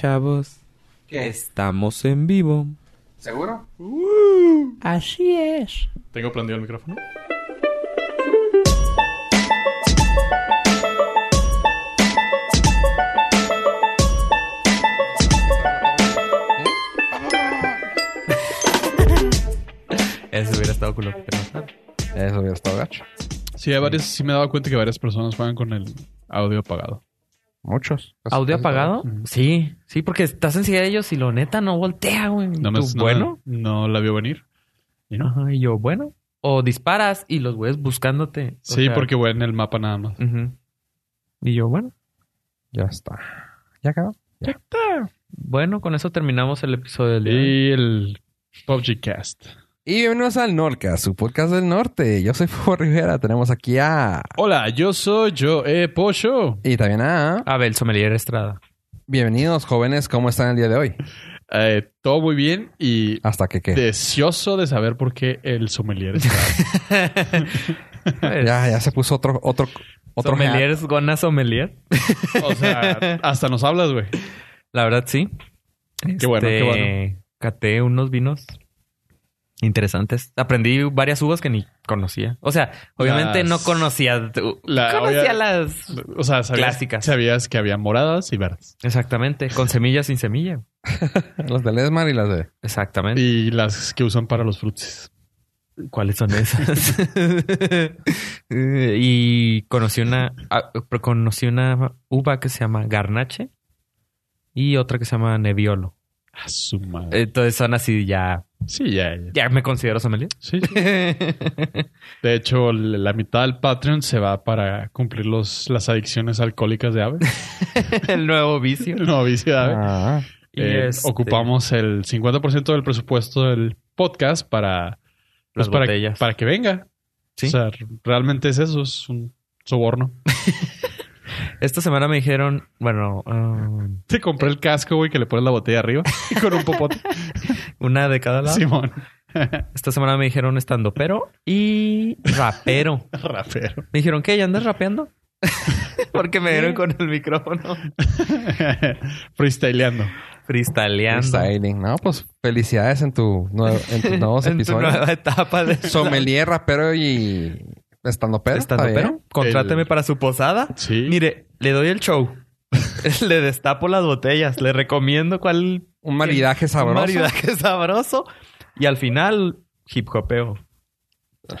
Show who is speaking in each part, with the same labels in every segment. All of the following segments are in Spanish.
Speaker 1: pichavos.
Speaker 2: ¿Qué?
Speaker 1: Estamos en vivo.
Speaker 2: ¿Seguro?
Speaker 1: Así es.
Speaker 3: Tengo prendido el micrófono.
Speaker 1: Eso hubiera estado culo. pero no está.
Speaker 2: Eso hubiera estado gacho.
Speaker 3: Sí, hay varias, sí me he dado cuenta que varias personas juegan con el audio apagado.
Speaker 2: Muchos. Casi-
Speaker 4: ¿Audio
Speaker 2: casi
Speaker 4: apagado?
Speaker 3: Ujú.
Speaker 4: Sí, sí, porque estás encima de ellos y lo neta no voltea, güey.
Speaker 3: No me,
Speaker 4: Tú,
Speaker 3: no-
Speaker 4: bueno.
Speaker 3: No, la vio venir. Y no.
Speaker 4: Ajá, y yo, bueno. O disparas y los güeyes buscándote. O
Speaker 3: Sí,
Speaker 4: sea,
Speaker 3: porque voy en el mapa nada más.
Speaker 4: Ujú. Y yo, bueno.
Speaker 2: todos. Ya está. ¿Ya acabó?
Speaker 4: Bueno, con eso terminamos el episodio del día.
Speaker 3: Y el PUBG Cast.
Speaker 2: Y bienvenidos al Norca, su podcast del norte. Yo soy Fuego Rivera. Tenemos aquí a...
Speaker 3: Hola, yo soy Joe E. Pollo.
Speaker 2: Y también a...
Speaker 4: Abel Sommelier Estrada.
Speaker 2: Bienvenidos, jóvenes. ¿Cómo están el día de hoy?
Speaker 3: Eh, todo muy bien y
Speaker 4: Ah,
Speaker 2: Hasta que qué.
Speaker 3: deseoso de saber por qué el sommelier está.
Speaker 2: Ya, ya se puso otro... otro otro
Speaker 4: Pues, sommelier es Gona Sommelier.
Speaker 3: o sea, hasta nos hablas, güey.
Speaker 4: La verdad, sí. Este,
Speaker 3: Qué bueno, qué bueno.
Speaker 4: Caté unos vinos interesantes. Aprendí varias uvas que ni conocía. O sea, obviamente
Speaker 3: Las-
Speaker 4: no conocía.
Speaker 3: La- obvia-
Speaker 4: conocía las.
Speaker 3: O sea, sabías,
Speaker 4: Clásicas.
Speaker 3: sabías que había moradas y verdes.
Speaker 4: Exactamente. Con semilla, sin semilla.
Speaker 2: Las de Lesmar y las de...
Speaker 4: Exactamente.
Speaker 3: Y las que usan para los frutis.
Speaker 4: ¿Cuáles son esas? Eh, y conocí una, ah, pero conocí una uva que se llama garnache y otra que se llama neviolo.
Speaker 3: A su madre.
Speaker 4: Entonces son así ya,
Speaker 3: Sí, ya, ya.
Speaker 4: ya me considero sommelier.
Speaker 3: Sí, sí. De hecho, l- la mitad del Patreon se va para cumplir los, las adicciones alcohólicas de Ave.
Speaker 4: El nuevo vicio.
Speaker 3: no, vicio de Ave.
Speaker 2: Ah,
Speaker 4: Y
Speaker 3: Eh,
Speaker 4: este,
Speaker 3: Ocupamos el 50% del presupuesto del podcast para, pues,
Speaker 4: Las
Speaker 3: para,
Speaker 4: botellas.
Speaker 3: para que venga.
Speaker 4: Sí.
Speaker 3: O sea, r- realmente es eso, es un soborno.
Speaker 4: Esta semana me dijeron, bueno, um,
Speaker 3: Te compré el casco, güey, que le pones la botella arriba y con un popote.
Speaker 4: una de cada lado.
Speaker 3: Simón,
Speaker 4: Esta semana me dijeron estando pero y rapero.
Speaker 3: rapero.
Speaker 4: Me dijeron, ¿qué? ¿Ya andas rapeando? Porque me dieron con el micrófono.
Speaker 3: Freestyleando.
Speaker 4: Cristaleando.
Speaker 2: styling. No, pues felicidades en, tu nuevo- en tus nuevos
Speaker 4: en tu
Speaker 2: episodios.
Speaker 4: nueva etapa de
Speaker 2: Sommelier, rapero y... Estando pero.
Speaker 4: Estando pero, contráteme para su posada.
Speaker 3: Sí.
Speaker 4: Mire, le doy el show. le destapo las botellas. Le recomiendo cuál
Speaker 2: Un maridaje sabroso.
Speaker 4: maridaje sabroso. Y al final, hip hopeo.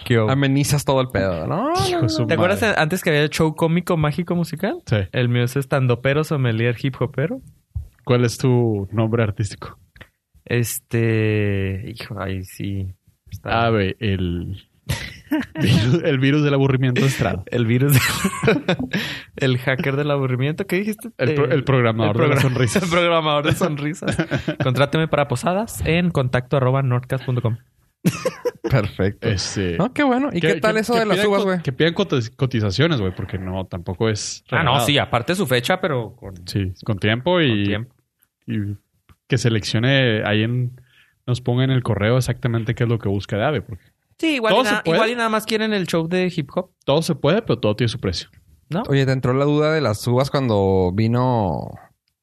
Speaker 4: ¿Qué hubo?
Speaker 2: Amenizas todo el pedo, ¿no?
Speaker 3: Hijo de su
Speaker 4: ¿Te acuerdas
Speaker 3: madre.
Speaker 4: antes que había el show cómico mágico musical?
Speaker 3: Sí.
Speaker 4: El mío es estando pero, sommelier, hip hopero.
Speaker 3: ¿Cuál es tu nombre artístico?
Speaker 4: Este. Hijo, ay, sí. Está-
Speaker 3: Ave, Ah, el... virus- el virus del aburrimiento estrada.
Speaker 4: El virus. el hacker del aburrimiento. ¿Qué dijiste?
Speaker 3: El, pro-
Speaker 4: Eh,
Speaker 3: el programador de
Speaker 4: progra-
Speaker 3: las sonrisas.
Speaker 4: el programador de sonrisas. Contráteme para posadas en contacto arroba nordcast.com.
Speaker 2: Perfecto.
Speaker 3: Este,
Speaker 2: No, Ah, qué bueno. ¿Y
Speaker 3: que-
Speaker 2: qué tal
Speaker 3: que-
Speaker 2: eso
Speaker 3: que
Speaker 2: de las
Speaker 3: pidan
Speaker 2: uvas,
Speaker 3: co-
Speaker 2: güey?
Speaker 3: Que pidan cotiz- cotizaciones, güey, porque no, tampoco es.
Speaker 4: Ah, no,
Speaker 3: regalado.
Speaker 4: sí, aparte su fecha, pero con,
Speaker 3: Sí, con tiempo y,
Speaker 4: con tiempo.
Speaker 3: y que seleccione ahí en. Nos ponga en el correo exactamente qué es lo que busca de AVE, porque
Speaker 4: Sí, igual y,
Speaker 3: ¿Todo se
Speaker 4: nada,
Speaker 3: puede?
Speaker 4: igual y nada más quieren el show de hip hop.
Speaker 3: todo se puede, pero todo tiene su precio.
Speaker 2: Oye, ¿te entró la duda de las uvas cuando vino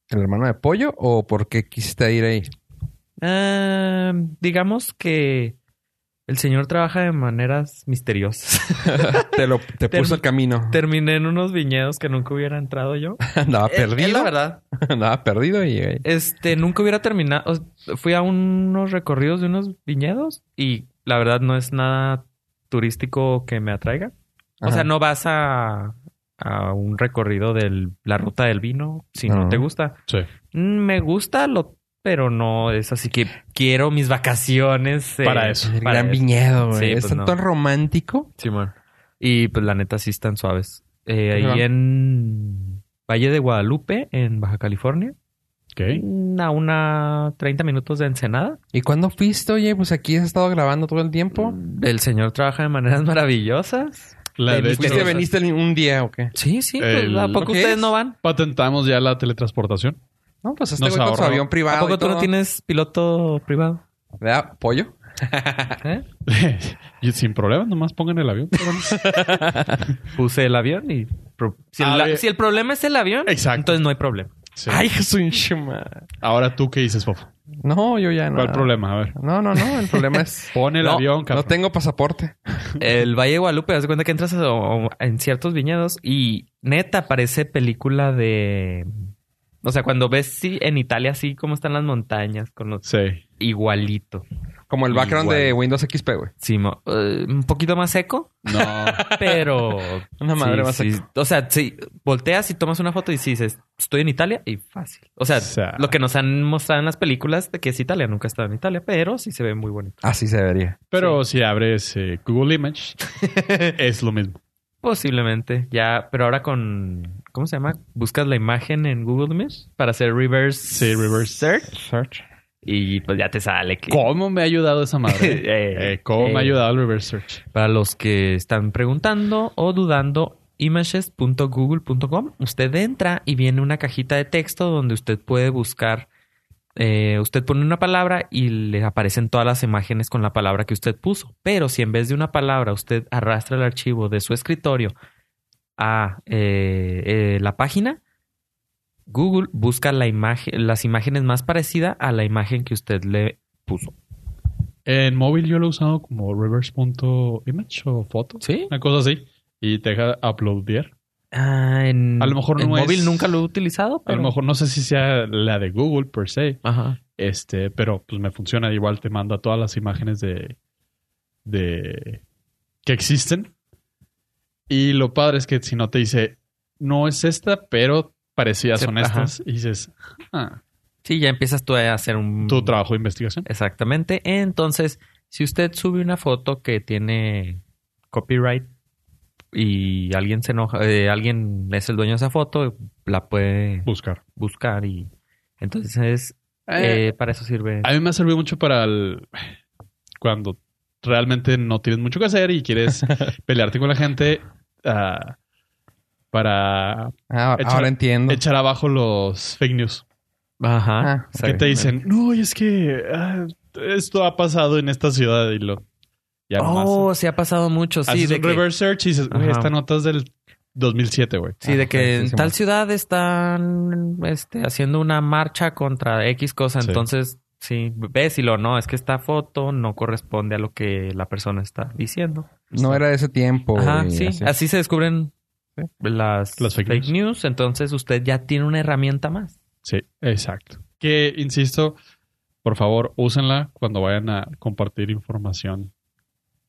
Speaker 2: el hermano de pollo o por qué quisiste ir ahí?
Speaker 4: Ah, digamos que el señor trabaja de maneras misteriosas.
Speaker 2: Te, lo, te
Speaker 4: Term-
Speaker 2: puso el camino.
Speaker 4: Terminé en unos viñedos que nunca hubiera entrado yo.
Speaker 2: Andaba
Speaker 4: Es- es la
Speaker 2: perdido.
Speaker 4: verdad.
Speaker 2: Andaba perdido y llegué.
Speaker 4: Este, nunca hubiera terminado. o sea, Fui a unos recorridos de unos viñedos y la verdad no es nada turístico que me atraiga. O
Speaker 2: Ajá.
Speaker 4: sea, no vas a, a un recorrido de la ruta del vino si no,
Speaker 2: No.
Speaker 4: te gusta.
Speaker 3: Sí.
Speaker 4: Mm, Me gusta, lo, pero no es así que quiero mis vacaciones. eh,
Speaker 3: Para eso.
Speaker 2: El
Speaker 4: para
Speaker 2: gran
Speaker 4: eso.
Speaker 2: viñedo, güey.
Speaker 4: Sí,
Speaker 2: es
Speaker 4: pues
Speaker 2: tan
Speaker 4: no.
Speaker 2: tan romántico.
Speaker 4: Simón. Y pues la neta sí están suaves. Eh, ahí
Speaker 2: Ajá.
Speaker 4: en Valle de Guadalupe, en Baja California,
Speaker 3: Ok.
Speaker 4: mm, a una 30 minutos de Ensenada.
Speaker 2: ¿Y cuándo fuiste, oye? Pues aquí has estado grabando todo el tiempo.
Speaker 4: El señor trabaja de maneras maravillosas.
Speaker 3: La, de
Speaker 2: ¿Fuiste,
Speaker 3: hecho,
Speaker 2: veniste el- un día o qué?
Speaker 4: Sí, sí.
Speaker 3: El-
Speaker 4: pues, ¿A poco
Speaker 2: ¿Qué
Speaker 4: ustedes
Speaker 2: es?
Speaker 4: no van?
Speaker 3: patentamos ya la teletransportación.
Speaker 2: No, pues este
Speaker 3: Nos
Speaker 2: güey con su
Speaker 3: ahorró.
Speaker 2: avión privado.
Speaker 4: ¿A poco
Speaker 2: y
Speaker 4: tú no
Speaker 2: todo.
Speaker 4: tienes piloto privado?
Speaker 2: ¿Verdad? ¿Pollo?
Speaker 4: ¿Eh?
Speaker 3: Y sin problema, nomás pongan el avión. cabrones.
Speaker 4: Puse el avión y... pro- Si el,
Speaker 3: A
Speaker 4: la-
Speaker 3: ver.
Speaker 4: si el problema es el avión,
Speaker 3: Exacto.
Speaker 4: entonces no hay problema.
Speaker 3: Sí.
Speaker 2: Ay, Jesús, hinche madre.
Speaker 3: Ahora tú qué dices, Fofo.
Speaker 2: No, yo ya no.
Speaker 3: ¿Cuál problema? A ver.
Speaker 2: No, no, no. El problema es.
Speaker 3: Pon el
Speaker 4: Ah. No,
Speaker 3: avión,
Speaker 2: no
Speaker 3: cabrón.
Speaker 2: tengo pasaporte.
Speaker 4: El Valle de Guadalupe, haz de cuenta que entras a- o- en ciertos viñedos y neta parece película de. O sea, cuando ves sí, en Italia así como están las montañas, con los
Speaker 3: Sí.
Speaker 4: igualito.
Speaker 2: Como el background
Speaker 4: Igual.
Speaker 2: de Windows XP, güey.
Speaker 4: Sí, mo- eh, un poquito más seco,
Speaker 3: No.
Speaker 4: pero.
Speaker 2: Una madre
Speaker 4: sí,
Speaker 2: más
Speaker 4: sí.
Speaker 2: seco.
Speaker 4: O sea, si volteas y tomas una foto y sí dices, estoy en Italia y fácil. O sea,
Speaker 3: O sea.
Speaker 4: lo que nos han mostrado en las películas de que es Italia, nunca he estado en Italia, pero sí se ve muy bonito.
Speaker 2: Así se vería.
Speaker 3: Pero si abres eh, Google Image, es lo mismo.
Speaker 4: Posiblemente, ya, pero ahora con, ¿cómo se llama? Buscas la imagen en Google Image para hacer reverse,
Speaker 3: Sí, reverse.
Speaker 4: search
Speaker 2: Search.
Speaker 4: y pues ya te sale que...
Speaker 3: ¿Cómo me ha ayudado esa madre?
Speaker 4: Eh,
Speaker 3: Eh, ¿Cómo me ha
Speaker 4: eh.
Speaker 3: ayudado el reverse search?
Speaker 4: Para los que están preguntando o dudando, images.google.com, usted entra y viene una cajita de texto donde usted puede buscar, eh, usted pone una palabra y le aparecen todas las imágenes con la palabra que usted puso. Pero si en vez de una palabra usted arrastra el archivo de su escritorio a eh, eh, la página, Google busca la imagen, las imágenes más parecidas a la imagen que usted le puso.
Speaker 3: En móvil yo lo he usado como reverse.image o foto.
Speaker 4: ¿Sí?
Speaker 3: Una cosa así. Y te deja uploadear.
Speaker 4: Ah, en,
Speaker 3: A lo mejor
Speaker 4: en
Speaker 3: no
Speaker 4: móvil
Speaker 3: es-
Speaker 4: nunca lo he utilizado,
Speaker 3: A
Speaker 4: pero...
Speaker 3: lo mejor no sé si sea la de Google per se,
Speaker 4: Ajá.
Speaker 3: este, pero pues me funciona. Igual te manda todas las imágenes de, de que existen. Y lo padre es que si no te dice, no es esta, pero parecidas
Speaker 4: Sí,
Speaker 3: son
Speaker 4: ajá.
Speaker 3: estas, y dices, ah,
Speaker 4: Sí, ya empiezas tú a hacer un...
Speaker 3: tu trabajo de investigación.
Speaker 4: Exactamente. Entonces, si usted sube una foto que tiene copyright y alguien se enoja, eh, alguien es el dueño de esa foto, la puede
Speaker 3: Buscar.
Speaker 4: buscar y... Entonces,
Speaker 3: Eh,
Speaker 4: eh, para eso sirve.
Speaker 3: a mí me ha servido mucho para el- cuando realmente no tienes mucho que hacer y quieres pelearte con la gente ah, para
Speaker 2: Ah,
Speaker 3: Échale.
Speaker 2: ahora entiendo.
Speaker 3: echar abajo los fake news.
Speaker 4: Ajá.
Speaker 2: Ah,
Speaker 3: que te
Speaker 4: exactamente.
Speaker 3: dicen, no, y es que ah, esto ha pasado en esta ciudad y lo. Ya nomás
Speaker 4: Oh, se ha pasado mucho, sí.
Speaker 3: haces
Speaker 4: De
Speaker 3: un
Speaker 4: que,
Speaker 3: reverse search y dices, güey,
Speaker 4: Ajá.
Speaker 3: esta nota es del 2007, güey.
Speaker 4: sí, de
Speaker 2: Ah,
Speaker 4: que en
Speaker 2: sí, sí,
Speaker 4: tal
Speaker 2: sí.
Speaker 4: ciudad están este, haciendo una marcha contra X cosa.
Speaker 3: Sí.
Speaker 4: Entonces, sí, ves y lo no, es que esta foto no corresponde a lo que la persona está diciendo.
Speaker 2: No era de ese tiempo.
Speaker 4: Ajá,
Speaker 2: güey,
Speaker 4: sí. Así.
Speaker 2: así.
Speaker 4: se descubren
Speaker 2: Sí.
Speaker 4: las,
Speaker 3: Las
Speaker 4: fake,
Speaker 3: fake
Speaker 4: news. Entonces usted ya tiene una herramienta más.
Speaker 3: Sí, exacto. Que, insisto, por favor, úsenla cuando vayan a compartir información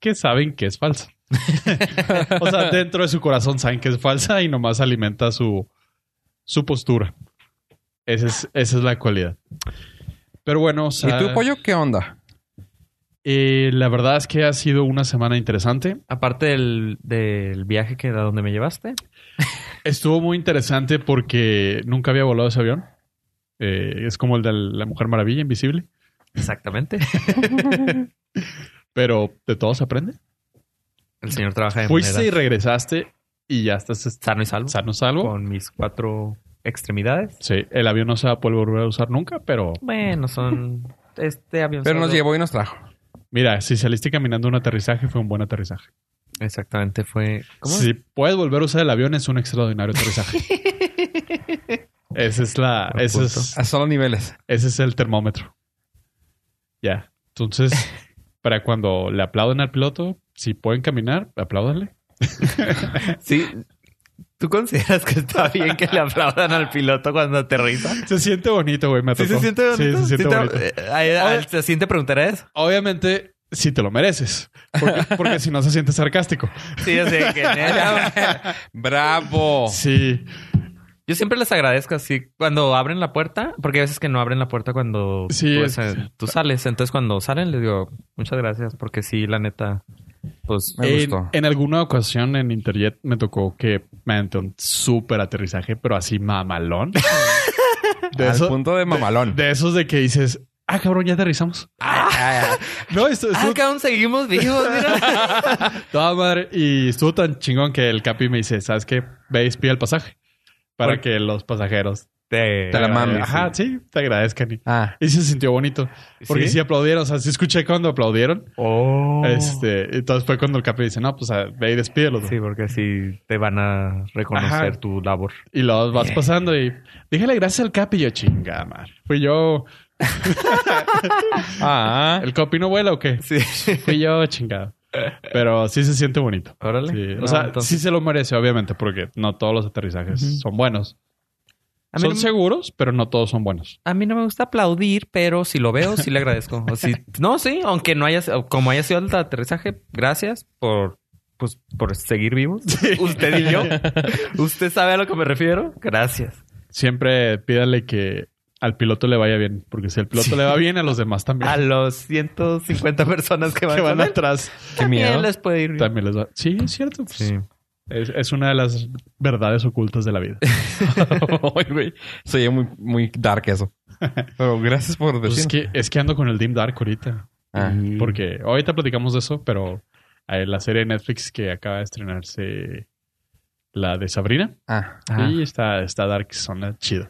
Speaker 3: que saben que es falsa. o sea, dentro de su corazón saben que es falsa y nomás alimenta su, su postura. Esa es, esa es la cualidad. Pero bueno, o sea,
Speaker 2: ¿Y tú, pollo, qué onda?
Speaker 3: Eh, la verdad es que ha sido una semana interesante.
Speaker 4: Aparte del, del viaje que a donde me llevaste.
Speaker 3: Estuvo muy interesante porque nunca había volado ese avión. Eh, es como el de la Mujer Maravilla, invisible.
Speaker 4: Exactamente.
Speaker 3: Pero de todo se aprende.
Speaker 4: El señor trabaja de
Speaker 3: Fuiste y
Speaker 4: manera
Speaker 3: regresaste y ya estás est-
Speaker 4: sano y salvo.
Speaker 3: sano salvo.
Speaker 4: Con mis cuatro extremidades.
Speaker 3: Sí, el avión no se va a poder volver a usar nunca, pero
Speaker 4: Bueno, son... Este avión...
Speaker 2: Pero nos
Speaker 4: solo-
Speaker 2: llevó y nos trajo.
Speaker 3: mira, si saliste caminando un aterrizaje, fue un buen aterrizaje.
Speaker 4: Exactamente, fue... ¿Cómo?
Speaker 3: Si puedes volver a usar el avión, es un extraordinario aterrizaje. Esa es la.
Speaker 4: Buen
Speaker 3: Ese es,
Speaker 2: A solo niveles.
Speaker 3: Ese es el termómetro. Ya. Entonces, para cuando le aplauden al piloto, si pueden caminar, apláudanle.
Speaker 4: Sí. ¿Tú consideras que está bien que le aplaudan al piloto cuando aterriza?
Speaker 3: Se siente bonito, güey. Me
Speaker 4: Sí, se
Speaker 3: tocó.
Speaker 4: siente bonito.
Speaker 3: Sí, se siente
Speaker 4: Sí te-
Speaker 3: bonito.
Speaker 4: eh, a- a- ¿Se siente preguntar eso?
Speaker 3: Obviamente, si te lo mereces. Porque, porque si no, se siente sarcástico.
Speaker 4: Sí, o sea, que neta,
Speaker 3: Oh.
Speaker 2: ¡Bravo!
Speaker 3: Sí.
Speaker 4: Yo siempre les agradezco así cuando abren la puerta, porque hay veces que no abren la puerta cuando
Speaker 3: Sí,
Speaker 4: tú,
Speaker 3: es-
Speaker 4: eh, tú sales. Entonces cuando salen les digo muchas gracias, porque sí, la neta, pues
Speaker 2: Me
Speaker 3: en,
Speaker 2: gustó.
Speaker 3: en alguna ocasión en Interjet me tocó que me aventé un súper aterrizaje, pero así mamalón. De,
Speaker 2: Al
Speaker 3: eso-
Speaker 2: punto de mamalón.
Speaker 3: de esos de que dices, ah, cabrón, ya aterrizamos. No, esto,
Speaker 4: ah,
Speaker 3: estuvo
Speaker 4: cabrón, seguimos vivos, mira.
Speaker 3: Toda madre. Y estuvo tan chingón que el Capi me dice, ¿sabes qué? Ve y pide el pasaje. Para
Speaker 4: Por-
Speaker 3: que los pasajeros
Speaker 1: Te,
Speaker 2: Te la mando.
Speaker 3: Eh, Ajá, sí, te agradezcan. Y,
Speaker 2: Ah,
Speaker 3: y se sintió bonito. Porque sí, aplaudieron. O sea, sí escuché cuando aplaudieron.
Speaker 1: Oh.
Speaker 3: Este, entonces fue cuando el capi dice, no, pues a- ve y despídelo.
Speaker 4: Sí, porque así te van a reconocer
Speaker 3: Ajá.
Speaker 4: tu labor.
Speaker 3: Y los vas pasando y dígale gracias al capi. Y yo, chingada madre. Fui yo.
Speaker 2: ah,
Speaker 3: ¿El capi no vuela o qué?
Speaker 4: Sí.
Speaker 3: Fui yo, chingada. Pero sí se siente bonito.
Speaker 4: Órale.
Speaker 3: Sí, O
Speaker 4: No,
Speaker 3: sea,
Speaker 4: entonces-
Speaker 3: sí se lo merece, obviamente, porque no todos los aterrizajes
Speaker 4: Ujú.
Speaker 3: son buenos.
Speaker 4: A mí
Speaker 3: Son
Speaker 4: no me-
Speaker 3: seguros, pero no todos son buenos.
Speaker 4: A mí no me gusta aplaudir, pero si lo veo, sí le agradezco. O si- no, sí, aunque no haya, como haya sido el aterrizaje, gracias por, pues, por seguir vivos. Usted y yo. Usted sabe a lo que me refiero. Gracias.
Speaker 3: Siempre pídale que al piloto le vaya bien, porque si al piloto le va bien, a los demás también.
Speaker 4: A los 150 personas que van,
Speaker 3: que van
Speaker 4: con él,
Speaker 3: atrás
Speaker 2: qué
Speaker 4: también
Speaker 2: miedo.
Speaker 4: les puede ir bien.
Speaker 3: también les va. Sí, es cierto. pues,
Speaker 4: Sí.
Speaker 3: es, es una de las verdades ocultas de la vida.
Speaker 4: Pues
Speaker 2: Ay, güey. Se oye muy, muy dark eso. Pero gracias por
Speaker 3: Pues es,
Speaker 2: decir.
Speaker 3: que, es que ando con el Dim Dark ahorita.
Speaker 2: Ah,
Speaker 4: Y-
Speaker 3: Porque ahorita platicamos de eso, pero eh, la serie de Netflix que acaba de estrenarse, la de Sabrina,
Speaker 2: ah.
Speaker 4: Ah,
Speaker 3: y está, está Dark, son chido.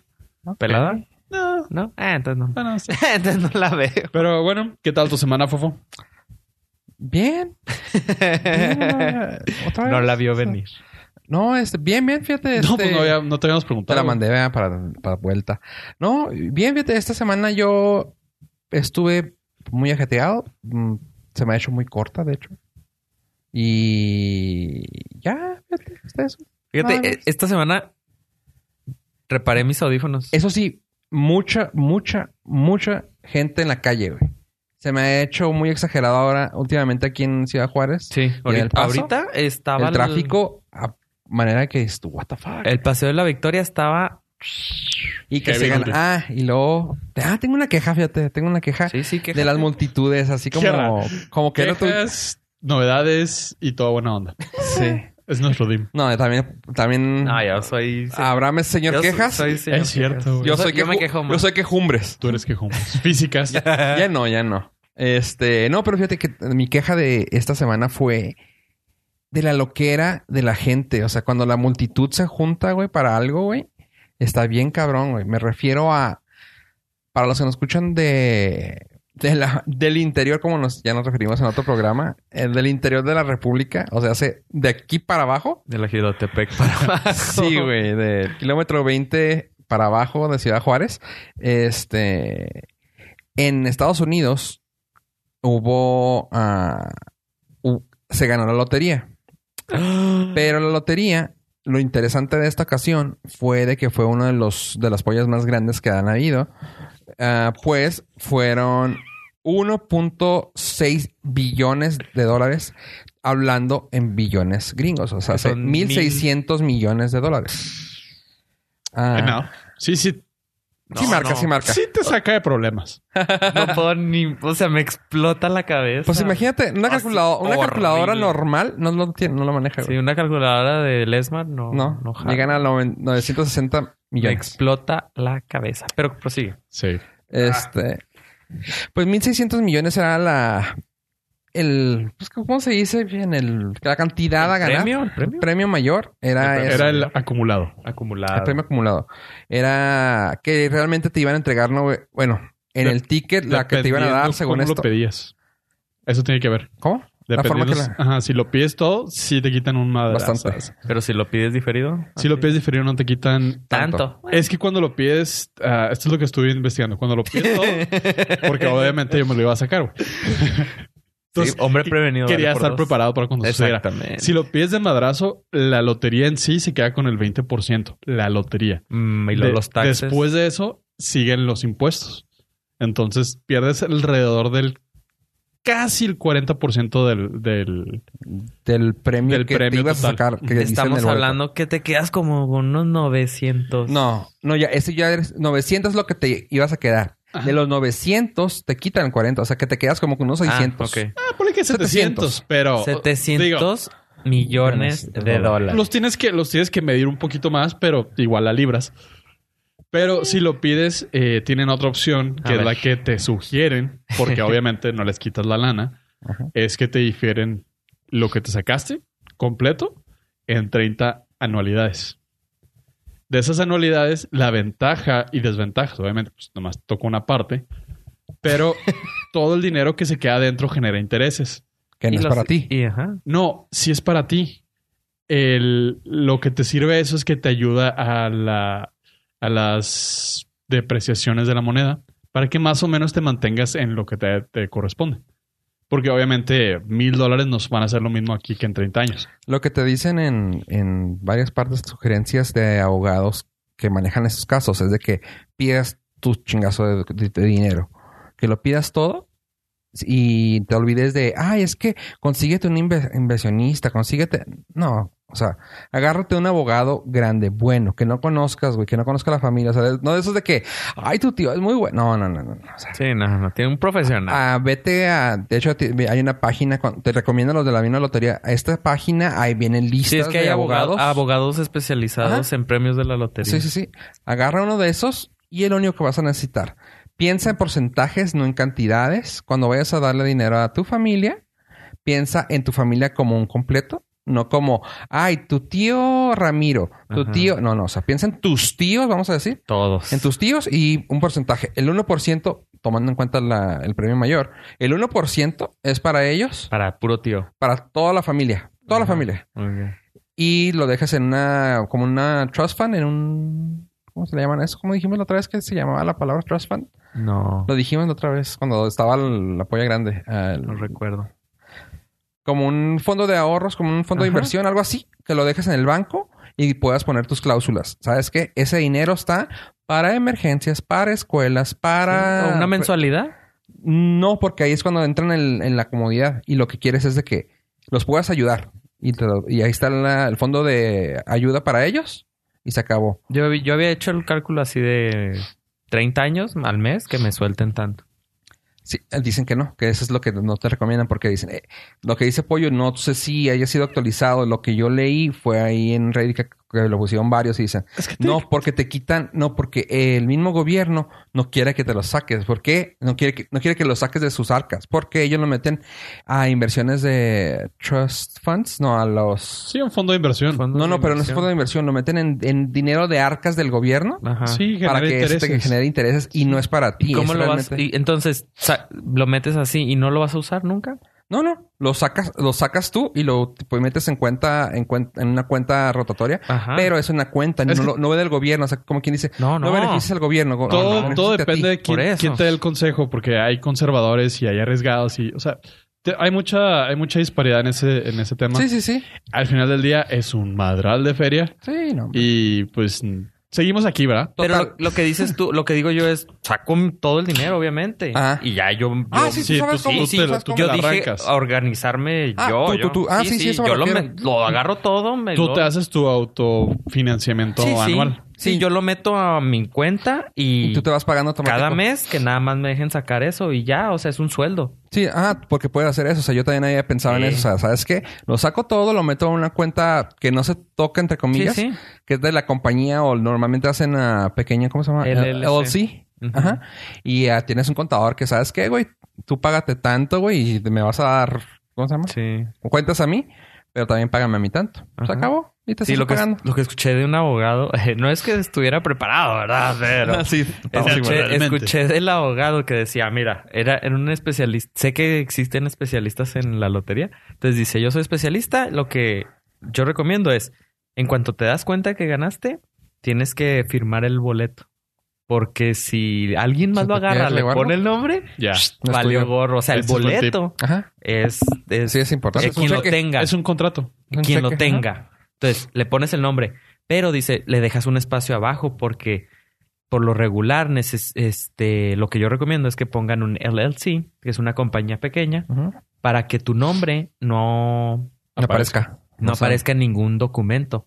Speaker 4: ¿Pelada?
Speaker 3: No,
Speaker 4: No. Ah, entonces no.
Speaker 3: no, no, sí.
Speaker 4: entonces no la veo.
Speaker 3: Pero bueno, ¿qué tal tu semana, Fofo?
Speaker 2: Bien. Bien, otra
Speaker 4: no
Speaker 2: vez.
Speaker 4: la vio venir.
Speaker 2: No, este, bien, bien, fíjate.
Speaker 3: No,
Speaker 2: este,
Speaker 3: pues no, había- no te habíamos
Speaker 2: Te
Speaker 3: preguntado.
Speaker 2: la mandé vea, para, para vuelta. No, bien, fíjate, esta semana yo estuve muy ajeteado. Mm, Se me ha hecho muy corta, de hecho. Y ya, fíjate, está eso.
Speaker 4: Fíjate,
Speaker 2: Nada
Speaker 4: eh,
Speaker 2: más.
Speaker 4: esta semana reparé mis audífonos.
Speaker 2: Eso sí, mucha, mucha, mucha gente en la calle, güey. Se me ha hecho muy exagerado ahora, últimamente aquí en Ciudad Juárez.
Speaker 4: Sí, Ah, ahorita,
Speaker 2: El paso,
Speaker 4: ahorita estaba
Speaker 2: el tráfico a manera que es what the fuck.
Speaker 4: El paseo de la Victoria estaba.
Speaker 2: y que
Speaker 3: heavy
Speaker 2: se gana.
Speaker 3: duty.
Speaker 2: Ah, y luego. Ah, tengo una queja, fíjate, tengo una queja
Speaker 4: Sí, sí, que.
Speaker 2: de las multitudes, así
Speaker 3: Queja.
Speaker 2: como, como que era tu-
Speaker 3: Quejas, novedades y toda buena onda.
Speaker 2: Sí.
Speaker 3: Es nuestro Dim.
Speaker 2: No, también, también
Speaker 4: Ah, yo soy.
Speaker 2: Abraham es señor
Speaker 4: yo soy-
Speaker 2: quejas.
Speaker 4: soy señor
Speaker 3: Es cierto,
Speaker 4: quejas.
Speaker 3: güey.
Speaker 2: yo soy
Speaker 4: yo me
Speaker 2: queju-
Speaker 4: quejo más.
Speaker 2: Yo soy quejumbres.
Speaker 3: Tú eres quejumbas. Físicas.
Speaker 2: ya no, ya no. Este, no, pero fíjate que mi queja de esta semana fue de la loquera de la gente. O sea, cuando la multitud se junta, güey, para algo, güey, está bien cabrón, güey. Me refiero a. Para los que nos escuchan de. de la- del interior, como nos, ya nos referimos en otro programa, el del interior de la República, o sea, hace de aquí para abajo,
Speaker 4: De la Girotepec para abajo.
Speaker 2: Sí, güey, del kilómetro 20 para abajo de Ciudad Juárez. Este. En Estados Unidos hubo. ah, hu- se ganó la lotería. Pero la lotería, lo interesante de esta ocasión fue de que fue uno de los de las pollas más grandes que han habido. Ah, pues fueron 1.6 billones de dólares, hablando en billones gringos. O sea,
Speaker 4: Que son
Speaker 2: hace 1.600 millones de dólares. Ah,
Speaker 3: No. Sí, sí.
Speaker 2: sí
Speaker 4: No,
Speaker 2: marca,
Speaker 4: no.
Speaker 2: sí marca.
Speaker 3: Sí te saca de problemas.
Speaker 4: No puedo ni. O sea, me explota la cabeza.
Speaker 2: Pues imagínate, una,
Speaker 4: Así,
Speaker 2: calculado- una calculadora
Speaker 4: horrible.
Speaker 2: normal no lo, tiene, no lo maneja.
Speaker 4: Sí,
Speaker 2: güey.
Speaker 4: una calculadora de Lesmar no.
Speaker 2: no,
Speaker 4: jala.
Speaker 2: llegan a noven- 960
Speaker 4: Me
Speaker 2: millones.
Speaker 4: explota la cabeza. Pero prosigue.
Speaker 3: Sí.
Speaker 2: Este. Pues 1600 millones era la. El. pues, ¿Cómo se dice bien? El, la cantidad a ganar.
Speaker 4: ¿Premio? ¿El
Speaker 2: El
Speaker 4: premio?
Speaker 2: premio mayor era.
Speaker 4: El
Speaker 2: Ah, eso,
Speaker 3: Era el acumulado.
Speaker 4: Acumulado.
Speaker 2: el premio acumulado. Era que realmente te iban a entregar. No, bueno, en
Speaker 3: Dep-
Speaker 2: el ticket, la que te iban a dar,
Speaker 3: Dependiendo
Speaker 2: según
Speaker 3: cómo
Speaker 2: esto.
Speaker 3: lo pedías. Eso tiene que ver.
Speaker 2: ¿Cómo? La forma que
Speaker 3: Dependiendo.
Speaker 2: la.
Speaker 3: Ajá, si lo pides todo, sí te quitan un madrazo.
Speaker 2: Bastante.
Speaker 4: Pero si lo pides diferido.
Speaker 3: Si lo
Speaker 4: así.
Speaker 3: pides diferido, no te quitan.
Speaker 4: Tanto.
Speaker 3: Es que cuando lo pides, ah, esto es lo que estuve investigando. Cuando lo pides todo, porque obviamente yo me lo iba a sacar. güey. Entonces,
Speaker 4: Sí, hombre prevenido.
Speaker 3: quería
Speaker 4: vale por
Speaker 3: estar
Speaker 4: dos.
Speaker 3: preparado para cuando sucediera.
Speaker 4: Exactamente.
Speaker 3: Si lo pides de madrazo, la lotería en sí se queda con el 20%. La lotería.
Speaker 4: Mm, y luego
Speaker 3: De-
Speaker 4: los taxes.
Speaker 3: Después de eso, siguen los impuestos. Entonces, pierdes alrededor del casi el 40% del, del...
Speaker 2: Del premio
Speaker 3: Del
Speaker 2: que te
Speaker 3: premio
Speaker 2: ibas a
Speaker 3: total.
Speaker 2: sacar. que dice en
Speaker 4: Estamos
Speaker 2: el boleto.
Speaker 4: hablando que te quedas como con unos 900.
Speaker 2: No, no, ya, eso ya eres 900 es lo que te ibas a quedar.
Speaker 3: Ajá.
Speaker 2: De los 900 te quitan 40, o sea que te quedas como con unos
Speaker 4: Ah,
Speaker 2: 600.
Speaker 4: ok.
Speaker 3: Ah, ponle que 700,
Speaker 2: 700,
Speaker 3: pero... digo,
Speaker 4: 700 millones
Speaker 2: millones de
Speaker 4: de dólares.
Speaker 3: los, tienes que, los tienes que medir un poquito más, pero igual la libras. Pero si lo pides, eh, tienen otra opción,
Speaker 4: A
Speaker 3: que es
Speaker 4: ver.
Speaker 3: la que te sugieren, porque obviamente no les quitas la lana,
Speaker 2: Ajá.
Speaker 3: es que te difieren lo que te sacaste completo en 30 anualidades. de esas anualidades, la ventaja y desventaja, obviamente, pues nomás toco una parte, pero todo el dinero que se queda adentro genera intereses.
Speaker 2: Que no
Speaker 4: Y
Speaker 2: es
Speaker 4: los-
Speaker 2: para ti.
Speaker 4: Y ajá.
Speaker 3: No, si es para ti. El, lo que te sirve eso es que te ayuda a, la, a las depreciaciones de la moneda para que más o menos te mantengas en lo que te, te corresponde. Porque obviamente mil dólares nos van a hacer lo mismo aquí que en 30 años.
Speaker 2: Lo que te dicen en, en varias partes, sugerencias de abogados que manejan esos casos, es de que pidas tu chingazo de, de- de dinero. Que lo pidas todo y te olvides de, ay, es que consíguete un inve- inversionista, consíguete. No, o sea, agárrate un abogado grande, bueno, que no conozcas, güey, que no conozca la familia. O sea, de- no de esos de que, ay, tu tío es muy bueno. No, no, no, no. no, o sea,
Speaker 4: Sí, no, no. Tiene un profesional.
Speaker 2: Ah, vete a. De hecho, ti- hay una página. con- te recomiendo los de la misma lotería. A esta página ahí vienen listas
Speaker 4: sí, es que
Speaker 2: de
Speaker 4: hay abogados.
Speaker 2: abogados.
Speaker 4: abogados especializados en premios de la lotería.
Speaker 2: sí, sí, sí. Agarra uno de esos y el único que vas a necesitar. Piensa en porcentajes, no en cantidades. Cuando vayas a darle dinero a tu familia, piensa en tu familia como un completo. No como, ay, tu tío Ramiro, tu
Speaker 4: Ajá.
Speaker 2: tío. No, no, o sea, piensa en tus tíos, vamos a decir.
Speaker 4: Todos.
Speaker 2: En tus tíos y un porcentaje. El 1%, tomando en cuenta la- el premio mayor, el 1% es para ellos,
Speaker 4: Para puro tío.
Speaker 2: para toda la familia. Toda la
Speaker 4: Ajá.
Speaker 2: familia.
Speaker 4: Muy bien.
Speaker 2: Y lo dejas en una, como una trust fund, en un... ¿Cómo se le llaman eso? ¿Cómo dijimos la otra vez que se llamaba la palabra trust fund?
Speaker 4: No,
Speaker 2: Lo dijimos la otra vez cuando estaba el- la polla grande. el-
Speaker 4: no recuerdo.
Speaker 2: como un fondo de ahorros, como un fondo de
Speaker 4: Ajá.
Speaker 2: inversión, algo así, que lo dejes en el banco y puedas poner tus cláusulas. ¿Sabes qué? Ese dinero está para emergencias, para escuelas, para... pues,
Speaker 4: ¿O ¿Una mensualidad?
Speaker 2: No, porque ahí es cuando entran en, en la comodidad y lo que quieres es de que los puedas ayudar. Y, te lo- y ahí está la- el fondo de ayuda para ellos y se acabó.
Speaker 4: Yo, vi- yo había hecho el cálculo así de 30 años al mes que me suelten tanto.
Speaker 2: Sí, eh, dicen que no, que eso es lo que no te recomiendan porque dicen, eh, lo que dice Pollo, no sé si haya sido actualizado, lo que yo leí fue ahí en Reddit que, que lo pusieron varios y dicen, no, porque te quitan, no, porque el mismo gobierno no quiere que te los saques, ¿por qué? No quiere que, no quiere que los saques de sus arcas, porque ellos lo meten a inversiones de trust funds, no, a los...
Speaker 3: Sí, un fondo de inversión.
Speaker 4: Fondos
Speaker 2: No,
Speaker 4: de
Speaker 2: no, pero no es
Speaker 4: inversión.
Speaker 2: fondo de inversión. Lo meten en, en dinero de arcas del gobierno
Speaker 4: Ajá.
Speaker 3: Sí, genera
Speaker 2: para que este
Speaker 3: intereses.
Speaker 2: que genere intereses y no es para ti.
Speaker 4: ¿Y cómo
Speaker 2: es
Speaker 4: lo vas?
Speaker 2: realmente-
Speaker 4: Y entonces, sa- ¿lo metes así y no lo vas a usar nunca?
Speaker 2: No, no. Lo sacas, lo sacas tú y lo pues, metes en cuenta, en, cuen- en una cuenta rotatoria.
Speaker 4: Ajá.
Speaker 2: Pero es una cuenta,
Speaker 3: Es
Speaker 2: no,
Speaker 3: que-
Speaker 2: lo- no ve del gobierno. O sea, como quien dice,
Speaker 4: Ah. No,
Speaker 2: no,
Speaker 4: no.
Speaker 2: beneficias al gobierno. go-
Speaker 3: todo
Speaker 2: no, beneficias
Speaker 3: todo
Speaker 2: a ti.
Speaker 3: depende de quién,
Speaker 4: por eso.
Speaker 3: quién te dé el consejo, porque hay conservadores y hay arriesgados y, o sea, te- hay mucha, hay mucha disparidad en ese, en ese tema.
Speaker 2: Sí, sí, sí.
Speaker 3: Al final del día es un madral de feria
Speaker 2: Sí, no.
Speaker 3: y pues mm, seguimos aquí, ¿verdad?
Speaker 4: Pero
Speaker 2: Total.
Speaker 4: lo, lo que dices tú, lo que digo yo es, saco mi- todo el dinero, obviamente.
Speaker 2: Ajá.
Speaker 4: Y ya yo... yo-
Speaker 2: Ah, sí,
Speaker 3: sí,
Speaker 2: tú sabes
Speaker 3: tú-
Speaker 2: cómo.
Speaker 3: tú
Speaker 2: sí,
Speaker 3: te-
Speaker 2: sabes
Speaker 3: tú-
Speaker 2: cómo.
Speaker 4: Yo
Speaker 3: la
Speaker 4: dije
Speaker 3: arrancas.
Speaker 4: a organizarme
Speaker 2: Ah,
Speaker 4: yo.
Speaker 2: tú,
Speaker 4: yo-
Speaker 2: tú, tú. Ah, sí, sí, eso me
Speaker 4: yo lo,
Speaker 2: refiero.
Speaker 4: me- lo agarro todo. Me
Speaker 3: Tú
Speaker 4: lo-
Speaker 3: te haces tu autofinanciamiento
Speaker 4: Sí, sí.
Speaker 3: anual.
Speaker 4: Sí,
Speaker 2: Sí.
Speaker 4: yo lo meto a mi cuenta y,
Speaker 2: Y tú te vas pagando automático.
Speaker 4: cada mes que nada más me dejen sacar eso y ya, o sea, es un sueldo.
Speaker 2: Sí, ah, porque puede hacer eso. O sea, yo también había pensado en
Speaker 4: Sí.
Speaker 2: eso. O sea, ¿sabes qué? Lo saco todo, lo meto en una cuenta que no se toca, entre comillas,
Speaker 4: Sí, sí.
Speaker 2: que es de la compañía o normalmente hacen a pequeña, ¿cómo se llama?
Speaker 4: LLC.
Speaker 2: LLC. Ajá. Y ah, tienes un contador que, ¿sabes qué, güey? Tú págate tanto, güey, y me vas a dar, ¿cómo se llama?
Speaker 4: Sí.
Speaker 2: Cuentas a mí, pero también págame a mí tanto. Se
Speaker 4: Ajá.
Speaker 2: acabó. Y te
Speaker 4: Sí,
Speaker 2: sigo
Speaker 4: lo que,
Speaker 2: pagando.
Speaker 4: lo que escuché de un abogado, no es que estuviera preparado, ¿verdad? Pero
Speaker 2: Ah, sí, estamos
Speaker 3: Ese-
Speaker 2: igual.
Speaker 4: escuché,
Speaker 3: Realmente.
Speaker 4: escuché del abogado que decía, mira, era, era un especialista, sé que existen especialistas en la lotería, entonces dice, yo soy especialista, lo que yo recomiendo es, en cuanto te das cuenta que ganaste, tienes que firmar el boleto. Porque si alguien más
Speaker 2: ¿Se
Speaker 4: lo
Speaker 2: te
Speaker 4: agarra,
Speaker 2: queda
Speaker 4: le
Speaker 2: relevarlo?
Speaker 4: pone el nombre,
Speaker 3: Ya.
Speaker 2: No es
Speaker 4: valió
Speaker 2: tuyo.
Speaker 4: gorro. O sea, el
Speaker 3: Ese es buen tip.
Speaker 4: boleto
Speaker 2: Ajá.
Speaker 4: es, es
Speaker 2: Sí, es importante.
Speaker 4: que
Speaker 2: Es un
Speaker 4: quien lo
Speaker 2: cheque.
Speaker 4: tenga
Speaker 3: Es un contrato.
Speaker 2: un
Speaker 4: quien lo
Speaker 2: cheque,
Speaker 4: tenga. Entonces, le pones el nombre, pero dice, le dejas un espacio abajo porque por lo regular, neces- este, lo que yo recomiendo es que pongan un LLC, que es una compañía pequeña,
Speaker 2: Ujú.
Speaker 4: para que tu nombre no,
Speaker 2: No aparezca.
Speaker 4: no
Speaker 2: O sea,
Speaker 4: aparezca en ningún documento.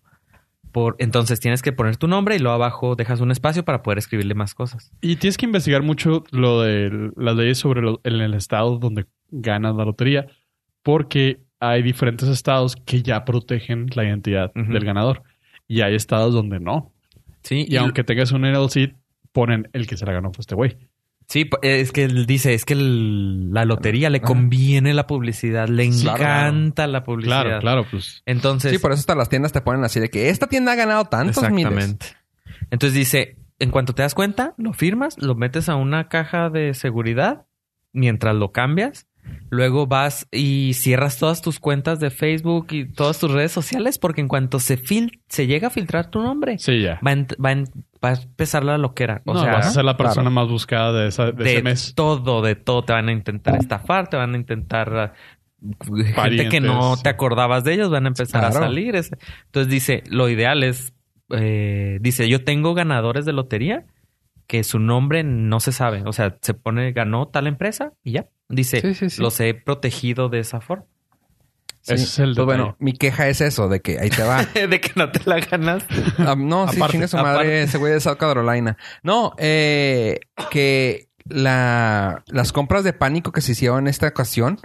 Speaker 4: Por, entonces tienes que poner tu nombre y luego abajo dejas un espacio para poder escribirle más cosas.
Speaker 3: Y tienes que investigar mucho lo de las leyes sobre lo- en el estado donde ganas la lotería, porque hay diferentes estados que ya protegen la identidad
Speaker 4: Ujú.
Speaker 3: del ganador. Y hay estados donde no.
Speaker 4: Sí,
Speaker 3: Y, aunque tengas un LLC, ponen el que se la ganó fue este güey.
Speaker 4: Sí, po- es que él dice, es que el- la lotería le
Speaker 2: Ajá.
Speaker 4: conviene la publicidad, le
Speaker 2: Claro.
Speaker 4: encanta la publicidad.
Speaker 3: Claro, claro, pues.
Speaker 4: Entonces,
Speaker 2: Sí, por eso hasta las tiendas te ponen así de que esta tienda ha ganado tantos miles.
Speaker 4: exactamente. Entonces dice, en cuanto te das cuenta, lo firmas, lo metes a una caja de seguridad mientras lo cambias. Luego vas y cierras todas tus cuentas de Facebook y todas tus redes sociales porque en cuanto se fil se llega a filtrar tu nombre,
Speaker 3: Sí, ya.
Speaker 4: va, a ent- va a en- va a empezar la loquera. O
Speaker 3: no,
Speaker 4: sea,
Speaker 3: vas a ser la
Speaker 2: claro.
Speaker 3: persona más buscada de, esa- de ese
Speaker 4: de
Speaker 3: mes.
Speaker 4: todo, de todo. Te van a intentar estafar, te van a intentar... ah, Gente que no
Speaker 3: Parientes.
Speaker 4: te acordabas de ellos van a empezar a
Speaker 2: Claro.
Speaker 4: salir. Es- Entonces dice, lo ideal es... eh, dice, yo tengo ganadores de lotería que su nombre no se sabe. O sea, se pone, ganó tal empresa y ya. Dice,
Speaker 2: Sí, sí, sí.
Speaker 4: los he protegido de esa forma.
Speaker 2: Sí.
Speaker 3: Ese es el
Speaker 2: Pues bueno,
Speaker 3: detalle.
Speaker 2: mi queja es eso, de que ahí te va.
Speaker 4: de que no te la ganas.
Speaker 2: Ah, no, sí,
Speaker 4: Aparte,
Speaker 2: chinga su madre,
Speaker 4: aparte.
Speaker 2: ese güey de South Carolina. No, eh, que la, las compras de pánico que se hicieron en esta ocasión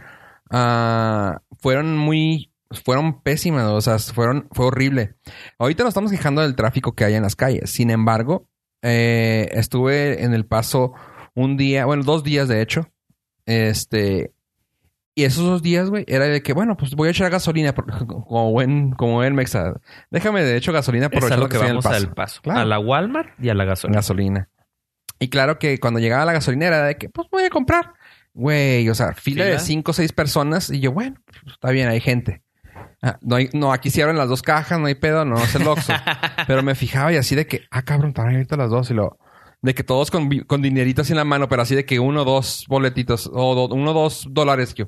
Speaker 2: ah, fueron muy. Fueron pésimas, o sea, fueron, fue horrible. Ahorita nos estamos quejando del tráfico que hay en las calles. Sin embargo, eh, estuve en El Paso un día, bueno, dos días de hecho. Este. Y esos dos días, güey, era de que, bueno, pues voy a echar gasolina, por- como buen, como buen mexa. Déjame, de hecho, gasolina por
Speaker 4: Es a lo que vamos
Speaker 2: paso.
Speaker 4: al paso.
Speaker 2: Claro.
Speaker 4: A la Walmart y a la gasolina.
Speaker 2: Gasolina. Y claro que cuando llegaba la gasolinera era de que, pues voy a comprar. Güey, o sea, fila, de
Speaker 4: Fila.
Speaker 2: cinco o seis personas. Y yo, bueno, pues, está bien, hay gente. Ah, no, hay- no, aquí se abren las dos cajas, no hay pedo, no es el Oxxo. pero me fijaba y así de que, ah, cabrón, están abiertas las dos. Y lo... De que todos con, vi- con dineritos en la mano, pero así de que uno o dos boletitos. O do- uno o dos dólares. Yo.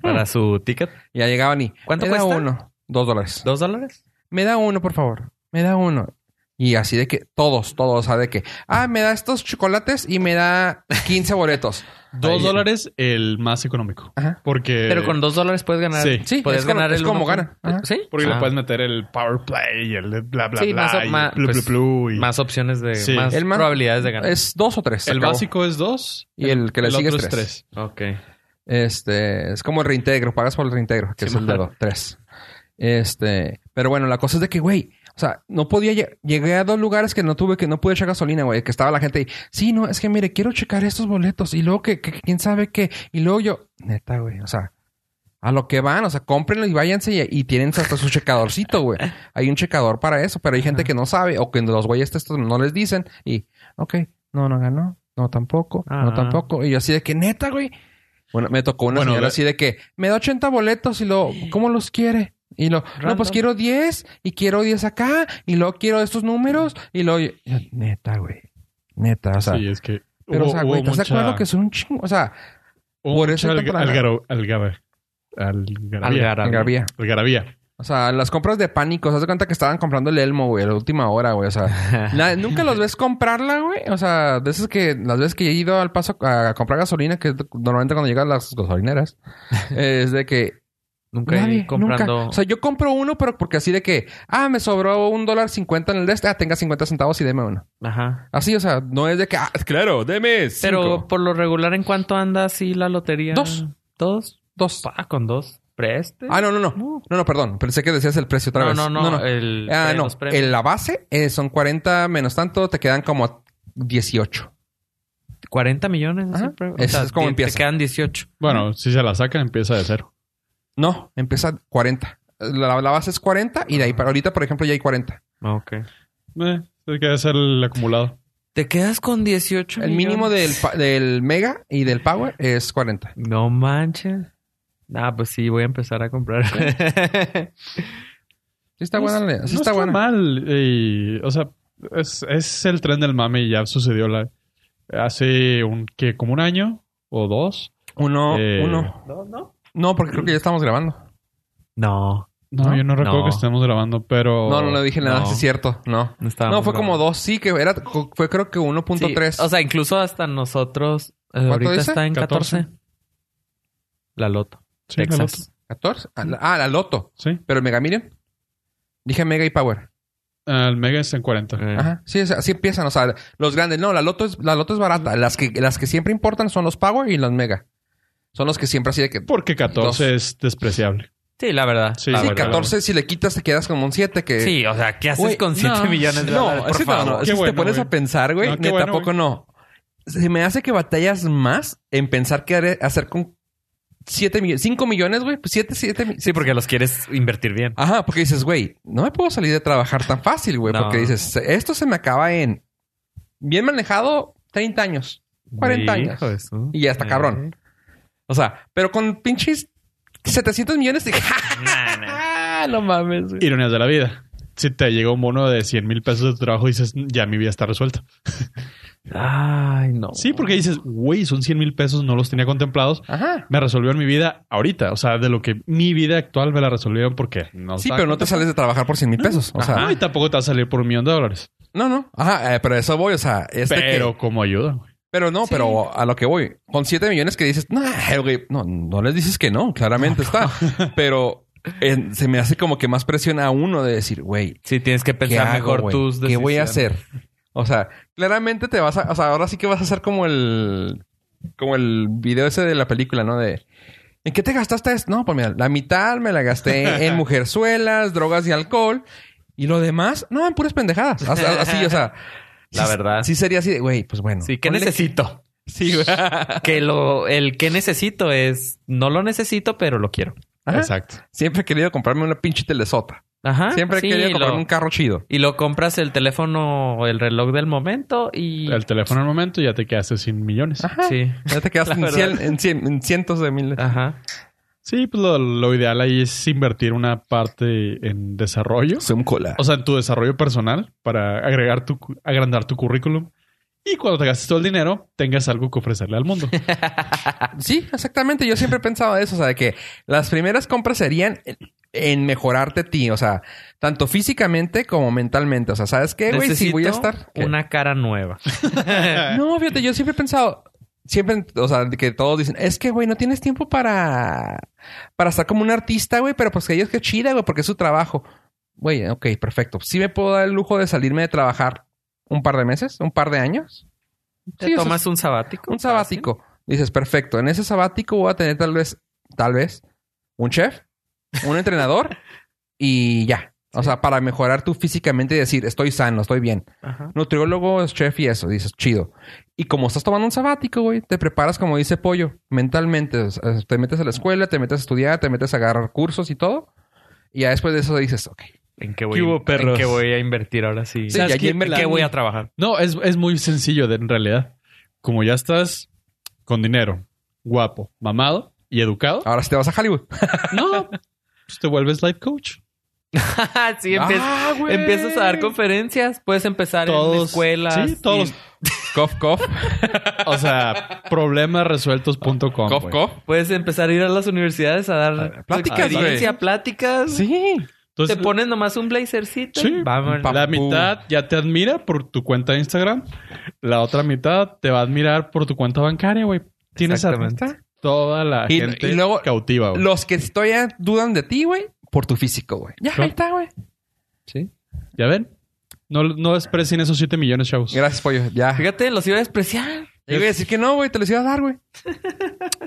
Speaker 4: Para su ticket,
Speaker 2: Ya llegaban y...
Speaker 4: ¿Cuánto
Speaker 2: me da
Speaker 4: cuesta?
Speaker 2: uno. Dos dólares
Speaker 4: dos dólares.
Speaker 2: me da uno, por favor. Me da uno. Y así de que todos, todos, o sea, de que, ah, me da estos chocolates y me da 15 boletos.
Speaker 3: Dos
Speaker 2: Ahí-
Speaker 3: dólares el más económico.
Speaker 2: Ajá.
Speaker 3: Porque...
Speaker 4: Pero con dos dólares puedes ganar.
Speaker 3: Eh, sí.
Speaker 2: Sí,
Speaker 4: puedes
Speaker 2: es como-
Speaker 4: ganar
Speaker 2: es
Speaker 4: el
Speaker 2: como
Speaker 4: uno por-
Speaker 2: gana. Ajá.
Speaker 4: Sí.
Speaker 3: Porque le
Speaker 4: Ah.
Speaker 3: puedes meter el power play y el bla, bla,
Speaker 4: Sí,
Speaker 3: bla.
Speaker 4: más o-
Speaker 3: y
Speaker 4: ma-
Speaker 3: plu, plu,
Speaker 4: pues,
Speaker 3: plu, y-
Speaker 4: Más opciones de.
Speaker 3: Sí.
Speaker 4: Más
Speaker 2: El más-
Speaker 4: probabilidades de ganar.
Speaker 2: Es dos o tres. se
Speaker 3: El
Speaker 2: acabó.
Speaker 3: básico es dos.
Speaker 2: Y el que le sigue
Speaker 3: otro
Speaker 2: es tres.
Speaker 4: Ok.
Speaker 2: Este, es como el reintegro, pagas por el reintegro, que es el de
Speaker 3: man.
Speaker 2: los tres. Este, pero bueno, la cosa es de que, güey, o sea, no podía, lle- llegué a dos lugares que no tuve, que no pude echar gasolina, güey, que estaba la gente ahí, sí, no, es que mire, quiero checar estos boletos y luego que, que- que quién sabe qué, y luego yo, neta, güey, o sea, a lo que van, o sea, cómprenlo y váyanse y, y tienen hasta su checadorcito, güey. Hay un checador para eso, pero hay gente que no sabe o que los güeyes estos no les dicen y, ok, no, no ganó, no tampoco, no
Speaker 4: Ah.
Speaker 2: tampoco. Y yo así de que, neta, güey. Bueno, me tocó una
Speaker 3: Bueno,
Speaker 2: señora
Speaker 3: ve-
Speaker 2: así de que me da 80 boletos y lo, ¿cómo los quiere? Y lo, no, pues
Speaker 4: Random.
Speaker 2: quiero 10 y quiero 10 acá y luego quiero estos números y luego, yo- yo, neta, güey. Neta, o sea.
Speaker 3: sí, es que...
Speaker 2: Ah. pero,
Speaker 3: hubo-
Speaker 2: o sea,
Speaker 3: hubo
Speaker 2: güey, ¿estás de
Speaker 3: mucha-
Speaker 2: acuerdo que son un chingo? O sea,
Speaker 3: hubo
Speaker 2: por
Speaker 3: mucha
Speaker 2: eso está
Speaker 3: alga-
Speaker 2: plana?
Speaker 3: algaro- algara- algarabía.
Speaker 4: Algarabía.
Speaker 2: Algarabía.
Speaker 3: Algarabía.
Speaker 2: O sea, las compras de pánico. ¿Se das cuenta que estaban comprando el Elmo, güey? A la última hora, güey. O sea, na- nunca los ves comprarla, güey. O sea, de esas que... Las veces que he ido al paso a comprar gasolina, que normalmente cuando llegan las gasolineras, es de que
Speaker 4: Nunca
Speaker 2: Nadie,
Speaker 4: ir comprando.
Speaker 2: nunca. O sea, yo compro uno, pero porque así de que, ah, me sobró un dólar cincuenta en el de este, ah, tenga cincuenta centavos y deme uno.
Speaker 4: Ajá.
Speaker 2: Así, o sea, no es de que, ah, claro, deme
Speaker 4: Pero
Speaker 2: cinco.
Speaker 4: por lo regular, ¿en cuánto anda así la lotería?
Speaker 2: Dos.
Speaker 4: ¿Dos?
Speaker 2: dos.
Speaker 4: Ah, con dos. ¿Preste?
Speaker 2: Ah, no, no, no.
Speaker 4: No.
Speaker 2: No, no, perdón. Pensé que decías el precio otra
Speaker 4: no,
Speaker 2: vez.
Speaker 4: no, no, El,
Speaker 2: ah,
Speaker 4: pre-
Speaker 2: no.
Speaker 4: los premios.
Speaker 2: En la base eh, son 40 menos tanto, te quedan como 18.
Speaker 4: 40 millones. es
Speaker 2: Ajá.
Speaker 4: el premio.
Speaker 2: Ese es como
Speaker 4: te-
Speaker 2: empieza.
Speaker 4: Te quedan 18.
Speaker 3: Bueno, si se la sacan, empieza de cero.
Speaker 2: No, empieza 40. La, la base es 40 y de ahí
Speaker 4: Ah.
Speaker 2: para ahorita, por ejemplo, ya hay 40.
Speaker 4: Ok.
Speaker 3: Eh, tiene que ser el acumulado.
Speaker 4: Te quedas con 18.
Speaker 2: El mínimo
Speaker 4: millones?
Speaker 2: del, pa- del mega y del power es 40.
Speaker 4: No manches. Ah, pues sí, voy a empezar a comprar.
Speaker 2: Sí está
Speaker 3: No
Speaker 2: buena.
Speaker 3: es-
Speaker 2: la- Sí
Speaker 3: no
Speaker 2: está buena.
Speaker 3: mal. y, o sea, es, es el tren del mame y ya sucedió la, hace un, que como un año o dos.
Speaker 2: Uno,
Speaker 3: Eh,
Speaker 2: uno.
Speaker 4: ¿No? ¿No?
Speaker 2: No, porque creo que ya estamos grabando.
Speaker 4: No.
Speaker 3: No,
Speaker 2: ¿No?
Speaker 3: yo no recuerdo
Speaker 4: No.
Speaker 3: que estemos grabando, pero...
Speaker 2: No, no le dije nada,
Speaker 4: No. Ah,
Speaker 2: sí es cierto. No.
Speaker 4: No, estábamos
Speaker 2: no, fue como
Speaker 4: grabando.
Speaker 2: dos, sí, que era, fue creo que 1.3.
Speaker 4: Sí, O sea, incluso hasta nosotros. eh,
Speaker 2: ¿Cuánto
Speaker 4: ahorita
Speaker 2: dice?
Speaker 4: está en 14.
Speaker 3: 14.
Speaker 4: La Loto.
Speaker 3: Sí, la
Speaker 4: Texas.
Speaker 2: 14. Ah, la- Ah, la Loto.
Speaker 3: otra. Sí.
Speaker 2: Pero el Mega Million. Dije Mega y Power.
Speaker 3: Ah, El Mega está en 40.
Speaker 4: Eh,
Speaker 2: Ajá. Sí, es- así empiezan. O sea, los grandes. No, la Loto es, la Loto es barata. Las que, las que siempre importan son los Power y los Mega. Son los que siempre así de que.
Speaker 3: Porque 14 es despreciable.
Speaker 4: Sí, la verdad.
Speaker 3: Sí.
Speaker 4: la
Speaker 2: sí,
Speaker 4: verdad.
Speaker 2: 14, si le quitas, te quedas como un 7. Que,
Speaker 4: Sí, o sea, ¿qué haces
Speaker 2: Güey,
Speaker 4: con 7
Speaker 2: no.
Speaker 4: millones de
Speaker 2: no,
Speaker 4: dólares? Por
Speaker 2: es que no,
Speaker 4: favor?
Speaker 2: no, es
Speaker 3: Qué
Speaker 2: que si te
Speaker 3: bueno,
Speaker 2: pones a
Speaker 3: güey.
Speaker 2: pensar, güey,
Speaker 3: No, qué
Speaker 2: neta,
Speaker 3: bueno,
Speaker 2: tampoco no. Se me hace que batallas más en pensar qué haré- hacer con 7 millones, 5 millones, güey, pues 7, 7 millones.
Speaker 4: Sí, porque los quieres invertir bien.
Speaker 2: Ajá, porque dices, güey, no me puedo salir de trabajar tan fácil, güey,
Speaker 4: No.
Speaker 2: porque dices, esto se me acaba en bien manejado 30 años, 40 años.
Speaker 4: Hijo de su-
Speaker 2: Y ya está cabrón. O sea, pero con pinches 700 millones de...
Speaker 4: Nah, nah.
Speaker 2: no mames, güey.
Speaker 3: Ironías de la vida. Si te llega un bono de 100 mil pesos de tu trabajo, dices, ya mi vida está resuelta.
Speaker 4: Ay, no.
Speaker 3: Sí,
Speaker 2: Oh.
Speaker 3: porque dices, güey, son 100 mil pesos, no los tenía contemplados.
Speaker 2: Ajá.
Speaker 3: Me resolvieron mi vida ahorita. O sea, de lo que mi vida actual me la resolvieron porque no
Speaker 2: Sí,
Speaker 3: estaba
Speaker 2: pero no te sales de trabajar por 100 mil pesos. O sea,
Speaker 3: Ah, y tampoco te va a salir por un millón de dólares.
Speaker 2: no, no. Ajá, eh, pero eso voy. O sea, este
Speaker 3: pero
Speaker 2: que-
Speaker 3: como ayuda, güey.
Speaker 2: pero no, pero a lo que voy. Con 7 millones que dices, nah, güey, no, no les dices que no, claramente está. Pero eh, se me hace como que más presión a uno de decir, güey,
Speaker 4: Sí, tienes que
Speaker 2: ¿qué
Speaker 4: pensar
Speaker 2: hago,
Speaker 4: mejor
Speaker 2: güey?
Speaker 4: tus
Speaker 2: ¿Qué voy a
Speaker 4: decisiones.
Speaker 2: hacer? O sea, claramente te vas a... O sea, ahora sí que vas a hacer como el... Como el video ese de la película, ¿no? De... ¿En qué te gastaste esto? No, pues mira, la mitad me la gasté en mujerzuelas, drogas y alcohol. Y lo demás, no, en puras pendejadas. As- as- Así, o sea...
Speaker 4: La
Speaker 2: sí-
Speaker 4: verdad.
Speaker 2: Sí sería así de, güey, pues bueno.
Speaker 4: Sí, ¿qué
Speaker 2: ponle-
Speaker 4: necesito?
Speaker 2: Sí, güey.
Speaker 4: Que lo, el que necesito es, no lo necesito, pero lo quiero.
Speaker 2: Ajá.
Speaker 3: Exacto.
Speaker 2: Siempre he querido comprarme una pinche telesota.
Speaker 4: Ajá.
Speaker 2: Siempre he
Speaker 4: Ah, sí,
Speaker 2: querido comprarme
Speaker 4: lo-
Speaker 2: un carro chido.
Speaker 4: Y lo compras el teléfono, o el reloj del momento y...
Speaker 3: El teléfono al momento y ya te quedaste sin millones.
Speaker 2: Ajá.
Speaker 4: Sí.
Speaker 2: Ya te quedaste
Speaker 4: La
Speaker 2: en,
Speaker 4: verdad.
Speaker 2: cien- en cien- en cientos de miles.
Speaker 4: Ajá.
Speaker 3: Sí, pues lo, lo ideal ahí es invertir una parte en desarrollo.
Speaker 2: Zoom cola.
Speaker 3: O sea, en tu desarrollo personal para agregar tu, cu- agrandar tu currículum. Y cuando te gastes todo el dinero, tengas algo que ofrecerle al mundo.
Speaker 2: Sí, exactamente. Yo siempre he pensado eso. O sea, de que las primeras compras serían en mejorarte a ti. O sea, tanto físicamente como mentalmente. O sea, ¿sabes qué, Eh, güey? Si voy a
Speaker 4: Necesito
Speaker 2: estar... ¿Qué?
Speaker 4: una cara nueva.
Speaker 2: No, fíjate, yo siempre he pensado... Siempre, o sea, de que todos dicen, es que, güey, no tienes tiempo para... Para estar como un artista, güey. Pero pues que ellos que chida, güey, porque es su trabajo. Güey, ok, perfecto. Sí me puedo dar el lujo de salirme de trabajar un par de meses, un par de años.
Speaker 4: ¿Te
Speaker 2: Sí, o sea,
Speaker 4: tomas un sabático?
Speaker 2: un sabático. Dices, perfecto, en ese sabático voy a tener tal vez, tal vez, un chef, un entrenador y ya. O sea, para mejorar tú físicamente y decir, estoy sano, estoy bien.
Speaker 4: Ajá.
Speaker 2: Nutriólogo, es chef y eso. Dices, chido. Y como estás tomando un sabático, güey, te preparas, como dice Pollo, mentalmente. O sea, te metes a la escuela, te metes a estudiar, te metes a agarrar cursos y todo. Y ya después de eso dices, ok.
Speaker 4: ¿En qué
Speaker 3: ¿Qué hubo,
Speaker 4: voy, ¿en
Speaker 3: perros?
Speaker 4: qué voy a invertir ahora sí?
Speaker 2: Sí, ya
Speaker 4: ¿En
Speaker 2: Jim
Speaker 4: qué
Speaker 2: Melanie.
Speaker 4: voy a trabajar?
Speaker 3: No, es, es muy sencillo de- en realidad. Como ya estás con dinero, guapo, mamado y educado,
Speaker 2: Ahora sí te vas a Hollywood.
Speaker 4: Ah.
Speaker 3: no, pues te vuelves life coach.
Speaker 4: sí, empie-
Speaker 2: Ah, güey.
Speaker 4: empiezas a dar conferencias. Puedes empezar en
Speaker 3: Todos-
Speaker 4: escuelas.
Speaker 3: sí, todos.
Speaker 4: y
Speaker 2: Cof, cof.
Speaker 3: O sea, problemasresueltos.com.
Speaker 2: cof,
Speaker 3: güey.
Speaker 2: cof.
Speaker 4: Puedes empezar a ir a las universidades a dar tu
Speaker 2: pláticas,
Speaker 4: experiencia,
Speaker 2: güey.
Speaker 4: pláticas.
Speaker 2: Sí.
Speaker 3: Entonces,
Speaker 4: Te pones nomás un blazercito.
Speaker 3: pues, Sí.
Speaker 4: Vámonos.
Speaker 2: Pa-
Speaker 3: La
Speaker 2: Pum.
Speaker 3: mitad ya te admira por tu cuenta de Instagram. La otra mitad te va a admirar por tu cuenta bancaria, güey. Tienes a
Speaker 4: Exactamente.
Speaker 3: toda la
Speaker 2: Y-
Speaker 3: gente
Speaker 2: y luego-
Speaker 3: cautiva, güey.
Speaker 2: Los que todavía dudan de ti, güey, por tu físico, güey. Ya, ahí está, güey.
Speaker 3: ¿Ya ven? No, no desprecien esos 7 millones, chavos.
Speaker 2: Gracias, pollo. Ya.
Speaker 4: Fíjate, los iba a despreciar.
Speaker 2: Yo iba a decir que no, güey, te los iba a dar, güey.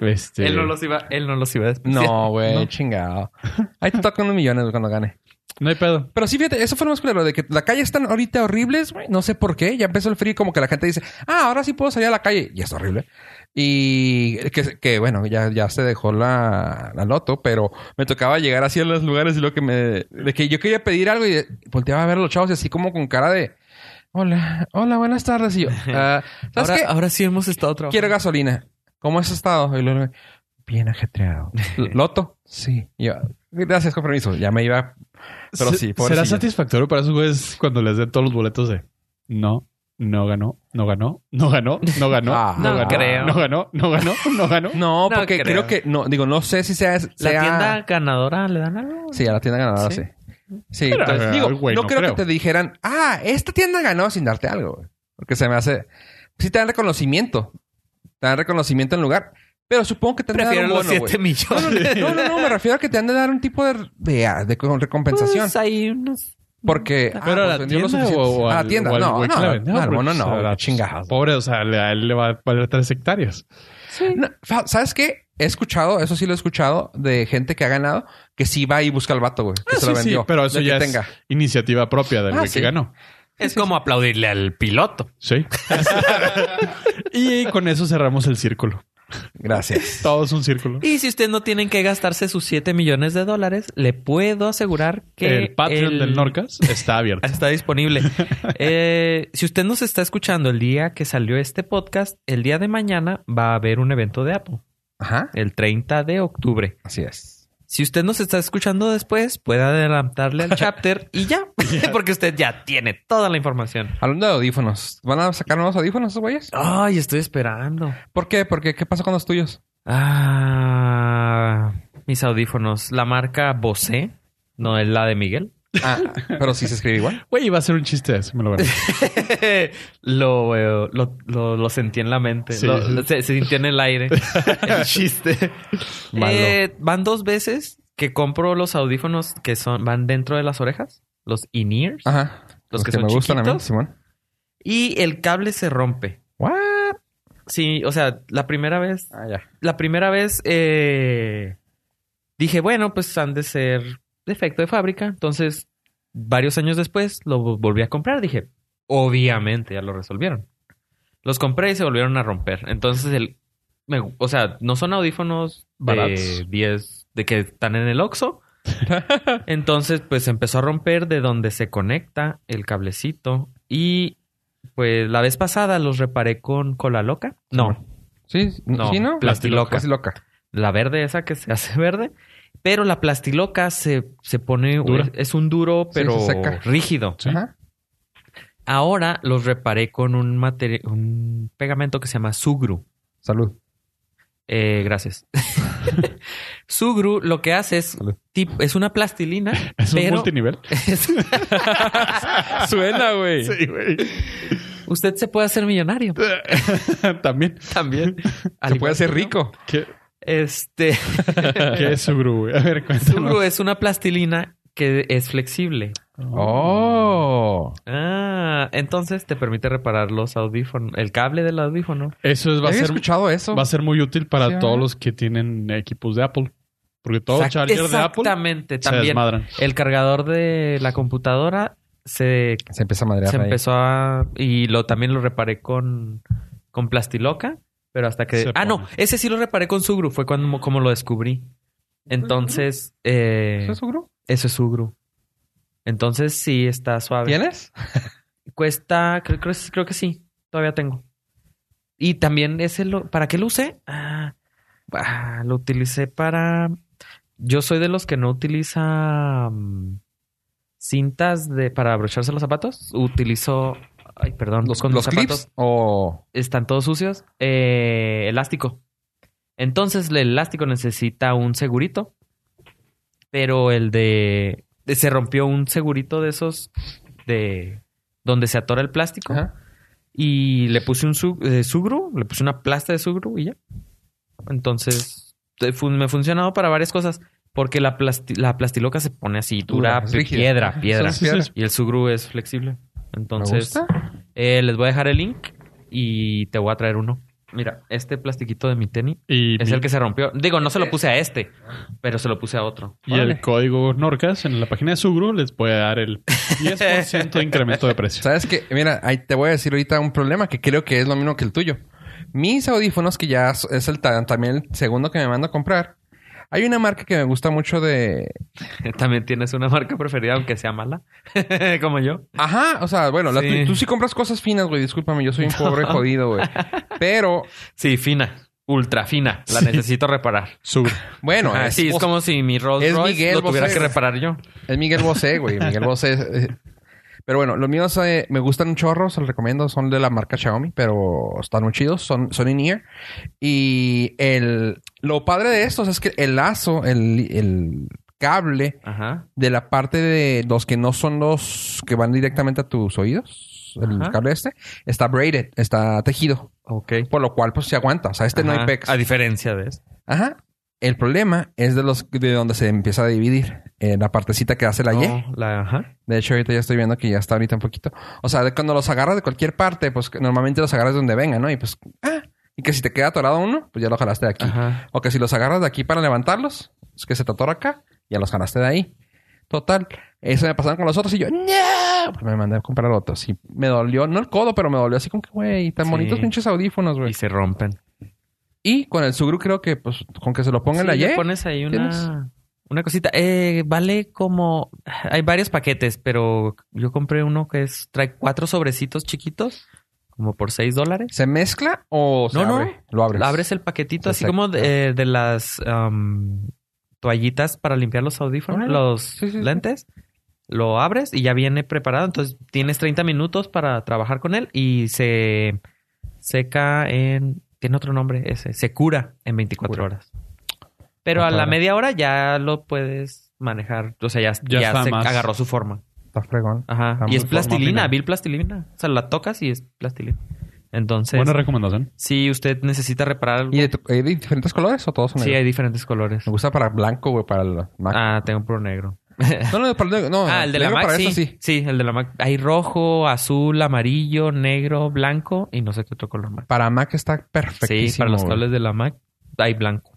Speaker 3: Este,
Speaker 4: Él no los iba, él no los iba a despreciar.
Speaker 2: No, güey,
Speaker 3: No.
Speaker 2: chingado. Ahí te tocan unos millones güey, cuando gane.
Speaker 3: no hay pedo.
Speaker 2: Pero sí, fíjate, eso fue lo más culero, de que la calle están ahorita horribles, güey. No sé por qué. Ya empezó el frío y como que la gente dice, ah, ahora sí puedo salir a la calle. Y es horrible. Y que, que, bueno, ya, ya se dejó la, la loto, pero me tocaba llegar así a los lugares y lo que me... De que yo quería pedir algo y volteaba a ver a los chavos y así como con cara de... Hola, hola, buenas tardes. Y yo, "Ah, ¿sabes
Speaker 4: Ahora,
Speaker 2: qué?
Speaker 4: ahora sí hemos estado trabajando.
Speaker 2: Quiero gasolina. ¿Cómo has estado? Y luego, bien ajetreado. ¿Loto? Sí. Y yo, gracias, con permiso. Ya me iba... Pero
Speaker 3: Se-
Speaker 2: sí,
Speaker 3: ¿Será
Speaker 2: pobrecillo.
Speaker 3: satisfactorio para esos güeyes cuando les den todos los boletos de no, no ganó, no ganó, no ganó, no ganó,
Speaker 2: Ah,
Speaker 3: no,
Speaker 4: no
Speaker 3: ganó,
Speaker 4: creo.
Speaker 3: no ganó, no ganó, no ganó?
Speaker 2: No,
Speaker 4: No
Speaker 2: porque
Speaker 4: creo.
Speaker 2: creo. que no, digo, no sé si sea,
Speaker 4: La
Speaker 2: sea-
Speaker 4: tienda ganadora le dan algo.
Speaker 2: Sí, a la tienda ganadora,
Speaker 4: Sí.
Speaker 2: sí. Sí,
Speaker 3: Pero,
Speaker 2: entonces,
Speaker 3: ah,
Speaker 2: digo,
Speaker 3: güey,
Speaker 2: no,
Speaker 3: no
Speaker 2: creo,
Speaker 3: creo.
Speaker 2: que te dijeran, ah, esta tienda ganó sin darte algo, güey. Porque se me hace. Sí, te dan reconocimiento. Te dan reconocimiento en lugar. Pero supongo que te han de dar
Speaker 4: Prefiero
Speaker 2: un
Speaker 4: los
Speaker 2: bono,
Speaker 4: 7
Speaker 2: güey.
Speaker 4: millones.
Speaker 2: No, no, no, me refiero a que te han de dar un tipo de, de, de recompensación.
Speaker 4: Pues hay unos...
Speaker 2: porque. ah,
Speaker 3: Pero a
Speaker 2: pues
Speaker 3: la
Speaker 2: vendió lo
Speaker 3: tienda
Speaker 2: suficiente.
Speaker 3: o, o
Speaker 2: A la
Speaker 3: al-
Speaker 2: tienda.
Speaker 3: o al
Speaker 2: No,
Speaker 3: güey que
Speaker 2: no,
Speaker 3: la
Speaker 2: no,
Speaker 3: vendió,
Speaker 2: no,
Speaker 3: porque,
Speaker 2: no,
Speaker 3: o sea,
Speaker 2: no,
Speaker 3: la-
Speaker 2: chingados.
Speaker 3: Pobre, o sea, le- a él le va a valer tres hectáreas.
Speaker 2: No, fa- ¿Sabes qué? He escuchado, eso sí lo he escuchado, de gente que ha ganado, que sí va y busca al vato, güey. Que
Speaker 3: Ah,
Speaker 2: se lo
Speaker 3: sí, sí,
Speaker 2: vendió.
Speaker 3: pero eso
Speaker 2: del
Speaker 3: ya
Speaker 2: que
Speaker 3: es
Speaker 2: tenga.
Speaker 3: iniciativa propia del
Speaker 2: Ah,
Speaker 3: güey
Speaker 2: sí.
Speaker 3: que ganó.
Speaker 4: Es como aplaudirle al piloto.
Speaker 3: Sí. y con eso cerramos el círculo.
Speaker 2: Gracias.
Speaker 3: Todo es un círculo.
Speaker 4: Y si ustedes no tienen que gastarse sus 7 millones de dólares, le puedo asegurar que
Speaker 3: El Patreon
Speaker 4: el-
Speaker 3: del Norcas está abierto.
Speaker 4: Está disponible. Eh, si usted nos está escuchando el día que salió este podcast, el día de mañana va a haber un evento de Apple,
Speaker 2: Ajá.
Speaker 4: el 30 de octubre.
Speaker 2: Así es.
Speaker 4: Si usted nos está escuchando después, puede adelantarle al chapter y ya, porque usted ya tiene toda la información.
Speaker 2: Hablando de audífonos, ¿van a sacar nuevos audífonos esos güeyes?
Speaker 4: Ay, estoy esperando.
Speaker 2: ¿Por qué? ¿Por qué? ¿Qué pasó con los tuyos?
Speaker 4: Ah, mis audífonos. La marca Bose, no es la de Miguel.
Speaker 2: Ah, pero sí se escribe igual.
Speaker 3: Güey, iba a ser un chiste de eso, me lo guardé.
Speaker 4: lo, eh, lo, lo- lo sentí en la mente.
Speaker 3: Sí.
Speaker 4: Lo- lo- se, se sintió en el aire. el chiste.
Speaker 2: Malo.
Speaker 4: Eh, van dos veces que compro los audífonos que son van dentro de las orejas. Los in-ears.
Speaker 2: Ajá.
Speaker 4: Los que son
Speaker 2: Ah, me gustan a mí,
Speaker 4: chiquitos.
Speaker 2: Simón.
Speaker 4: Y el cable se rompe.
Speaker 2: What?
Speaker 4: Sí, o sea, la primera vez...
Speaker 2: Ah, ya.
Speaker 4: La primera vez eh, dije, bueno, pues han de ser defecto de fábrica. Entonces, varios años después lo vo- volví a comprar. Dije, obviamente ya lo resolvieron. Los compré y se volvieron a romper. Entonces, el, me- o sea, no son audífonos de
Speaker 3: Baratos.
Speaker 4: 10 de que están en el Oxxo. Entonces, pues empezó a romper de donde se conecta el cablecito. Y pues la vez pasada los reparé con cola loca. No,
Speaker 2: Sí,
Speaker 4: No,
Speaker 2: sí, ¿no?
Speaker 4: plastiloca.
Speaker 2: Plastiloca.
Speaker 4: la verde esa que se hace verde, pero la plastiloca se, se pone,
Speaker 3: Dura.
Speaker 4: es un duro
Speaker 2: Sí,
Speaker 4: pero
Speaker 2: se seca.
Speaker 4: rígido.
Speaker 3: Sí.
Speaker 2: Ajá.
Speaker 4: Ahora los reparé con un, materi- un pegamento que se llama Sugru.
Speaker 2: Salud.
Speaker 4: Eh, gracias. Sugru lo que hace es, tip- es una plastilina,
Speaker 3: Es un
Speaker 4: pero
Speaker 3: multinivel.
Speaker 4: es-
Speaker 2: Suena, güey.
Speaker 3: güey.
Speaker 4: usted se puede hacer millonario
Speaker 3: También.
Speaker 4: también.
Speaker 2: Se
Speaker 4: Al
Speaker 2: puede
Speaker 4: igual
Speaker 2: hacer
Speaker 4: que yo.
Speaker 2: rico.
Speaker 3: ¿Qué,
Speaker 4: Este,
Speaker 3: qué es su gru, güey? A ver,
Speaker 4: Sugru
Speaker 3: cuéntanos.
Speaker 4: es una plastilina que es flexible.
Speaker 2: Oh.
Speaker 4: Ah, entonces te permite reparar los audífonos, el cable del audífono.
Speaker 3: Eso es- va a
Speaker 2: ¿Había
Speaker 3: ser
Speaker 2: escuchado eso?
Speaker 3: va a ser muy útil para
Speaker 2: Sí, ¿verdad?
Speaker 3: todos los que tienen equipos de Apple. Porque todo
Speaker 4: Exact-
Speaker 3: charger de Apple
Speaker 4: Exactamente,
Speaker 3: se
Speaker 4: también.
Speaker 3: desmadran.
Speaker 4: El cargador de la computadora se,
Speaker 2: Se empieza a
Speaker 4: se
Speaker 2: madrear. ahí.
Speaker 4: empezó a. Y lo, también lo reparé con, con plastiloca, pero hasta que.
Speaker 3: Se
Speaker 4: ah, no,
Speaker 3: pone.
Speaker 4: ese sí lo reparé con Sugru, fue cuando como lo descubrí. Entonces, eh,
Speaker 2: ¿Eso es Sugru?
Speaker 4: eso es Sugru. Entonces sí está suave.
Speaker 2: ¿Tienes?
Speaker 4: Cuesta, creo, creo, creo que sí. Todavía tengo. Y también ese lo, ¿para qué lo usé? Ah, ah, lo utilicé para. Yo soy de los que no utiliza mm, cintas de para abrocharse los zapatos. Utilizo. Ay, perdón.
Speaker 2: ¿Los,
Speaker 4: con
Speaker 2: los
Speaker 4: zapatos
Speaker 2: clips? O
Speaker 4: están todos sucios. Eh, elástico. Entonces el elástico necesita un segurito. Pero el de. Se rompió un segurito de esos de donde se atora el plástico.
Speaker 2: Ajá.
Speaker 4: Y le puse un su- eh, sugru, le puse una plasta de sugru y ya. Entonces, te fun- me ha funcionado para varias cosas. Porque la, plasti- la plastiloca se pone así, dura,
Speaker 2: Dura, es
Speaker 4: pi-
Speaker 2: rígida.
Speaker 4: piedra, piedra.
Speaker 2: Sí, sí, sí.
Speaker 4: Y el sugru es flexible.
Speaker 2: ¿Me
Speaker 4: Entonces,
Speaker 2: gusta?
Speaker 4: eh, les voy a dejar el link y te voy a traer uno. Mira, este plastiquito de mi tenis
Speaker 3: Y,
Speaker 4: es
Speaker 3: mi-
Speaker 4: el que se rompió. Digo, no se lo puse a este, pero se lo puse a otro.
Speaker 3: y el
Speaker 2: Órale.
Speaker 3: código Norcas en la página de Sugru les puede dar el 10% de incremento de precio.
Speaker 2: ¿Sabes qué? Mira, ahí te voy a decir ahorita un problema que creo que es lo mismo que el tuyo. Mis audífonos, que ya es- es el ta- también el segundo que me mando a comprar. Hay una marca que me gusta mucho de...
Speaker 4: También tienes una marca preferida, aunque sea mala, como yo.
Speaker 2: Ajá, o sea, bueno, la
Speaker 4: Sí.
Speaker 2: tu- tú sí compras cosas finas, güey. Discúlpame, yo soy un pobre jodido, güey. Pero,
Speaker 4: Sí, fina, ultra fina. La
Speaker 3: Sí.
Speaker 4: necesito reparar.
Speaker 3: Sugru.
Speaker 2: bueno,
Speaker 4: Ah, sí, es
Speaker 2: o-
Speaker 4: como si mi Rolls
Speaker 2: es
Speaker 4: Royce
Speaker 2: Miguel
Speaker 4: lo tuviera
Speaker 2: Bosé.
Speaker 4: que reparar yo.
Speaker 2: Es Miguel Bosé, güey. Miguel Bosé. es- es- Pero bueno, los míos eh, me gustan un chorro, se los recomiendo. Son de la marca Xiaomi, pero están muy chidos. Son, son in-ear. Y el, lo padre de estos es que el lazo, el, el cable
Speaker 4: Ajá.
Speaker 2: de la parte de los que no son los que van directamente a tus oídos, el
Speaker 4: Ajá.
Speaker 2: cable este, está braided, está tejido.
Speaker 4: Ok.
Speaker 2: Por lo cual, pues se aguanta. O sea, este no
Speaker 4: Ajá.
Speaker 2: hay pecs.
Speaker 4: A diferencia de eso.
Speaker 2: Ajá. El problema es de los de donde se empieza a dividir. eh, la partecita que hace la Y.
Speaker 4: la, ajá.
Speaker 2: De hecho, ahorita ya estoy viendo que ya está ahorita un poquito. O sea, de cuando los agarras de cualquier parte, pues que normalmente los agarras de donde venga, ¿no? Y pues, ah, y que si te queda atorado uno, pues ya lo jalaste de aquí.
Speaker 4: Ajá.
Speaker 2: O que si los agarras de aquí para levantarlos, es que se te atora acá, ya los jalaste de ahí. Total. Eso me pasaron con los otros y yo, ¡no! Pues me mandé a comprar otros. Y me dolió, no el codo, pero me dolió así como que, güey, tan
Speaker 4: Sí.
Speaker 2: bonitos pinches audífonos, güey.
Speaker 4: Y se rompen.
Speaker 2: Y con el Sugru creo que, pues, con que se lo ponga en la
Speaker 4: Sí, le
Speaker 2: Y.
Speaker 4: pones ahí
Speaker 2: ¿eh? ¿Tienes?
Speaker 4: una, una cosita. Eh, vale como... Hay varios paquetes, pero yo compré uno que es trae cuatro sobrecitos chiquitos, como por seis dólares.
Speaker 2: ¿Se mezcla o se
Speaker 4: No, no.
Speaker 2: abre? Lo abres.
Speaker 4: Abres el paquetito así
Speaker 2: Exacto.
Speaker 4: como de, de las am, toallitas para limpiar los audífonos,
Speaker 2: Órale.
Speaker 4: los
Speaker 2: Sí, sí, sí.
Speaker 4: lentes. Lo abres y ya viene preparado. Entonces tienes 30 minutos para trabajar con él y se seca en... Tiene otro nombre ese. Se cura en 24
Speaker 2: Cura.
Speaker 4: horas. Pero a
Speaker 2: Cuatro
Speaker 4: la
Speaker 2: horas.
Speaker 4: media hora ya lo puedes manejar. O sea, ya,
Speaker 3: Ya
Speaker 4: ya,
Speaker 3: está
Speaker 4: se
Speaker 3: más.
Speaker 4: agarró su forma.
Speaker 2: Está fregón.
Speaker 4: Ajá.
Speaker 2: Está
Speaker 4: y
Speaker 2: muy
Speaker 4: es plastilina,
Speaker 3: formal.
Speaker 4: vil plastilina. O sea, la tocas y es plastilina. Entonces,
Speaker 3: Buena recomendación.
Speaker 4: si usted necesita reparar algo,
Speaker 2: ¿Y de, tu- hay de diferentes colores o todos son
Speaker 4: Sí,
Speaker 2: negros?
Speaker 4: hay diferentes colores.
Speaker 2: Me gusta para blanco, güey, para el Mac.
Speaker 4: Ah, tengo puro negro.
Speaker 2: No, no, para el- no,
Speaker 4: ah, el de la
Speaker 2: negro
Speaker 4: Mac,
Speaker 2: para
Speaker 4: sí.
Speaker 2: esto
Speaker 4: sí. el de la Mac. Hay rojo, azul, amarillo, negro, blanco y no sé qué otro color más.
Speaker 2: Para Mac está perfectísimo.
Speaker 4: Sí, para los
Speaker 2: güey.
Speaker 4: cables de la Mac hay blanco.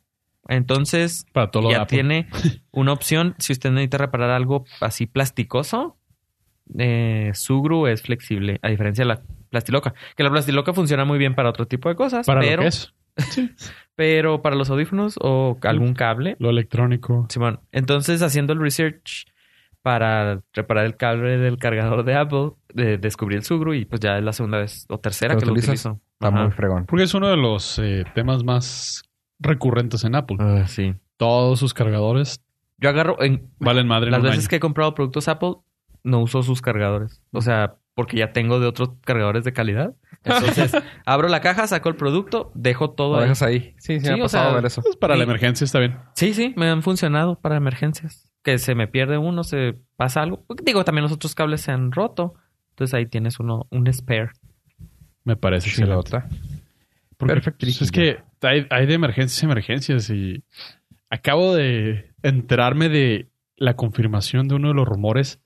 Speaker 4: Entonces,
Speaker 3: Para todo lo de
Speaker 4: ya
Speaker 3: Apple.
Speaker 4: tiene una opción. Si usted necesita reparar algo así plasticoso, eh, Sugru es flexible, a diferencia de la plastiloca. Que la plastiloca funciona muy bien para otro tipo de cosas,
Speaker 3: Para
Speaker 4: pero,
Speaker 3: lo que es. Sí.
Speaker 4: pero para los audífonos o algún cable,
Speaker 3: Lo electrónico.
Speaker 4: Simón, entonces haciendo el research para reparar el cable del cargador de Apple, de- descubrí el Sugru y pues ya es la segunda vez o tercera
Speaker 2: ¿Lo
Speaker 4: que lo
Speaker 2: utilizas?
Speaker 4: utilizo.
Speaker 2: Está
Speaker 4: Ajá.
Speaker 2: muy fregón.
Speaker 3: Porque es uno de los eh, temas más recurrentes en Apple.
Speaker 4: Ah, sí.
Speaker 3: Todos sus cargadores
Speaker 4: Yo agarro en
Speaker 3: valen madre en
Speaker 4: las
Speaker 3: un
Speaker 4: veces
Speaker 3: año.
Speaker 4: que he comprado productos Apple no uso sus cargadores, o sea, porque ya tengo de otros cargadores de calidad. Entonces, abro la caja, saco el producto, dejo todo
Speaker 2: Lo
Speaker 4: ahí.
Speaker 2: dejas ahí. Sí, sí,
Speaker 4: Sí,
Speaker 2: me ha
Speaker 4: o
Speaker 2: pasado
Speaker 4: sea,
Speaker 2: ver eso.
Speaker 3: Pues para la
Speaker 4: Sí.
Speaker 3: emergencia está bien.
Speaker 4: Sí, sí, me han funcionado para emergencias. Que se me pierde uno, se pasa algo. Digo, también los otros cables se han roto. Entonces ahí tienes uno, un spare.
Speaker 3: Me parece.
Speaker 2: Sí, la
Speaker 3: excelente.
Speaker 2: otra.
Speaker 3: Porque,
Speaker 2: Perfecto.
Speaker 3: pues, es que hay, hay de emergencias, emergencias. Y acabo de enterarme de la confirmación de uno de los rumores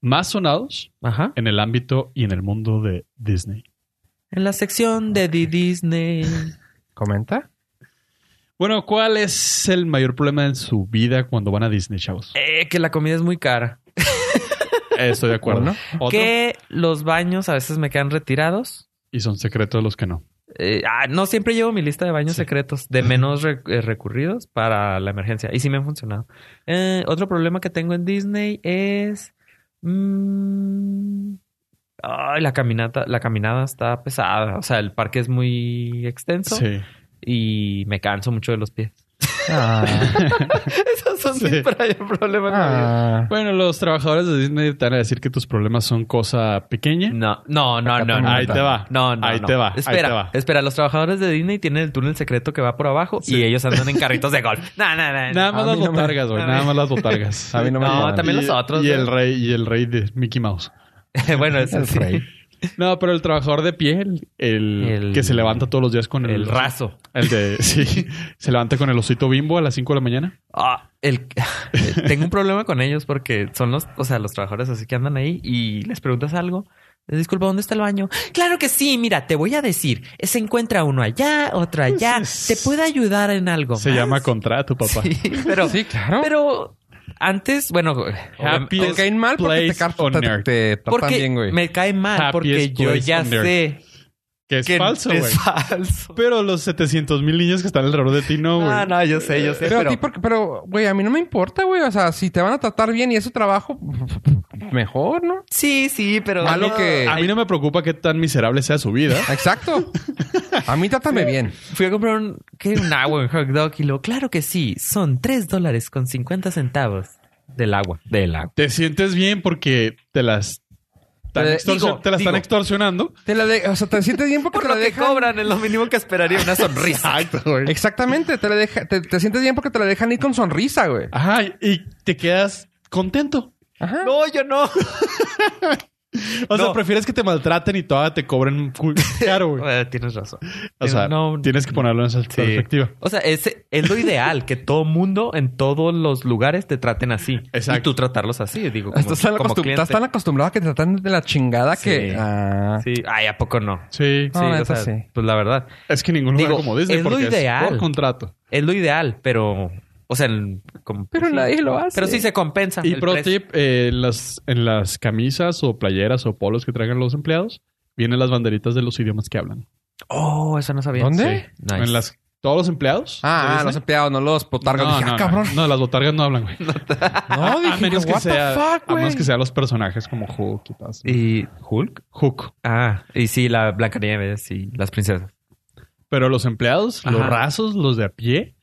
Speaker 3: más sonados
Speaker 4: Ajá.
Speaker 3: en el ámbito y en el mundo de Disney.
Speaker 4: En la sección de The Disney.
Speaker 2: ¿Comenta?
Speaker 3: Bueno, ¿cuál es el mayor problema en su vida cuando van a Disney, chavos?
Speaker 4: Eh, que la comida es muy cara.
Speaker 3: Eh, Estoy de acuerdo.
Speaker 2: Uno.
Speaker 3: Otro,
Speaker 4: Que los baños a veces me quedan retirados.
Speaker 3: Y son secretos los que no.
Speaker 4: Eh, ah, no, siempre llevo mi lista de baños
Speaker 3: Sí.
Speaker 4: secretos, de menos re- eh, recurridos para la emergencia. Y sí me han funcionado. Eh, otro problema que tengo en Disney es... mm, ay, la caminata, la caminada está pesada. O sea, el parque es muy extenso
Speaker 3: Sí.
Speaker 4: y me canso mucho de los pies.
Speaker 2: Ah,
Speaker 4: Esos son
Speaker 3: Sí.
Speaker 4: mis pra- problemas. en la vida.
Speaker 2: ah.
Speaker 3: Bueno, los trabajadores de Disney te van a decir que tus problemas son cosa pequeña.
Speaker 4: No, no, no, no, no.
Speaker 3: Ahí te va.
Speaker 4: No, no.
Speaker 3: Ahí
Speaker 4: no.
Speaker 3: te va, ahí
Speaker 4: Espera,
Speaker 3: te va.
Speaker 4: espera. Los trabajadores de Disney tienen el túnel secreto que va por abajo
Speaker 3: Sí.
Speaker 4: y ellos andan en carritos de golf. No, no, no. no.
Speaker 3: Nada más
Speaker 2: A
Speaker 3: las
Speaker 2: mí no me-
Speaker 3: botargas, güey.
Speaker 4: a
Speaker 3: Nada
Speaker 4: mí-
Speaker 3: más las botargas.
Speaker 2: A mí no me
Speaker 4: No,
Speaker 2: jodan.
Speaker 4: también
Speaker 3: Y-
Speaker 4: los otros,
Speaker 3: Y
Speaker 4: güey.
Speaker 3: el rey, y el rey de Mickey Mouse.
Speaker 4: bueno, es
Speaker 2: El rey.
Speaker 3: No, pero el trabajador de piel, el,
Speaker 4: El-
Speaker 3: que se levanta todos los días con el,
Speaker 4: El raso.
Speaker 3: El de, sí, se levanta con el osito bimbo a las 5 de la mañana.
Speaker 4: Ah, el... Tengo un problema con ellos porque son los, o sea, los trabajadores así que andan ahí y les preguntas algo. Eh, Disculpa, ¿dónde está el baño? Claro que sí, mira, te voy a decir. Se encuentra uno allá, otro allá.
Speaker 3: Pues
Speaker 4: ¿Te
Speaker 3: es-
Speaker 4: puede ayudar en algo?
Speaker 3: Se
Speaker 4: más?
Speaker 3: llama contrato, papá.
Speaker 4: Sí, pero,
Speaker 2: Sí, claro.
Speaker 4: pero antes, bueno,
Speaker 3: Happy
Speaker 2: te caen mal porque te,
Speaker 3: Place
Speaker 2: car-
Speaker 3: on
Speaker 2: te,
Speaker 3: Earth.
Speaker 2: te tratan
Speaker 4: porque
Speaker 2: bien, güey.
Speaker 4: me cae mal
Speaker 3: Happiest
Speaker 4: porque yo
Speaker 3: place
Speaker 4: ya
Speaker 3: on earth.
Speaker 4: sé
Speaker 3: Que es
Speaker 4: que
Speaker 3: falso, güey.
Speaker 4: es falso.
Speaker 3: Pero los 700 mil niños que están alrededor de ti, no, güey.
Speaker 4: Ah, no, yo sé, yo sé.
Speaker 2: Pero, a
Speaker 4: Pero,
Speaker 2: ti, porque, pero, güey, a mí no me importa, güey. O sea, si te van a tratar bien y es su trabajo, mejor, ¿no?
Speaker 4: sí, sí, pero
Speaker 2: Malo que-
Speaker 3: A mí no me preocupa que tan miserable sea su vida.
Speaker 2: Exacto. A mí trátame bien.
Speaker 4: fui a comprar un, ¿qué? un agua, un hot dog y luego, claro que sí, son tres dólares con 50 centavos del agua, del agua.
Speaker 3: Te sientes bien porque te las están,
Speaker 2: Eh,
Speaker 3: extorsio-
Speaker 4: digo,
Speaker 3: te las están
Speaker 4: digo.
Speaker 3: extorsionando.
Speaker 2: Te la de- o sea, te sientes bien porque
Speaker 4: Por
Speaker 2: te
Speaker 4: lo
Speaker 2: la
Speaker 4: que
Speaker 2: dejan.
Speaker 4: cobran es lo mínimo que esperaría una sonrisa.
Speaker 2: Exactamente, te, la deja- te, te sientes bien porque te la dejan ir con sonrisa, güey.
Speaker 3: Ajá, y te quedas contento.
Speaker 2: Ajá.
Speaker 4: No, yo no.
Speaker 3: O sea,
Speaker 4: No.
Speaker 3: prefieres que te maltraten y todavía te cobren cul- caro, güey.
Speaker 4: Eh, Tienes razón.
Speaker 3: O sea,
Speaker 4: No,
Speaker 3: tienes que ponerlo en esa perspectiva.
Speaker 4: O sea, ese es lo ideal, que todo mundo en todos los lugares te traten así.
Speaker 3: Exacto.
Speaker 4: Y tú tratarlos así, digo, como,
Speaker 2: Estás tan,
Speaker 4: como
Speaker 2: acostum-
Speaker 4: cliente.
Speaker 2: estás tan acostumbrado a que te tratan de la chingada
Speaker 4: Sí.
Speaker 2: que. Ah.
Speaker 4: Sí. Ay, ¿a poco no?
Speaker 3: Sí,
Speaker 2: No,
Speaker 4: Sí, o
Speaker 2: neta,
Speaker 4: sea,
Speaker 2: sí.
Speaker 4: pues la verdad.
Speaker 3: es que ningún lugar
Speaker 4: Digo,
Speaker 3: como Disney
Speaker 4: es lo
Speaker 3: porque es por
Speaker 4: ideal.
Speaker 3: contrato.
Speaker 4: Es lo ideal, pero... O sea, el- como-
Speaker 2: Pero
Speaker 4: sí.
Speaker 2: nadie lo hace.
Speaker 4: Pero sí se compensa.
Speaker 3: Y
Speaker 4: el
Speaker 3: pro
Speaker 4: precio.
Speaker 3: tip, eh, en las, en las camisas o playeras o polos que traigan los empleados, vienen las banderitas de los idiomas que hablan. ¿Eh?
Speaker 4: Oh, eso no sabía.
Speaker 2: ¿Dónde?
Speaker 4: Sí. Nice.
Speaker 3: En las ¿Todos los empleados? de
Speaker 2: Ah, ah,
Speaker 3: Disney?
Speaker 2: los empleados, no los botargas.
Speaker 3: No,
Speaker 2: Dije,
Speaker 3: no,
Speaker 2: ah, cabrón.
Speaker 3: No, no, las botargas no hablan, güey.
Speaker 2: No,
Speaker 3: a menos que
Speaker 2: "What the
Speaker 3: sea,
Speaker 2: fuck,
Speaker 3: a menos
Speaker 2: güey?"
Speaker 3: que sean los personajes como Hulk y todas.
Speaker 4: ¿Y Hulk?
Speaker 3: Hook.
Speaker 4: Ah, y sí, la Blancanieves y las princesas.
Speaker 3: Pero los empleados, los
Speaker 4: Ajá.
Speaker 3: rasos, los de a pie,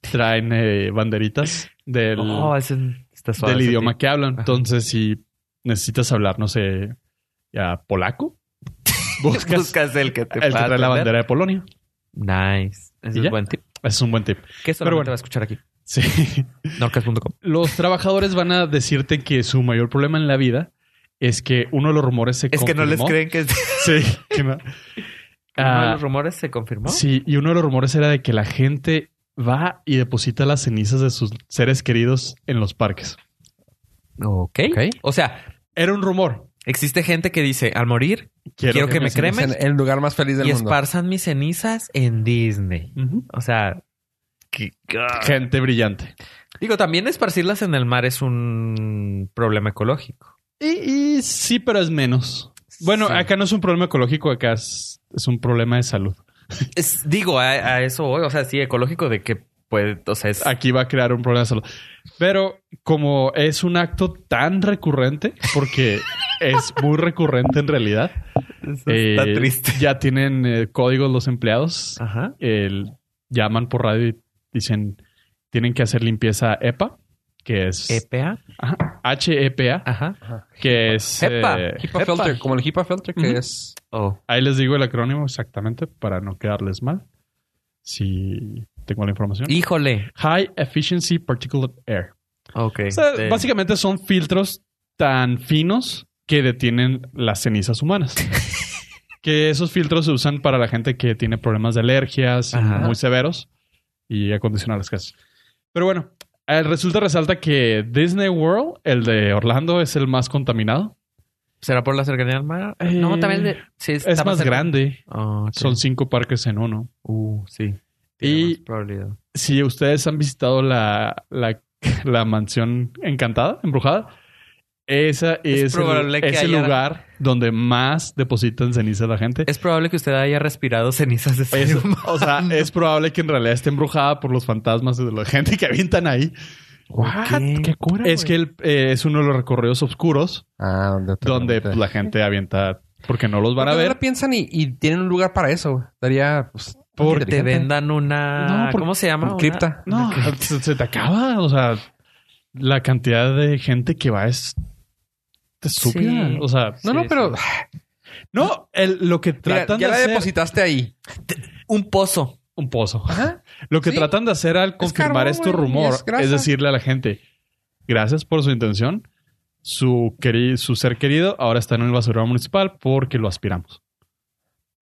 Speaker 3: traen eh, banderitas del,
Speaker 4: oh, ese está suave.
Speaker 3: del
Speaker 4: ese
Speaker 3: idioma
Speaker 4: tipo.
Speaker 3: que hablan.
Speaker 4: Ajá.
Speaker 3: Entonces, si necesitas hablar, no sé, a polaco, buscas,
Speaker 4: Buscas el que te
Speaker 3: el que trae
Speaker 4: pueda
Speaker 3: la
Speaker 4: atender.
Speaker 3: bandera de Polonia.
Speaker 4: Nice.
Speaker 3: ¿Y
Speaker 4: Ese es
Speaker 3: ya?
Speaker 4: buen tip.
Speaker 3: Ese es un buen tip.
Speaker 4: Que solamente
Speaker 3: bueno.
Speaker 4: va a escuchar aquí.
Speaker 3: Sí.
Speaker 4: Norcas.com.
Speaker 3: Los trabajadores van a decirte que su mayor problema en la vida es que uno de los rumores se
Speaker 4: Es que no les
Speaker 3: confirmó.
Speaker 4: creen que...
Speaker 3: Sí. que no.
Speaker 4: Uno de
Speaker 3: Ah,
Speaker 4: los rumores se confirmó.
Speaker 3: Sí, y uno de los rumores era de que la gente va y deposita las cenizas de sus seres queridos en los parques.
Speaker 4: Ok.
Speaker 2: Ok.
Speaker 4: O sea,
Speaker 3: Era un rumor.
Speaker 4: existe gente que dice, al morir, quiero que me
Speaker 2: Es
Speaker 4: cremen
Speaker 2: en el lugar más feliz del
Speaker 4: y
Speaker 2: mundo.
Speaker 4: esparzan mis cenizas en Disney.
Speaker 3: Ujú.
Speaker 4: O sea, ah.
Speaker 3: Gente brillante.
Speaker 4: digo, también esparcirlas en el mar es un problema ecológico.
Speaker 3: Y, y sí, pero es menos. Bueno,
Speaker 4: Sí.
Speaker 3: acá no es un problema ecológico, acá es, es un problema de salud.
Speaker 4: Es- digo, a, a eso voy. O sea, sí, ecológico de que puede... O sea, es...
Speaker 3: Aquí va a crear un problema de salud. Pero como es un acto tan recurrente, porque es muy recurrente en realidad,
Speaker 4: Eso
Speaker 3: eh, ya tienen eh, códigos los empleados
Speaker 4: Ajá.
Speaker 3: el- llaman por radio y dicen tienen que hacer limpieza EPA, que es
Speaker 4: EPA.
Speaker 3: ajá, HEPA,
Speaker 4: Ajá.
Speaker 3: que es
Speaker 4: HEPA.
Speaker 3: eh,
Speaker 2: HIPAA filter, como el HIPAA filter que
Speaker 3: Ujú.
Speaker 2: es.
Speaker 4: Oh.
Speaker 3: ahí les digo el acrónimo exactamente para no quedarles mal. Si tengo la información.
Speaker 4: Híjole.
Speaker 3: High Efficiency Particulate Air.
Speaker 4: Ok. Este,
Speaker 3: O sea,
Speaker 4: De-
Speaker 3: Básicamente son filtros tan finos que detienen las cenizas humanas. que esos filtros se usan para la gente que tiene problemas de alergias y
Speaker 4: Ajá.
Speaker 3: muy severos y acondicionar las casas. Pero bueno, eh, resulta resalta que Disney World, el de Orlando, es el más contaminado.
Speaker 4: ¿Será por la cercanía al mar?
Speaker 3: Eh,
Speaker 4: no, también de- sí, está
Speaker 3: es más
Speaker 4: cerca.
Speaker 3: grande.
Speaker 4: Ah, ok.
Speaker 3: Son cinco parques en uno.
Speaker 4: Uh, sí.
Speaker 3: Y-
Speaker 4: Tiene más probabilidad.
Speaker 3: Si ustedes han visitado la, la- la mansión encantada, embrujada, esa es, el-
Speaker 4: probable que
Speaker 3: es el
Speaker 4: haya-
Speaker 3: lugar donde más depositan ceniza la gente.
Speaker 4: Es probable que usted haya respirado cenizas de
Speaker 3: Es-
Speaker 4: ser humano.
Speaker 3: o sea, es probable que en realidad esté embrujada por los fantasmas de la gente que avientan ahí.
Speaker 4: ¿Qué? ¿Qué
Speaker 2: cura?
Speaker 3: Es que el- eh, es uno de los recorridos oscuros
Speaker 2: Ah, donde. te-
Speaker 3: donde pues, la gente avienta porque no los van
Speaker 2: ¿Por
Speaker 3: a
Speaker 2: qué no
Speaker 3: ver.
Speaker 2: la piensan y, y tienen un lugar para eso. güey? Daría. Pues,
Speaker 3: Porque
Speaker 4: Te
Speaker 2: inteligente.
Speaker 4: vendan una.
Speaker 3: No, por-
Speaker 4: ¿Cómo se llama? Una-
Speaker 2: Cripta.
Speaker 3: No, se, se te acaba. O sea, la cantidad de gente que va es estúpida.
Speaker 4: Sí.
Speaker 3: O sea,
Speaker 2: No, no,
Speaker 4: Sí,
Speaker 2: pero.
Speaker 3: no, el- lo que
Speaker 2: Mira,
Speaker 3: tratan
Speaker 2: ya
Speaker 3: de
Speaker 2: la
Speaker 3: hacer
Speaker 2: depositaste ahí.
Speaker 4: Un pozo.
Speaker 3: un pozo.
Speaker 2: Ajá.
Speaker 3: Lo que
Speaker 2: Sí.
Speaker 3: tratan de hacer al confirmar
Speaker 2: carbón,
Speaker 3: este
Speaker 2: güey,
Speaker 3: rumor
Speaker 2: y
Speaker 3: es,
Speaker 2: es grasa.
Speaker 3: decirle a la gente, gracias por su intención, su, queri- su ser querido ahora está en el basurero municipal porque lo aspiramos.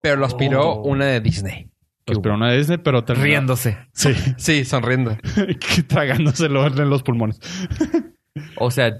Speaker 2: Pero lo aspiró
Speaker 4: Oh.
Speaker 2: una de Disney.
Speaker 3: Lo aspiró una Disney, pero terminó-
Speaker 4: Riéndose.
Speaker 3: Sí,
Speaker 2: Sí, sonriendo.
Speaker 3: que tragándoselo en los pulmones.
Speaker 4: O sea,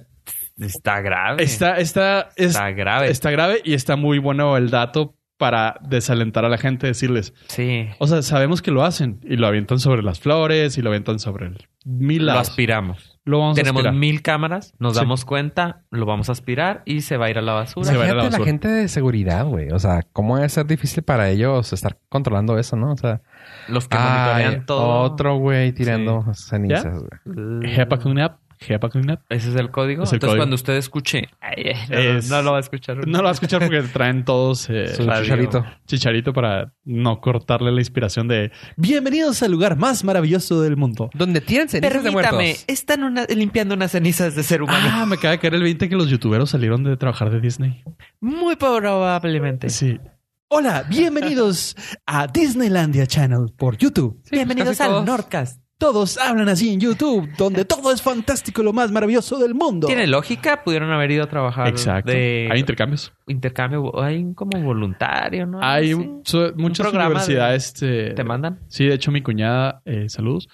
Speaker 4: está grave.
Speaker 3: Está, está, es-
Speaker 4: Está grave.
Speaker 3: está grave y está muy bueno el dato para desalentar a la gente, decirles,
Speaker 4: Sí.
Speaker 3: o sea, sabemos que lo hacen y lo avientan sobre las flores y lo avientan sobre el mil
Speaker 4: Lo
Speaker 3: lados.
Speaker 4: aspiramos.
Speaker 3: Lo vamos
Speaker 4: Tenemos
Speaker 3: a aspirar.
Speaker 4: mil cámaras, nos
Speaker 3: Sí.
Speaker 4: damos cuenta, lo vamos a aspirar y se va a ir a la basura.
Speaker 3: Se va a ir a la
Speaker 2: Imagínate la,
Speaker 3: basura.
Speaker 2: gente de seguridad, güey. O sea, ¿cómo debe ser difícil para ellos estar controlando eso, no? O sea,
Speaker 4: Los que
Speaker 3: Ah,
Speaker 2: ay,
Speaker 3: eh,
Speaker 4: monitorean todo.
Speaker 2: Ah, otro güey tirando
Speaker 3: ¿Ya?
Speaker 2: cenizas, güey.
Speaker 3: HEPA cleanup, HEPA cleanup.
Speaker 4: Ese es el código.
Speaker 3: Es el
Speaker 4: Entonces,
Speaker 3: código.
Speaker 4: cuando usted escuche, ay, ay, no,
Speaker 3: Es-
Speaker 4: no lo va a escuchar.
Speaker 3: No lo va a escuchar porque traen todos eh,
Speaker 2: Su
Speaker 4: Radio.
Speaker 2: chicharito.
Speaker 3: chicharito para no cortarle la inspiración de bienvenidos al lugar más maravilloso del mundo.
Speaker 2: Donde tiran cenizas de
Speaker 4: Permítame,
Speaker 2: muertos.
Speaker 4: están una- limpiando unas cenizas de ser humano.
Speaker 3: Ah, me acaba de caer el 20 que los youtuberos salieron de trabajar de Disney.
Speaker 4: Muy probablemente.
Speaker 3: Sí. Hola, bienvenidos a Disneylandia Channel por YouTube.
Speaker 4: Bienvenidos
Speaker 2: casi
Speaker 4: al
Speaker 2: todos.
Speaker 4: Nordcast.
Speaker 3: Todos hablan así en YouTube, donde todo es fantástico, lo más maravilloso del mundo.
Speaker 4: Tiene lógica, pudieron haber ido a trabajar
Speaker 3: Exacto.
Speaker 4: de
Speaker 3: Hay intercambios.
Speaker 4: intercambio, hay un como voluntario, ¿no?
Speaker 3: Hay
Speaker 4: Sí.
Speaker 3: so- muchas
Speaker 4: programa de-
Speaker 3: universidades. eh,
Speaker 4: te mandan.
Speaker 3: Sí, de hecho, mi cuñada, eh, saludos,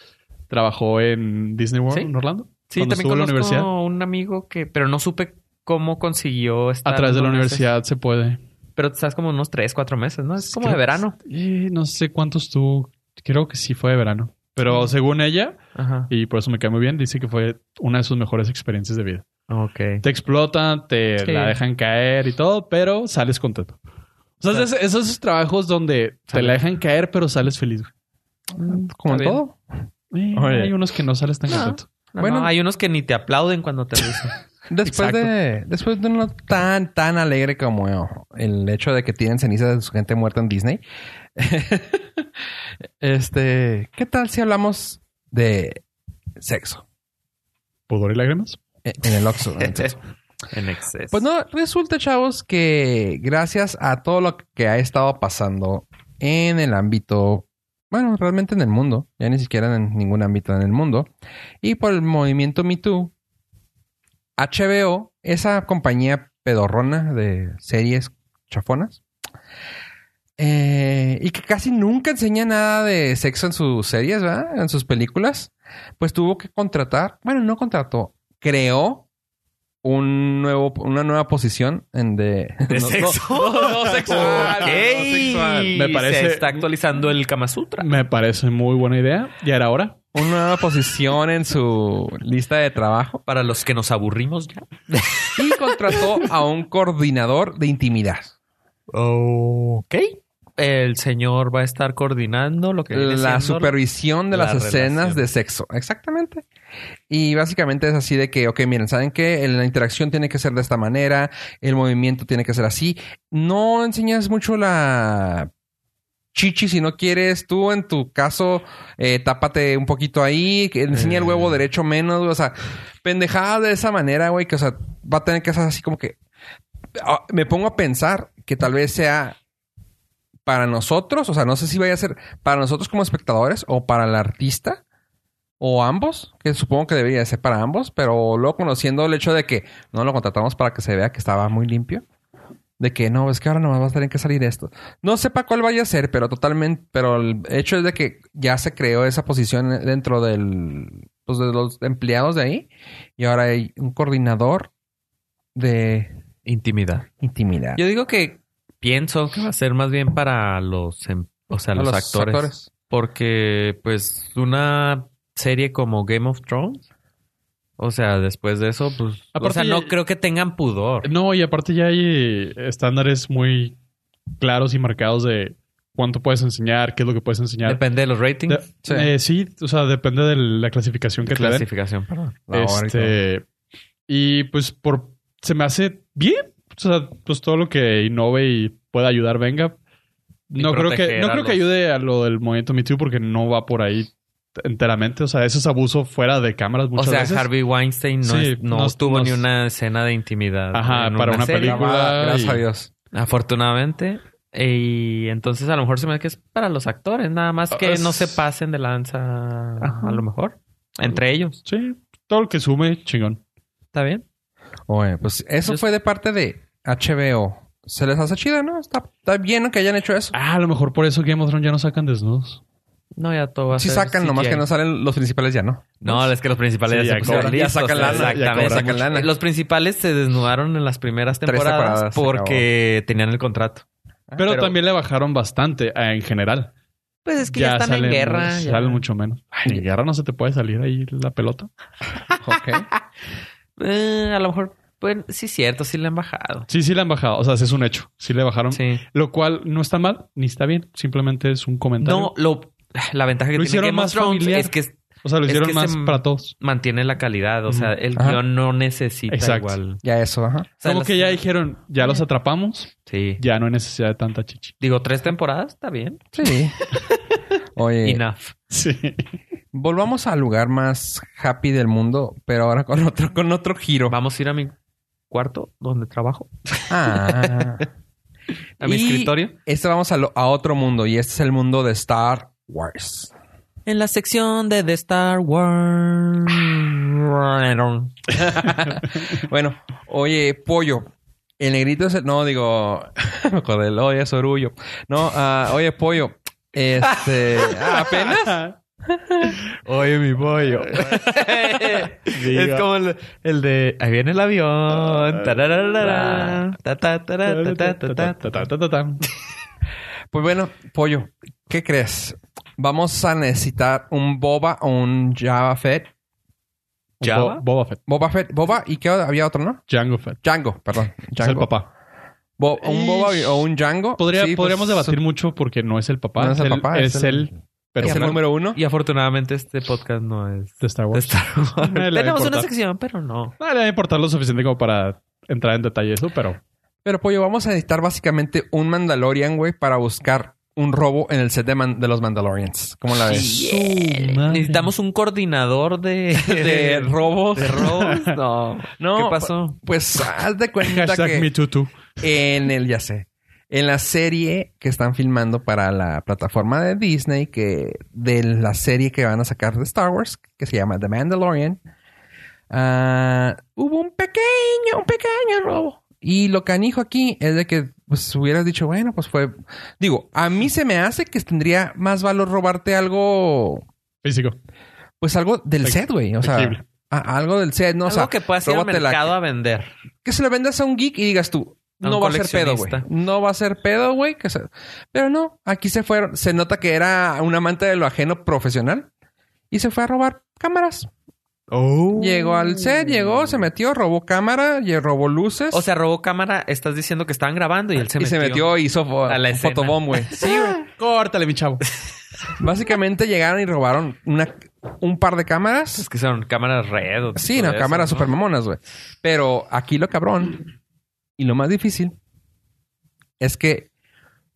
Speaker 3: trabajó en Disney World,
Speaker 4: Sí.
Speaker 3: en Orlando.
Speaker 4: Sí,
Speaker 3: cuando
Speaker 4: también
Speaker 3: estuvo en la
Speaker 4: conozco
Speaker 3: universidad.
Speaker 4: un amigo que, pero no supe cómo consiguió estar
Speaker 3: A través de la
Speaker 4: unos meses.
Speaker 3: universidad se puede.
Speaker 4: Pero estás como unos tres, cuatro meses, ¿no? Es como
Speaker 3: Creo
Speaker 4: de verano.
Speaker 3: Eh, no sé cuántos tú. Creo que sí fue de verano. Pero según ella,
Speaker 4: Ajá.
Speaker 3: y por eso me cae muy bien, dice que fue una de sus mejores experiencias de vida.
Speaker 4: Ok.
Speaker 3: Te explotan, te
Speaker 4: Sí.
Speaker 3: la dejan caer y todo, pero sales contento. O sea,
Speaker 4: Claro.
Speaker 3: es- esos, trabajos donde te
Speaker 4: Sales.
Speaker 3: la dejan caer, pero sales feliz. güey.
Speaker 2: Mm, Como en
Speaker 4: Está bien.
Speaker 2: todo.
Speaker 3: Eh,
Speaker 2: Oye.
Speaker 3: hay unos que no sales tan
Speaker 4: No.
Speaker 3: contento.
Speaker 2: Bueno.
Speaker 4: bueno, hay unos que ni te aplauden cuando te dicen.
Speaker 2: Después
Speaker 4: Exacto.
Speaker 2: de, después de uno tan, tan alegre como el hecho de que tienen cenizas de su gente muerta en Disney. este, ¿qué tal si hablamos de sexo?
Speaker 3: ¿Pudor y lágrimas?
Speaker 2: Eh, En el Oxxo. en el sexo.
Speaker 4: en exceso.
Speaker 2: Pues no, resulta, chavos, que gracias a todo lo que ha estado pasando en el ámbito, bueno, realmente en el mundo, ya ni siquiera en ningún ámbito en el mundo, y por el movimiento Me Too, HBO, esa compañía pedorrona de series chafonas, eh, y que casi nunca enseña nada de sexo en sus series, ¿verdad? En sus películas, pues tuvo que contratar, bueno, no contrató, creó un nuevo, una nueva posición en de,
Speaker 4: ¿De
Speaker 2: no-
Speaker 4: sexo?
Speaker 3: Oh, no sexual, Ah,
Speaker 4: Ok.
Speaker 3: no sexual. Me parece-
Speaker 4: Se está actualizando el Kama Sutra.
Speaker 3: Me parece muy buena idea. Ya era hora.
Speaker 2: una nueva posición en su lista de trabajo
Speaker 4: Para los que nos aburrimos ya.
Speaker 2: y contrató a un coordinador de intimidad.
Speaker 4: Ok. El señor va a estar coordinando lo que viene
Speaker 2: La
Speaker 4: siendo-
Speaker 2: supervisión de
Speaker 4: la
Speaker 2: las escenas
Speaker 4: relación.
Speaker 2: de sexo. Exactamente. Y básicamente es así de que, ok, miren, ¿saben qué? La interacción tiene que ser de esta manera, el movimiento tiene que ser así. No enseñas mucho la chichi si no quieres. Tú, en tu caso, eh, tápate un poquito ahí, que enseña el
Speaker 3: Eh.
Speaker 2: huevo derecho menos, güey. o sea, pendejada de esa manera, güey, que, o sea, va a tener que ser así como que... Ah, Me pongo a pensar que tal vez sea para nosotros, o sea, no sé si vaya a ser para nosotros como espectadores o para el artista o ambos, que supongo que debería de ser para ambos, pero luego conociendo el hecho de que no lo contratamos para que se vea que estaba muy limpio, de que no, es que ahora nomás va a tener que salir esto. No sepa cuál vaya a ser, pero totalmente, pero el hecho es de que ya se creó esa posición dentro del, pues de los empleados de ahí y ahora hay un coordinador de
Speaker 4: Intimidad.
Speaker 2: intimidad.
Speaker 4: Yo digo que pienso que va a ser más bien para los, em- o sea,
Speaker 2: A
Speaker 4: los, actores, Porque, pues, una serie como Game of Thrones, o sea, después de eso, pues,
Speaker 3: Aparte-
Speaker 4: o sea, no creo que tengan pudor.
Speaker 3: No, y aparte ya hay estándares muy claros y marcados de cuánto puedes enseñar, qué es lo que puedes enseñar.
Speaker 4: Depende de los ratings.
Speaker 3: De- eh, sí. o sea, depende de la clasificación que te den.
Speaker 4: clasificación, perdón.
Speaker 2: La hora y
Speaker 3: Este, y pues por se me hace bien. O sea, pues todo lo que innove y pueda ayudar, venga.
Speaker 4: Y
Speaker 3: No creo que,
Speaker 4: proteger
Speaker 3: no
Speaker 4: a
Speaker 3: creo que
Speaker 4: los-
Speaker 3: ayude a lo del movimiento Me Too porque no va por ahí enteramente. O sea, eso es abuso fuera de cámaras
Speaker 4: O
Speaker 3: muchas
Speaker 4: sea,
Speaker 3: veces.
Speaker 4: Harvey Weinstein no,
Speaker 3: Sí,
Speaker 4: es- no
Speaker 3: nos-
Speaker 4: tuvo
Speaker 3: nos-
Speaker 4: ni una escena de intimidad.
Speaker 3: Ajá,
Speaker 4: en
Speaker 3: para una
Speaker 4: serie.
Speaker 3: película.
Speaker 2: Grabada, gracias
Speaker 3: y-
Speaker 2: a Dios.
Speaker 4: Afortunadamente. Y entonces a lo mejor se me hace que es para los actores, nada más que
Speaker 3: Es-
Speaker 4: no se pasen de lanza
Speaker 3: Ajá.
Speaker 4: a lo mejor. Entre ellos.
Speaker 3: Sí, todo lo que sume, chingón.
Speaker 4: ¿Está bien?
Speaker 2: Oye, pues eso
Speaker 4: Yo-
Speaker 2: fue de parte de HBO. Se les hace chido, ¿no? Está, está bien que hayan hecho eso.
Speaker 3: Ah, a lo mejor por eso Game of Thrones ya no sacan desnudos.
Speaker 4: No, ya todo va a
Speaker 2: Si
Speaker 4: ser
Speaker 2: sacan, nomás
Speaker 4: CGI.
Speaker 2: que no salen los principales ya, ¿no?
Speaker 4: No, es que los principales
Speaker 3: Sí, ya
Speaker 4: ya, se pusieron
Speaker 3: cobran.
Speaker 2: Ya
Speaker 4: listos.
Speaker 2: sacan lana, ya
Speaker 4: Exactamente.
Speaker 2: cobran, sacan lana.
Speaker 4: Los principales se desnudaron en las primeras
Speaker 2: Tres
Speaker 4: temporadas,
Speaker 2: temporadas, se
Speaker 4: porque tenían el contrato.
Speaker 3: Ah, Pero,
Speaker 4: pero-
Speaker 3: también le bajaron bastante eh, en general.
Speaker 4: Pues es que ya, están
Speaker 3: salen-
Speaker 4: en guerra. ya.
Speaker 3: Salen mucho menos. Ay, en guerra no se te puede salir ahí la pelota.
Speaker 2: Ok.
Speaker 4: Eh, a lo mejor, pues sí, cierto, sí le han bajado.
Speaker 3: Sí, sí le han bajado. O sea, sí es un hecho. Sí le bajaron.
Speaker 4: Sí.
Speaker 3: Lo cual no está mal ni está bien. Simplemente es un comentario.
Speaker 4: No, lo, la ventaja que
Speaker 3: Lo
Speaker 4: tiene
Speaker 3: hicieron
Speaker 4: Game of
Speaker 3: más
Speaker 4: Thrones
Speaker 3: familiar.
Speaker 4: es que
Speaker 3: o sea, lo
Speaker 4: es
Speaker 3: hicieron
Speaker 4: que
Speaker 3: más
Speaker 4: se-
Speaker 3: para todos.
Speaker 4: mantiene la calidad. O sea,
Speaker 3: Ujú.
Speaker 4: el
Speaker 2: Ajá.
Speaker 4: guión no necesita
Speaker 3: Exacto.
Speaker 4: igual.
Speaker 2: ya eso, ajá.
Speaker 4: O sea,
Speaker 3: Como
Speaker 4: las-
Speaker 3: que ya dijeron, ya los atrapamos,
Speaker 4: Sí.
Speaker 3: ya no hay necesidad de tanta chichi.
Speaker 4: Digo, tres temporadas, está bien.
Speaker 2: Sí. Oye,
Speaker 4: Enough.
Speaker 3: Sí.
Speaker 2: volvamos al lugar más happy del mundo, pero ahora con otro, con otro giro.
Speaker 4: Vamos a ir a mi cuarto donde trabajo.
Speaker 2: Ah.
Speaker 4: A mi
Speaker 2: Y
Speaker 4: escritorio.
Speaker 2: Este vamos a, lo- a otro mundo y este es el mundo de Star Wars.
Speaker 4: En la sección de The Star Wars.
Speaker 2: Bueno, oye, pollo. El negrito es el... No, digo... me acordé. del- Oye, es orullo. No, ah, oye, pollo. Este... ah, apenas.
Speaker 3: Oye, mi pollo.
Speaker 4: es como el, el de ahí viene el avión. tarararara, ta, ta, tara, ta, ta, ta, ta, ta, ta.
Speaker 2: Pues bueno, pollo, ¿qué crees? Vamos a necesitar un Boba o un Java Fett.
Speaker 4: ¿Java?
Speaker 3: Boba Fett.
Speaker 2: Boba Fett, Boba y qué había otro, ¿no?
Speaker 3: Django Fett.
Speaker 2: Django, perdón.
Speaker 3: Es el
Speaker 2: Django.
Speaker 3: papá.
Speaker 2: Bo- un Boba o un Django.
Speaker 3: Podría-
Speaker 2: Sí, pues,
Speaker 3: podríamos debatir mucho porque no es el papá.
Speaker 2: No es el
Speaker 3: Él-
Speaker 2: papá,
Speaker 3: Es,
Speaker 2: es el-
Speaker 3: él Pero
Speaker 2: es el
Speaker 3: bueno,
Speaker 2: número uno.
Speaker 4: Y afortunadamente este podcast no es
Speaker 3: de Star
Speaker 4: de
Speaker 3: Wars.
Speaker 4: Star Wars.
Speaker 3: Nadie le va a
Speaker 4: Tenemos una
Speaker 3: importar.
Speaker 4: sección, pero no.
Speaker 3: No le va a importar lo suficiente como para entrar en detalle eso, pero
Speaker 2: Pero, Pollo, vamos a necesitar básicamente un Mandalorian, güey, para buscar un robo en el set de, Man- de los Mandalorians. ¿Cómo la ves?
Speaker 4: Chale.
Speaker 3: madre.
Speaker 4: Necesitamos un coordinador de,
Speaker 2: Ah, De
Speaker 4: de,
Speaker 2: robos.
Speaker 4: de robos. No.
Speaker 2: No,
Speaker 4: ¿Qué pasó?
Speaker 2: Pues haz de cuenta
Speaker 3: hashtag
Speaker 2: que
Speaker 3: MeTooToo.
Speaker 2: en el, ya sé, en la serie que están filmando para la plataforma de Disney, que de la serie que van a sacar de Star Wars, que se llama The Mandalorian, ah, hubo un pequeño, un pequeño robo. Y lo canijo aquí es de que pues, hubieras dicho, bueno, pues fue. Digo, a mí se me hace que tendría más valor robarte algo,
Speaker 3: Físico.
Speaker 2: pues algo del
Speaker 3: Fe-
Speaker 2: set, güey. O sea,
Speaker 3: Tangible.
Speaker 2: a- algo del set, no o
Speaker 4: Algo
Speaker 2: sea,
Speaker 4: que puedas ir al
Speaker 2: róbatela
Speaker 4: mercado a vender.
Speaker 2: que se lo vendas a un geek y digas tú,
Speaker 4: A un
Speaker 2: no va a ser pedo, güey.
Speaker 4: coleccionista.
Speaker 2: No va a ser pedo, güey. que se- Pero no, aquí se fueron. Se nota que era un amante de lo ajeno profesional y se fue a robar cámaras. Llegó al set, llegó, se metió, robó cámara, y robó luces.
Speaker 4: O sea, robó cámara. Estás diciendo que estaban grabando y él se
Speaker 2: y
Speaker 4: metió.
Speaker 2: se metió y hizo fo-
Speaker 4: A la escena.
Speaker 2: fotobomb, güey. Sí, güey.
Speaker 3: Córtale, mi chavo.
Speaker 2: Básicamente llegaron y robaron una, un par de cámaras.
Speaker 4: Es que son cámaras red. o
Speaker 2: Sí,
Speaker 4: tipo
Speaker 2: no,
Speaker 4: de
Speaker 2: cámaras
Speaker 4: esas,
Speaker 2: super
Speaker 4: Pues, ¿no?
Speaker 2: mamonas, güey. Pero aquí lo cabrón y lo más difícil es que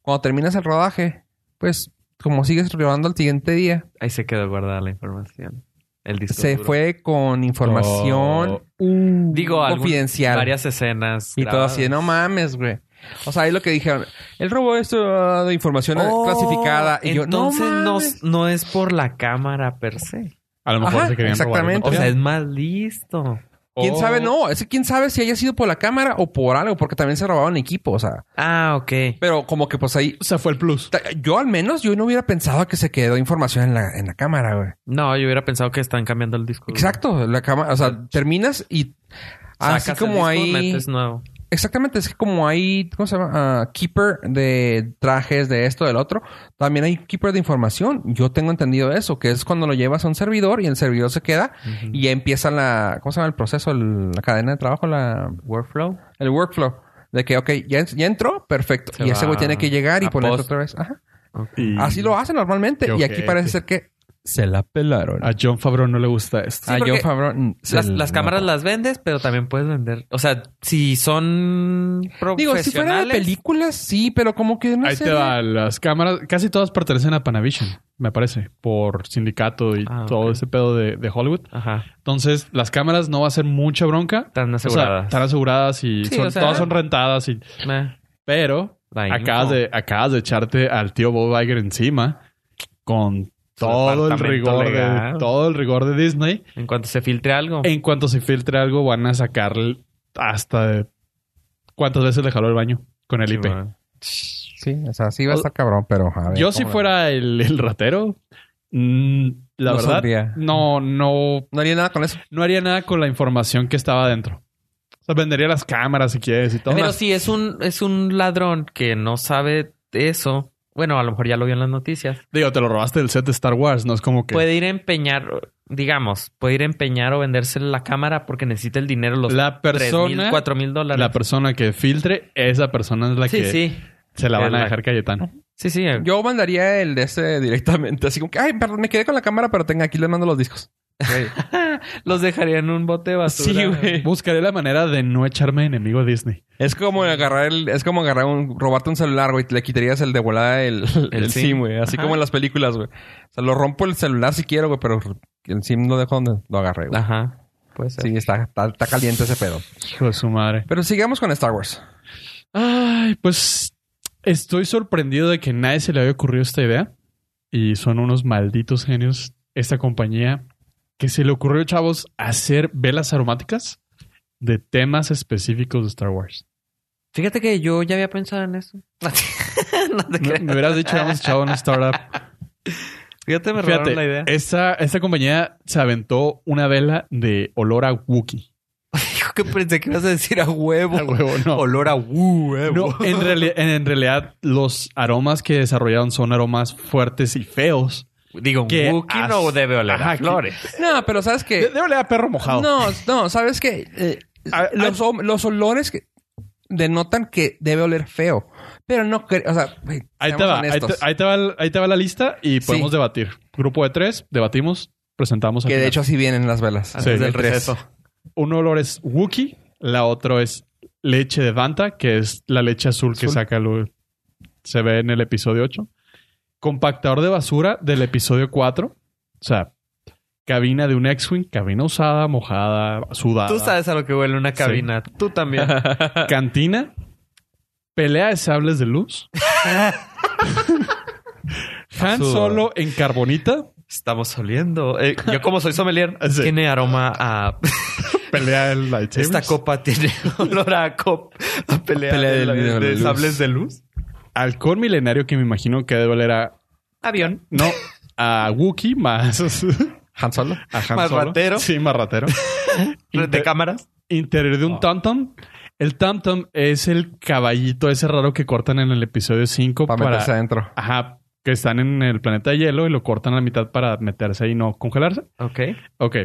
Speaker 2: cuando terminas el rodaje, pues como sigues rodando al siguiente día,
Speaker 4: Ahí se quedó guardada la información. El disco
Speaker 2: se
Speaker 4: duro. Uh.
Speaker 2: fue con información
Speaker 4: Digo, algún-
Speaker 2: confidencial.
Speaker 4: varias escenas.
Speaker 2: y todo así de
Speaker 4: grabadas.
Speaker 2: no mames, güey. O sea, ahí lo que dijeron, el robo de esto ah, de información
Speaker 4: Oh,
Speaker 2: clasificada. Y yo,
Speaker 4: entonces
Speaker 2: no,
Speaker 4: no,
Speaker 2: mames".
Speaker 4: no es por la cámara per se.
Speaker 3: A lo mejor
Speaker 2: Ajá,
Speaker 3: se querían
Speaker 2: exactamente.
Speaker 4: O
Speaker 3: robar.
Speaker 4: sea, es más listo.
Speaker 2: ¿Quién
Speaker 4: Oh.
Speaker 2: sabe? No, es que quién sabe si haya sido por la cámara o por algo, porque también se robaban equipo, o sea.
Speaker 4: Ah, ok.
Speaker 2: Pero como que pues ahí
Speaker 3: O sea, fue el plus.
Speaker 2: Ta- Yo al menos, yo no hubiera pensado que se quedó información en la, en la cámara, güey.
Speaker 4: No, yo hubiera pensado que están cambiando el disco. duro.
Speaker 2: Exacto, la cámara, o sea, terminas y así
Speaker 4: Sacas
Speaker 2: Ah, como
Speaker 4: el disco,
Speaker 2: hay...
Speaker 4: metes nuevo.
Speaker 2: Exactamente, es que como hay, ¿cómo se llama? Ah, keeper de trajes, de esto, del otro, también hay keeper de información. Yo tengo entendido eso, que es cuando lo llevas a un servidor y el servidor se queda
Speaker 4: Ujú.
Speaker 2: y ya empieza la, ¿cómo se llama? El proceso, el- la cadena de trabajo, la,
Speaker 4: Workflow.
Speaker 2: el workflow. De que, ok, ya, en- ya entró, perfecto.
Speaker 4: Se
Speaker 2: y ese
Speaker 4: va
Speaker 2: güey tiene que llegar y
Speaker 4: a
Speaker 2: ponerlo
Speaker 4: post.
Speaker 2: otra vez. Ajá.
Speaker 3: Y
Speaker 2: Así lo hacen normalmente.
Speaker 3: Qué
Speaker 2: Y aquí
Speaker 3: ojete.
Speaker 2: parece ser que se la pelaron.
Speaker 3: A John Favreau no le gusta esto.
Speaker 4: Sí,
Speaker 2: a
Speaker 4: porque
Speaker 2: John Favreau, mm, se
Speaker 4: Ah, Las,
Speaker 2: la-
Speaker 4: las cámaras las vendes, pero también puedes vender. O sea, si son
Speaker 2: Digo, si fuera de
Speaker 4: profesionales.
Speaker 2: películas, sí, pero como que no
Speaker 3: Ahí
Speaker 2: sé.
Speaker 3: te va. Las cámaras, casi todas pertenecen a Panavision, me parece, por sindicato y
Speaker 4: Ah,
Speaker 3: todo
Speaker 4: ok.
Speaker 3: ese pedo de, de Hollywood.
Speaker 4: Ajá.
Speaker 3: Entonces, las cámaras no va a ser mucha bronca.
Speaker 4: Están
Speaker 3: O sea,
Speaker 4: aseguradas.
Speaker 3: están aseguradas y
Speaker 4: Sí,
Speaker 3: son-
Speaker 4: o sea-
Speaker 3: todas son rentadas. Y,
Speaker 4: Meh.
Speaker 3: pero
Speaker 4: La
Speaker 3: acabas
Speaker 4: info.
Speaker 3: de, acabas de echarte al tío Bob Iger encima con todo el
Speaker 4: departamento
Speaker 3: rigor de,
Speaker 4: legal.
Speaker 3: todo el rigor de Disney.
Speaker 4: En cuanto se filtre algo.
Speaker 3: En cuanto se filtre algo, van a sacar hasta de- cuántas veces le jaló el baño con el
Speaker 4: Sí,
Speaker 3: IP.
Speaker 4: bueno.
Speaker 2: Sí, o sea, sí va a estar cabrón, pero a ver,
Speaker 3: Yo si
Speaker 2: ¿cómo la-
Speaker 3: fuera el, el ratero, mm, la
Speaker 2: No
Speaker 3: verdad,
Speaker 2: saldría.
Speaker 3: no, no,
Speaker 2: No haría nada con eso.
Speaker 3: no haría nada con la información que estaba dentro. O sea, vendería las cámaras si quieres y todo.
Speaker 4: Pero
Speaker 3: Más-
Speaker 4: si es un, es un ladrón que no sabe eso, bueno, a lo mejor ya lo vio en las noticias.
Speaker 3: Digo, te lo robaste del set de Star Wars, no es como que
Speaker 4: Puede ir a empeñar, digamos, puede ir a empeñar o venderse la cámara porque necesita el dinero, los
Speaker 3: la
Speaker 4: tres mil,
Speaker 3: persona,
Speaker 4: cuatro mil dólares.
Speaker 3: la persona que filtre, esa persona es la
Speaker 4: sí,
Speaker 3: que
Speaker 4: sí.
Speaker 3: se la van
Speaker 4: Es
Speaker 3: a
Speaker 4: la-
Speaker 3: dejar Cayetano.
Speaker 4: Sí, sí.
Speaker 2: Yo mandaría el de ese directamente. Así como que, ay, perdón, me quedé con la cámara, pero tenga aquí les mando los discos.
Speaker 4: Los dejaría en un bote de basura.
Speaker 2: Sí, güey.
Speaker 3: Buscaré la manera de no echarme enemigo a Disney.
Speaker 2: Es como agarrar el, es como agarrar un, robarte un celular, güey, te le quitarías el de volada el, el,
Speaker 4: El SIM.
Speaker 2: SIM, güey. Así
Speaker 4: Ajá.
Speaker 2: como en las películas, güey. O sea, lo rompo el celular si quiero, güey, pero el SIM lo dejo donde lo agarré,
Speaker 3: Ah,
Speaker 2: güey.
Speaker 4: Ajá. Puede ser.
Speaker 2: Sí, está, está, está caliente ese pedo.
Speaker 3: Hijo de su madre.
Speaker 2: Pero sigamos con Star Wars.
Speaker 3: Ay, pues estoy sorprendido de que nadie se le había ocurrido esta idea. Y son unos malditos genios esta compañía que se le ocurrió, chavos, hacer velas aromáticas de temas específicos de Star Wars.
Speaker 4: Fíjate que yo ya había pensado en eso. no te
Speaker 3: Me,
Speaker 4: creas.
Speaker 3: me hubieras dicho, hemos echado una startup.
Speaker 4: Fíjate, me robaron
Speaker 3: Fíjate,
Speaker 4: la idea.
Speaker 3: Esta, esta compañía se aventó una vela de olor a Wookiee.
Speaker 4: Dijo que pensé que ibas a decir a huevo.
Speaker 3: A huevo, no.
Speaker 4: Olor a huevo.
Speaker 3: No, en, reali- en- en realidad los aromas que desarrollaron son aromas fuertes y feos.
Speaker 4: Digo, un
Speaker 3: Que
Speaker 4: Wookiee
Speaker 3: as-
Speaker 4: no debe oler
Speaker 3: Ajá,
Speaker 4: a
Speaker 3: que-
Speaker 4: flores.
Speaker 2: No, pero ¿sabes
Speaker 4: Eh.
Speaker 3: De-
Speaker 2: qué?
Speaker 3: de oler a perro mojado.
Speaker 2: No, no, ¿sabes qué? Eh,
Speaker 3: A-
Speaker 2: los, hom- los olores que... denotan que debe oler feo. Pero no creo, o sea, güey,
Speaker 3: Ahí te,
Speaker 2: seamos
Speaker 3: va, ahí, te,
Speaker 2: honestos.
Speaker 3: ahí te va, el- ahí te va la lista y
Speaker 2: Sí.
Speaker 3: podemos debatir. Grupo de tres, debatimos, presentamos. al
Speaker 2: que de
Speaker 3: final.
Speaker 2: hecho así vienen las velas.
Speaker 3: Sí,
Speaker 4: Antes del
Speaker 3: el tres.
Speaker 4: receso.
Speaker 3: un olor es Wookie, la otra es leche de Vanta, que es la leche azul, que
Speaker 2: Azul.
Speaker 3: saca Lu- Se ve en el episodio 8. Compactador de basura del episodio 4. O sea, cabina de un X-Wing, cabina usada, mojada, sudada.
Speaker 4: Tú sabes a lo que huele una cabina. Tú también.
Speaker 3: Cantina. Pelea de sables de luz. Han
Speaker 4: Absurdo.
Speaker 3: Solo en carbonita.
Speaker 4: Estamos oliendo. Eh, yo como soy sommelier,
Speaker 3: Sí.
Speaker 4: tiene aroma a...
Speaker 3: Pelea del lightsaber.
Speaker 4: Esta copa tiene olor a, cop, a pelea,
Speaker 2: Pelea
Speaker 4: de,
Speaker 2: del-
Speaker 4: de-
Speaker 2: de
Speaker 4: de
Speaker 2: luz.
Speaker 4: sables de luz.
Speaker 3: Alcohol milenario que me imagino que debe oler a...
Speaker 4: Avión.
Speaker 3: No, a Wookiee más...
Speaker 2: Han Solo.
Speaker 3: A Han
Speaker 4: Más
Speaker 3: Solo.
Speaker 4: ratero.
Speaker 3: Sí, más ratero.
Speaker 4: Red de
Speaker 3: Inter-
Speaker 4: cámaras.
Speaker 3: interior de un Tantum. El Tantum es el caballito ese raro que cortan en el episodio 5
Speaker 2: Para
Speaker 3: para...
Speaker 2: meterse adentro.
Speaker 3: Ajá, que están en el planeta de hielo y lo cortan a la mitad para meterse y no congelarse.
Speaker 4: Ok.
Speaker 3: Ok.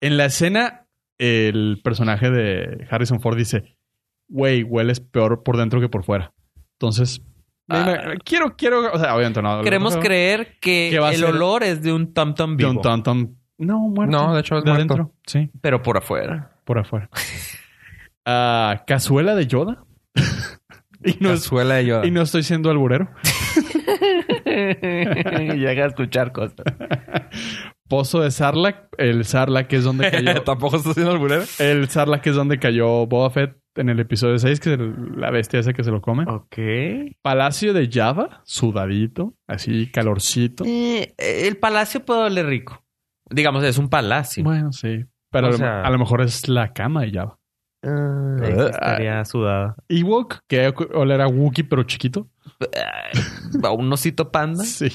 Speaker 3: En la escena, el personaje de Harrison Ford dice, güey, hueles peor por dentro que por fuera. Entonces, me
Speaker 4: Ah.
Speaker 3: imag- quiero, quiero, o sea, obviamente no.
Speaker 4: Queremos
Speaker 3: no,
Speaker 4: creer que
Speaker 3: ¿Qué va a
Speaker 4: el
Speaker 3: ser?
Speaker 4: olor es de un Tom Tom
Speaker 3: de
Speaker 4: vivo,
Speaker 3: un Tantum. No, muerto.
Speaker 2: No, de hecho es
Speaker 3: de
Speaker 2: muerto.
Speaker 3: adentro. Sí.
Speaker 4: pero por afuera.
Speaker 3: por afuera. Ah, cazuela de Yoda. y, no es-
Speaker 2: Cazuela de Yoda.
Speaker 3: y no estoy siendo alburero.
Speaker 4: Llega a escuchar cosas.
Speaker 3: Pozo de Sarlacc. El Sarlacc es donde cayó.
Speaker 2: Tampoco está haciendo alburero.
Speaker 3: el Sarlacc es donde cayó Boba Fett en el episodio 6, que es el- la bestia esa que se lo come.
Speaker 4: Ok. Eh,
Speaker 3: Palacio de Java, sudadito, así calorcito.
Speaker 4: Eh, el palacio puede oler rico. Digamos, es un palacio.
Speaker 3: Bueno, sí. Pero
Speaker 4: O
Speaker 3: a lo-
Speaker 4: sea-
Speaker 3: a lo mejor es la cama de Java.
Speaker 4: Ah,
Speaker 3: Eh,
Speaker 4: estaría sudada.
Speaker 3: Ewok, que olera a Wookiee, pero chiquito.
Speaker 4: ¿A un osito panda?
Speaker 3: Sí.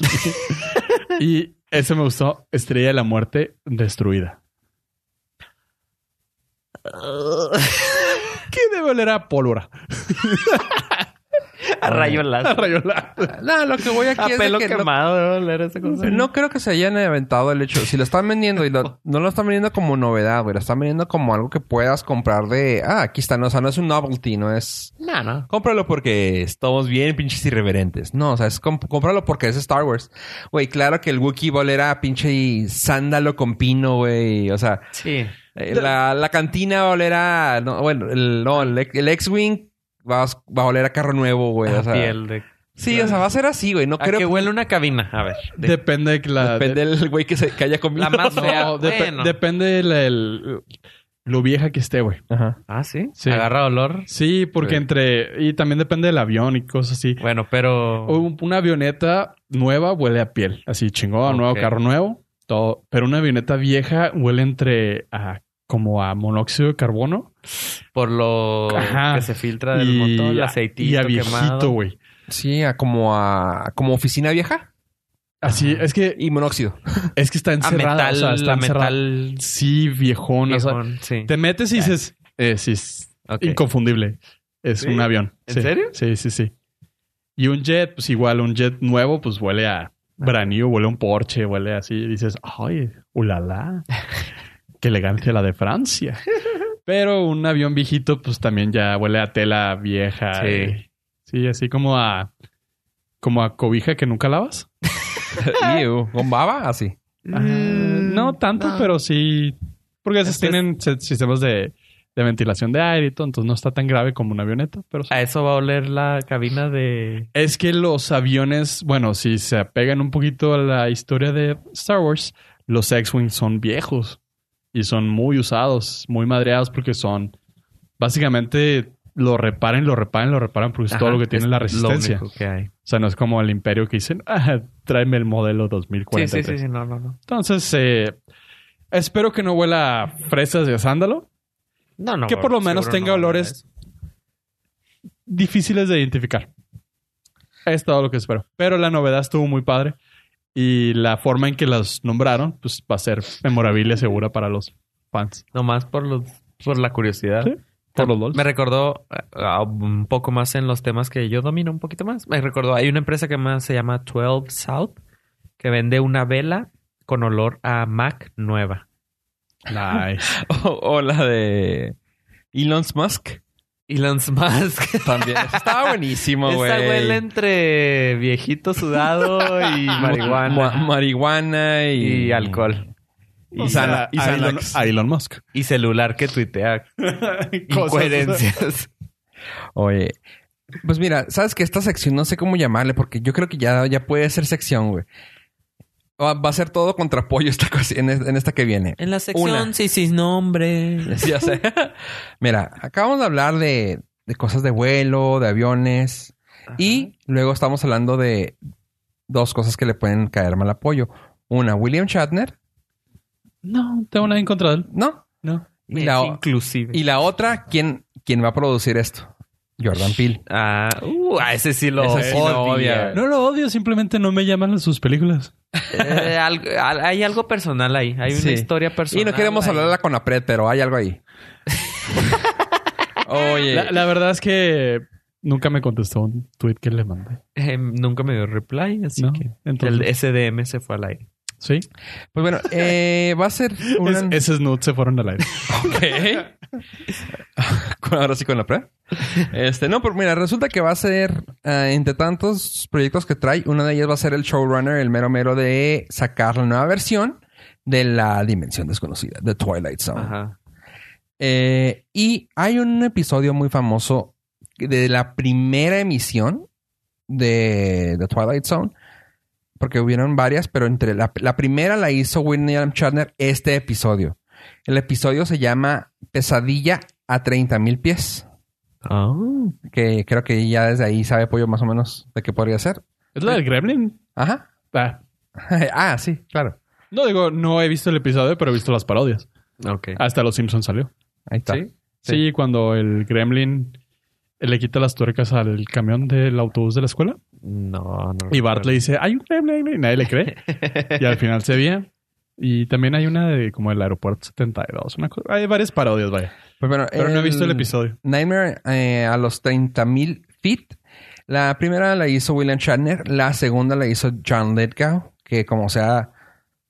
Speaker 3: y eso me gustó. Estrella de la muerte destruida. ¿Qué debe oler a pólvora?
Speaker 4: a
Speaker 3: A
Speaker 4: rayolazo.
Speaker 3: rayola.
Speaker 2: No, lo que voy aquí
Speaker 4: A
Speaker 2: es de
Speaker 4: pelo
Speaker 2: que no-
Speaker 4: quemado debe oler esa cosa.
Speaker 2: No creo que se hayan aventado el hecho. Si lo están vendiendo y lo- no lo están vendiendo como novedad, güey. Lo están vendiendo como algo que puedas comprar de... Ah, aquí está. No, o sea, no es un novelty. No es...
Speaker 4: No, no.
Speaker 2: Cómpralo porque estamos bien pinches irreverentes. No, o sea, es comp- cómpralo porque es Star Wars. Güey, claro que el Wookiee Ball era pinche sándalo con pino, güey. O sea,
Speaker 4: Sí.
Speaker 2: eh, la, la cantina va a oler a... No, bueno, el, no, el, el X-Wing va, a- va a oler a carro nuevo, güey.
Speaker 4: A
Speaker 2: O sea,
Speaker 4: piel de...
Speaker 2: Sí, o sea, va a ser así, güey. No
Speaker 4: ¿A
Speaker 2: creo
Speaker 4: que huele una cabina? A ver. de-
Speaker 3: Depende de la...
Speaker 2: Depende del güey que, se, que haya comido.
Speaker 4: La más
Speaker 3: No,
Speaker 4: fea.
Speaker 3: depe-
Speaker 4: Bueno.
Speaker 3: depende del... el- lo vieja que esté, güey.
Speaker 2: Ajá.
Speaker 4: Ah, ¿sí?
Speaker 3: Sí.
Speaker 4: Agarra olor.
Speaker 3: Sí, porque
Speaker 2: Sí.
Speaker 3: entre... Y también depende del avión y cosas así.
Speaker 4: Bueno, pero...
Speaker 3: O un- Una avioneta nueva huele a piel. Así chingón, nuevo
Speaker 4: Ok.
Speaker 3: carro nuevo. Todo. Pero una avioneta vieja huele entre... A, como a monóxido de carbono.
Speaker 4: por lo
Speaker 3: Ajá.
Speaker 4: que se filtra del motor, el
Speaker 3: a-
Speaker 4: aceitito
Speaker 3: y a viejito,
Speaker 4: quemado.
Speaker 3: güey.
Speaker 2: Sí, a como a como oficina vieja
Speaker 3: Así, es que
Speaker 2: y monóxido.
Speaker 3: es que está
Speaker 4: a
Speaker 3: encerrada,
Speaker 4: metal,
Speaker 3: o sea, está
Speaker 4: a
Speaker 3: encerrada.
Speaker 4: metal
Speaker 3: Sí, viejón. o sea,
Speaker 4: viejón, sí.
Speaker 3: te metes y dices, eh, sí, es
Speaker 4: Ok.
Speaker 3: inconfundible. Es
Speaker 4: ¿Sí?
Speaker 3: un avión.
Speaker 4: ¿En
Speaker 3: Sí,
Speaker 4: serio?
Speaker 3: Sí, sí, sí. Y un jet, pues igual, un jet nuevo, pues huele a branillo, huele a un Porsche, huele así. Y dices, ay, ulala. Qué elegancia la de Francia. Pero un avión viejito, pues también ya huele a tela vieja.
Speaker 4: Sí.
Speaker 3: y- sí, así como a... Como a cobija que nunca lavas.
Speaker 2: Ew. ¿Con baba? Así.
Speaker 3: Ah, no tanto,
Speaker 4: Mm, no.
Speaker 3: pero sí. Porque esas
Speaker 4: Eso es-
Speaker 3: tienen se- sistemas de, de ventilación de aire y todo, entonces no está tan grave como una avioneta, pero sí.
Speaker 4: A eso va a oler la cabina de...
Speaker 3: Es que los aviones, bueno, si se apegan un poquito a la historia de Star Wars, los X-Wing son viejos y son muy usados, muy madreados porque son básicamente lo reparan, lo reparan, lo reparan porque es Pues todo
Speaker 4: Ajá,
Speaker 3: lo que tiene
Speaker 4: es
Speaker 3: la resistencia.
Speaker 4: Lo único que hay.
Speaker 3: O sea, no es como el imperio que dicen, ah, tráeme el modelo 2043.
Speaker 4: Sí, sí, sí, sí, no, no, no.
Speaker 3: Entonces, eh, espero que no huela a fresas y a sándalo.
Speaker 4: No, no.
Speaker 3: Que por lo menos
Speaker 4: seguro
Speaker 3: tenga
Speaker 4: no, no
Speaker 3: olores.
Speaker 4: es.
Speaker 3: Difíciles de identificar. Es todo lo que espero. Pero la novedad estuvo muy padre. Y la forma en que las nombraron, pues va a ser memorabilia segura para los fans.
Speaker 4: Nomás por los, por la curiosidad.
Speaker 3: Sí, Por los LOLs.
Speaker 4: Me recordó eh, a un poco más en los temas que yo domino un poquito más. Me recordó, hay una empresa que más se llama 12 South que vende una vela con olor a Mac nueva.
Speaker 3: Nice.
Speaker 2: O, o la de Elon Musk.
Speaker 4: Elon Musk.
Speaker 2: También. Estaba buenísimo, güey.
Speaker 4: Esa huele entre viejito sudado y
Speaker 2: Ma-
Speaker 4: marihuana
Speaker 2: marihuana y...
Speaker 4: y alcohol.
Speaker 3: O sea,
Speaker 2: y
Speaker 3: a Elon,
Speaker 2: Xanax.
Speaker 3: a Elon Musk.
Speaker 4: Y celular que tuitea
Speaker 3: Cosas,
Speaker 4: incoherencias.
Speaker 2: Oye. Pues mira, sabes que esta sección no sé cómo llamarle porque yo creo que ya, ya puede ser sección, güey. Ah, Va va a ser todo contra pollo esta cosa- en, es- en esta que viene.
Speaker 4: En la sección
Speaker 2: Una.
Speaker 4: sí, sí, nombre.
Speaker 2: Sí, ya sé. Mira, acabamos de hablar de, de cosas de vuelo, de aviones. Y luego estamos hablando de dos cosas que le pueden caer mal apoyo. Una, William Shatner.
Speaker 3: No, tengo nada en contra de él.
Speaker 2: No.
Speaker 3: No.
Speaker 2: Y la,
Speaker 4: Es
Speaker 2: o-
Speaker 4: inclusive.
Speaker 2: y la otra, ¿quién, ¿quién va a producir esto? Jordan Peele.
Speaker 4: Ah, uh, a ese sí lo
Speaker 2: Ese sí lo odia.
Speaker 4: odia.
Speaker 3: No lo odio, simplemente no me llaman sus películas.
Speaker 4: Eh, algo- al- hay algo personal ahí. Hay una
Speaker 2: Sí.
Speaker 4: historia personal.
Speaker 2: y no queremos
Speaker 4: ahí.
Speaker 2: hablarla con la Pred, pero hay algo ahí.
Speaker 4: Eh,
Speaker 2: Oye.
Speaker 3: La, la verdad es que nunca me contestó un tweet que le mandé.
Speaker 4: Eh, nunca me dio reply, así
Speaker 3: No,
Speaker 4: que
Speaker 3: entonces-
Speaker 4: el SDM se fue al aire.
Speaker 3: Sí.
Speaker 2: Pues bueno, eh, va a ser una...
Speaker 3: Es- esos nudes se fueron al aire.
Speaker 2: Con- Ahora sí con la prueba. Este, no, pero mira, resulta que va a ser, eh, entre tantos proyectos que trae, una de ellas va a ser el showrunner, el mero mero de sacar la nueva versión de la dimensión desconocida, de Twilight Zone.
Speaker 4: Ajá.
Speaker 2: Eh, y hay un episodio muy famoso de la primera emisión de, de Twilight Zone, porque hubieron varias, pero entre la, la primera la hizo William Shatner este episodio. El episodio se llama Pesadilla a 30 mil pies,
Speaker 3: Ah.
Speaker 2: que creo que ya desde ahí sabe Pollo más o menos de qué podría ser.
Speaker 3: ¿Es la del Gremlin?
Speaker 2: Ajá.
Speaker 3: Ah.
Speaker 2: ah, sí, claro.
Speaker 3: No digo, no he visto el episodio, pero he visto las parodias.
Speaker 4: ok.
Speaker 2: Ah.
Speaker 3: Hasta Los Simpsons salió.
Speaker 2: Ahí está.
Speaker 4: ¿Sí?
Speaker 3: Sí, cuando el Gremlin eh, le quita las tuercas al camión del autobús de la escuela
Speaker 4: No, no.
Speaker 3: y Bart le dice, hay un Gremlin y nadie le cree. y al final se veía. Y también hay una de como el aeropuerto 72. Una cosa- hay varias parodias, vaya.
Speaker 2: Pues bueno,
Speaker 3: Pero no he visto el episodio.
Speaker 2: Nightmare eh, a los 30.000 feet. La primera la hizo William Shatner. La segunda la hizo John Lithgow. Que como sea...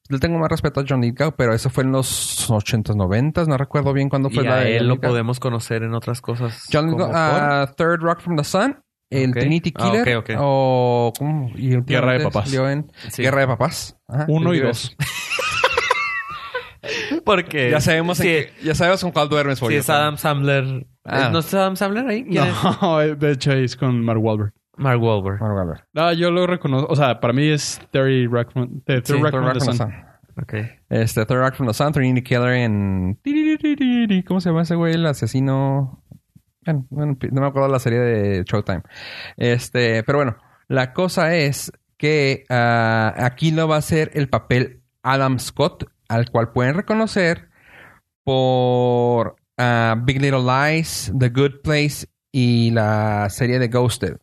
Speaker 2: Le tengo más respeto a John Lithgow, pero eso fue en los 80s, 90s. No recuerdo bien cuándo fue
Speaker 4: y
Speaker 2: la
Speaker 4: a
Speaker 2: de
Speaker 4: él lo
Speaker 2: Lithgow.
Speaker 4: podemos conocer en otras cosas.
Speaker 2: John
Speaker 4: como
Speaker 2: Lithgow,
Speaker 4: por-
Speaker 2: ah, Third Rock from the Sun. El
Speaker 4: Ok.
Speaker 2: Trinity
Speaker 4: Ah,
Speaker 2: Killer.
Speaker 4: ok, ok.
Speaker 2: O... ¿cómo? Y últimamente
Speaker 3: Guerra de Papás.
Speaker 2: salió en
Speaker 4: Sí.
Speaker 2: Guerra de Papás. Ajá.
Speaker 3: Uno y
Speaker 2: Digo,
Speaker 3: dos.
Speaker 4: Porque
Speaker 2: Ya sabemos, en
Speaker 4: si,
Speaker 2: que- ya sabemos con cuál duermes,
Speaker 4: si
Speaker 2: pollo.
Speaker 4: Eh, es Adam Sandler.
Speaker 2: Ah.
Speaker 4: ¿No es Adam Sandler ahí? ¿Quién es?
Speaker 3: No, de hecho es con Mark Wahlberg.
Speaker 4: Mark Wahlberg.
Speaker 2: Bueno, a ver.
Speaker 3: No, yo lo reconozco. O sea, para mí es Terry Rackman. The
Speaker 4: Sí,
Speaker 3: Rock
Speaker 2: Third
Speaker 3: from
Speaker 2: Rock
Speaker 3: the
Speaker 2: from the
Speaker 3: Sun.
Speaker 2: Sun.
Speaker 4: Ok.
Speaker 2: Este, Third Rock from the Sun, Trinity Killer en... ¿Cómo se llama ese güey? El asesino... Bueno, bueno, no me acuerdo la serie de Showtime. Este, pero bueno, la cosa es que ah, aquí lo va a ser el papel Adam Scott, al cual pueden reconocer por ah, Big Little Lies, The Good Place y la serie de Ghosted.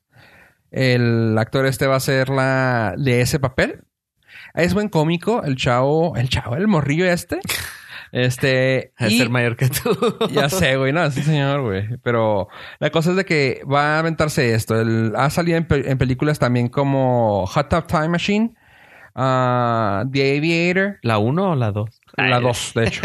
Speaker 2: El actor este va a ser la de ese papel. Es buen cómico, el chavo, el chavo, el morrillo este. Este.
Speaker 4: Es
Speaker 2: y-
Speaker 4: ser mayor que tú.
Speaker 2: ya sé, güey. No, sí, señor, güey. Pero la cosa es de que va a aventarse esto. El- ha salido en, pe- en películas también como Hot Top Time Machine, ah, The Aviator,
Speaker 4: ¿La 1 o la 2?
Speaker 2: la 2, de hecho.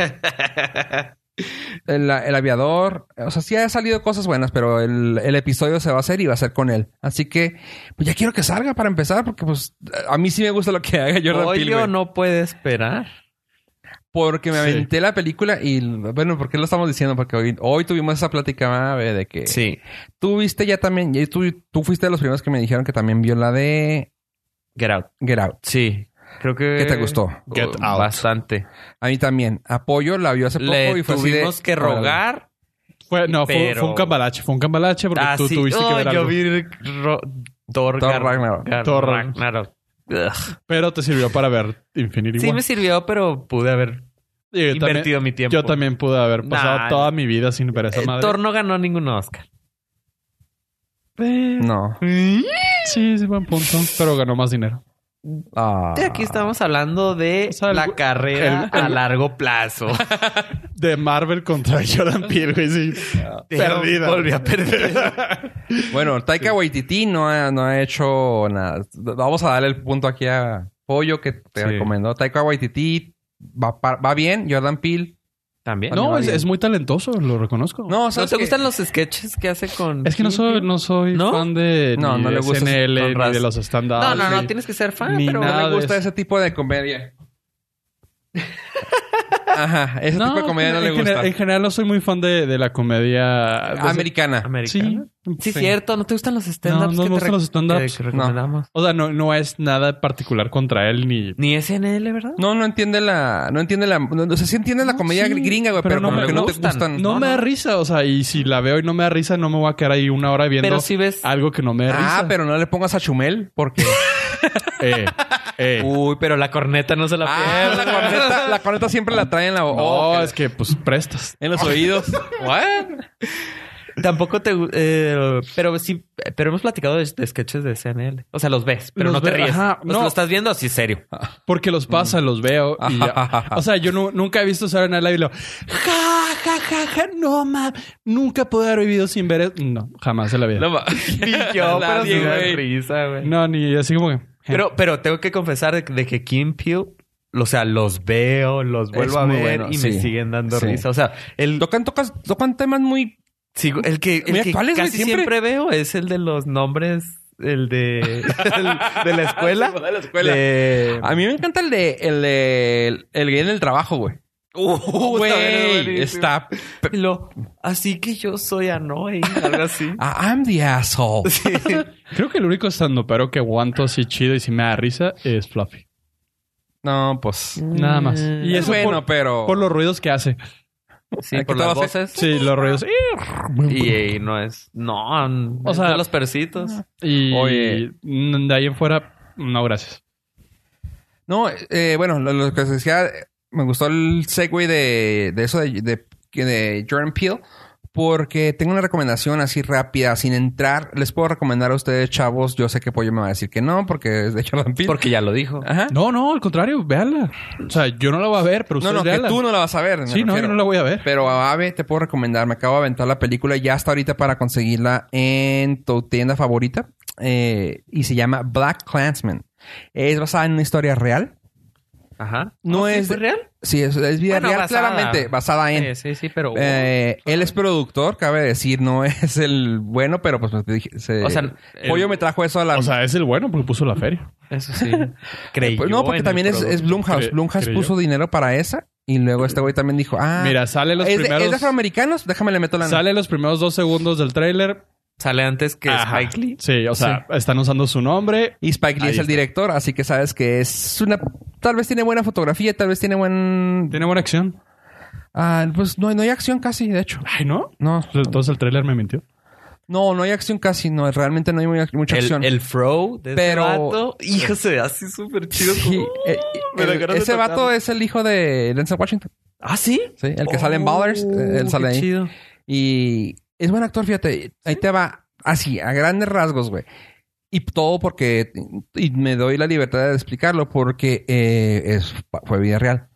Speaker 2: El, el aviador. O sea, sí ha salido cosas buenas, pero el, el episodio se va a hacer y va a ser con él. Así que, pues ya quiero que salga para empezar, porque pues a mí sí me gusta lo que haga Jordan Peele,
Speaker 4: Pollo
Speaker 2: güey.
Speaker 4: no puede esperar.
Speaker 2: Porque me
Speaker 3: Sí.
Speaker 2: aventé la película y, bueno, ¿por qué lo estamos diciendo? Porque hoy, hoy tuvimos esa plática, madre, de que...
Speaker 4: Sí.
Speaker 2: Tú viste ya también, ya tú, tú fuiste de los primeros que me dijeron que también vio la de
Speaker 4: Get out.
Speaker 2: Get Out.
Speaker 4: Sí. Creo que.
Speaker 2: ¿Qué te gustó?
Speaker 3: Get
Speaker 4: Oh,
Speaker 3: Out.
Speaker 4: Bastante.
Speaker 2: A mí también. Apoyo la vio hace poco
Speaker 4: Le
Speaker 2: y fue así de-
Speaker 4: tuvimos que rogar.
Speaker 3: Fue, no, fue-
Speaker 4: Pero-
Speaker 3: fue, un cambalache. Fue un cambalache porque
Speaker 4: Ah,
Speaker 3: tú
Speaker 4: sí.
Speaker 3: tuviste que
Speaker 4: Oh,
Speaker 3: ver
Speaker 4: yo
Speaker 3: algo.
Speaker 4: vi Ro- Thor,
Speaker 2: Thor
Speaker 4: Gar-
Speaker 2: Ragnarok.
Speaker 4: Gar-
Speaker 3: Thor.
Speaker 4: Ragnarok. Ugh.
Speaker 3: Pero te sirvió para ver Infinity
Speaker 4: Sí
Speaker 3: War.
Speaker 4: me sirvió, pero pude haber
Speaker 3: Y yo también-
Speaker 4: invertido mi tiempo.
Speaker 3: Yo también pude haber pasado
Speaker 4: Nah.
Speaker 3: toda mi vida sin ver esa
Speaker 4: Eh,
Speaker 3: madre.
Speaker 4: Thor no ganó ningún Oscar.
Speaker 2: No.
Speaker 3: Sí, es buen punto. Pero ganó más dinero.
Speaker 2: Ah.
Speaker 4: Este, Aquí estamos hablando de
Speaker 3: O sea, el-
Speaker 4: la carrera
Speaker 3: el- el-
Speaker 4: a largo plazo.
Speaker 3: De Marvel contra Jordan Peele, güey. Sí. Perdida.
Speaker 4: Volví a perder.
Speaker 2: Bueno, Taika Waititi no ha, no ha hecho nada. Vamos a darle el punto aquí a Pollo que te
Speaker 4: Sí.
Speaker 2: recomendó. Taika Waititi va, pa- va bien. Jordan Peele
Speaker 4: También.
Speaker 3: No,
Speaker 4: Vale,
Speaker 3: es,
Speaker 4: vale.
Speaker 3: es muy talentoso, lo reconozco.
Speaker 2: No,
Speaker 4: ¿No
Speaker 2: ¿sabes
Speaker 4: te
Speaker 2: qué?
Speaker 4: gustan los sketches que hace con.?
Speaker 3: Es que no
Speaker 4: Jim
Speaker 3: soy,
Speaker 4: Jim?
Speaker 3: no soy
Speaker 4: ¿No?
Speaker 3: fan de
Speaker 2: No,
Speaker 3: ni
Speaker 2: no le gusta
Speaker 3: SNL,
Speaker 4: Don
Speaker 3: ni
Speaker 4: Raz.
Speaker 3: de los stand
Speaker 4: No, no, no, Ah, tienes que ser fan,
Speaker 3: Ni
Speaker 4: pero.
Speaker 3: nada.
Speaker 2: No me gusta
Speaker 3: de
Speaker 2: ese tipo de comedia. Ajá, ese tipo de comedia no le
Speaker 3: en general-
Speaker 2: gusta.
Speaker 3: en pues, general no soy muy fan de, de la comedia... de-
Speaker 2: Americana.
Speaker 4: Ah, Americana.
Speaker 3: Sí.
Speaker 4: Sí, cierto, no te gustan los
Speaker 3: No,
Speaker 4: stand-ups.
Speaker 3: no me
Speaker 4: que te
Speaker 3: gustan
Speaker 4: re-
Speaker 3: los stand-ups.
Speaker 4: que- que recomendamos.
Speaker 3: O sea, no, no es nada particular contra él ni...
Speaker 4: Ni SNL, ¿verdad?
Speaker 2: No, no entiende la... No entiende la... no- o sea, sí entiende la comedia
Speaker 3: sí,
Speaker 2: gringa, güey, pero,
Speaker 3: pero no
Speaker 2: como
Speaker 3: me
Speaker 2: que no te
Speaker 4: gustan.
Speaker 2: gustan.
Speaker 3: No,
Speaker 4: No,
Speaker 3: me
Speaker 4: no.
Speaker 3: da risa, o sea, y si la veo y no me da risa, no me voy a quedar ahí una hora viendo
Speaker 4: Pero si ves.
Speaker 3: algo que no me da
Speaker 2: ah,
Speaker 3: risa.
Speaker 2: pero no le pongas a Chumel porque...
Speaker 3: Eh, eh.
Speaker 4: Uy, pero la corneta no se la
Speaker 2: ah,
Speaker 4: pierda.
Speaker 2: la corneta, la corneta siempre la traen en la...
Speaker 3: No,
Speaker 2: oh, que-
Speaker 3: es que pues prestas.
Speaker 2: En los oídos. ¿What?
Speaker 4: Tampoco te. gu- eh, pero sí. Pero hemos platicado de, de sketches de SNL. O sea, los ves, pero
Speaker 3: Los
Speaker 4: no te
Speaker 3: ve-
Speaker 4: ríes.
Speaker 3: ajá,
Speaker 4: O sea,
Speaker 3: no.
Speaker 4: lo estás viendo así serio.
Speaker 3: Porque los pasa, los veo. y ya. O sea, yo nu- nunca he visto Saturday Night Live y lo... Ja, ja, ja, ja, no, ma. Nunca pude haber vivido sin ver... e-". No, jamás en la vida.
Speaker 4: Y yo, pero
Speaker 2: Nadie,
Speaker 4: sí me da
Speaker 2: güey.
Speaker 4: risa, güey.
Speaker 3: No, ni así como que...
Speaker 4: Pero, pero tengo que confesar de, de que Kim Peel, o sea, los veo, los vuelvo
Speaker 2: Es
Speaker 4: a
Speaker 2: muy
Speaker 4: ver
Speaker 2: bueno,
Speaker 4: y
Speaker 2: sí.
Speaker 4: me siguen dando
Speaker 2: Sí.
Speaker 4: risa. O sea, el,
Speaker 2: Tocan, tocas, tocan temas muy...
Speaker 4: sigo- el que, el
Speaker 2: Muy
Speaker 4: que
Speaker 2: actuales, güey,
Speaker 4: casi
Speaker 2: siempre.
Speaker 4: siempre. veo es el de los nombres, el de, el de la escuela.
Speaker 2: De la escuela.
Speaker 4: De-
Speaker 2: A mí me encanta el de... El de... El, el gay en el trabajo, güey.
Speaker 4: Uh, está bien,
Speaker 2: Güey,
Speaker 4: buenísimo.
Speaker 2: está...
Speaker 4: Y lo, así que yo soy Anoy, algo así.
Speaker 2: Ah, I'm the asshole.
Speaker 4: Sí.
Speaker 3: Creo que el único estando pero que aguanto así chido y si me da risa es Fluffy.
Speaker 2: No, pues...
Speaker 3: Nada más.
Speaker 4: Y
Speaker 3: Y
Speaker 2: es
Speaker 3: eso
Speaker 2: bueno,
Speaker 3: por,
Speaker 2: pero...
Speaker 3: por los ruidos que hace.
Speaker 4: Sí,
Speaker 2: Aquí
Speaker 4: por las
Speaker 2: todo hace-
Speaker 4: voces.
Speaker 3: Sí, los ruidos.
Speaker 4: Y, eh, no es. No,
Speaker 3: O
Speaker 4: o
Speaker 3: sea-
Speaker 4: sea, los percitos.
Speaker 2: ah.
Speaker 3: Y
Speaker 2: Oye.
Speaker 3: de ahí en fuera, no, gracias.
Speaker 2: No, eh, bueno, lo, lo que se decía, eh, me gustó el segue de, de eso de, de, que de Jordan Peele, porque tengo una recomendación así rápida, sin entrar. Les puedo recomendar a ustedes, chavos. Yo sé que Pollo me va a decir que no, porque es de Jordan Peele.
Speaker 4: Porque ya lo dijo.
Speaker 2: Ajá.
Speaker 3: No, no, al contrario, véala. O sea, yo no la voy a ver, pero
Speaker 2: No,
Speaker 3: ustedes
Speaker 2: no, que
Speaker 3: véanla.
Speaker 2: tú no la vas a ver. me
Speaker 3: Sí, no, yo
Speaker 2: refiero.
Speaker 3: no la voy a ver.
Speaker 2: Pero a Ave te puedo recomendar. Me acabo de aventar la película. Ya está ahorita para conseguirla en tu tienda favorita. Eh, y se llama Black Clansman. Es basada en una historia real.
Speaker 4: Ajá.
Speaker 2: No
Speaker 4: Ah, sí,
Speaker 2: es-
Speaker 4: ¿fue real?
Speaker 2: Sí, es, es vida
Speaker 4: Bueno,
Speaker 2: real,
Speaker 4: basada.
Speaker 2: claramente. Basada en.
Speaker 4: Sí, sí, sí, pero.
Speaker 2: Eh, él es productor, cabe decir, no es el bueno, pero pues te dije, se-
Speaker 4: o sea,
Speaker 2: Pollo
Speaker 4: el-
Speaker 2: me trajo eso a la...
Speaker 3: O sea, es el bueno porque puso la feria.
Speaker 4: Eso sí.
Speaker 2: Eh,
Speaker 4: Creí.
Speaker 2: pues, no, porque también es, es Blumhouse.
Speaker 3: Cre-
Speaker 2: Blumhouse
Speaker 3: creyó.
Speaker 2: puso dinero para esa y luego este güey también dijo, ah,
Speaker 3: Mira, sale los
Speaker 2: ¿es, de,
Speaker 3: primeros.
Speaker 2: ¿es de afroamericanos? Déjame le meto la...
Speaker 3: Sale los primeros dos segundos del tráiler.
Speaker 4: Sale antes que
Speaker 3: Ajá.
Speaker 4: Spike Lee.
Speaker 3: Sí, o sea, están usando su nombre.
Speaker 2: Y Spike Lee
Speaker 3: Ahí
Speaker 2: es el
Speaker 3: está.
Speaker 2: director, así que sabes que es una... Tal vez tiene buena fotografía, tal vez tiene buen...
Speaker 3: Tiene buena acción.
Speaker 2: Ah, pues no, hay- no hay acción casi, de hecho.
Speaker 3: Ay, ¿no?
Speaker 2: No,
Speaker 3: Entonces el tráiler me mintió.
Speaker 2: no, no hay acción casi, no, realmente no hay muy- mucha acción.
Speaker 4: El, el fro de
Speaker 2: Pero-
Speaker 4: ese vato. Hijo, se ve así súper chido.
Speaker 2: Sí,
Speaker 4: como-
Speaker 2: eh,
Speaker 4: me
Speaker 2: el-
Speaker 4: dan ganas de
Speaker 2: ese vato
Speaker 4: tocarlo.
Speaker 2: es el hijo de Denzel Washington.
Speaker 4: ¿Ah, sí?
Speaker 2: Sí, el que sale en
Speaker 4: Oh,
Speaker 2: Ballers, eh, él sale
Speaker 4: qué
Speaker 2: ahí.
Speaker 4: chido.
Speaker 2: Y es buen actor, fíjate. Ahí te va así, a grandes rasgos, güey. Y todo porque, y me doy la libertad de explicarlo, porque eh, es, fue vida real.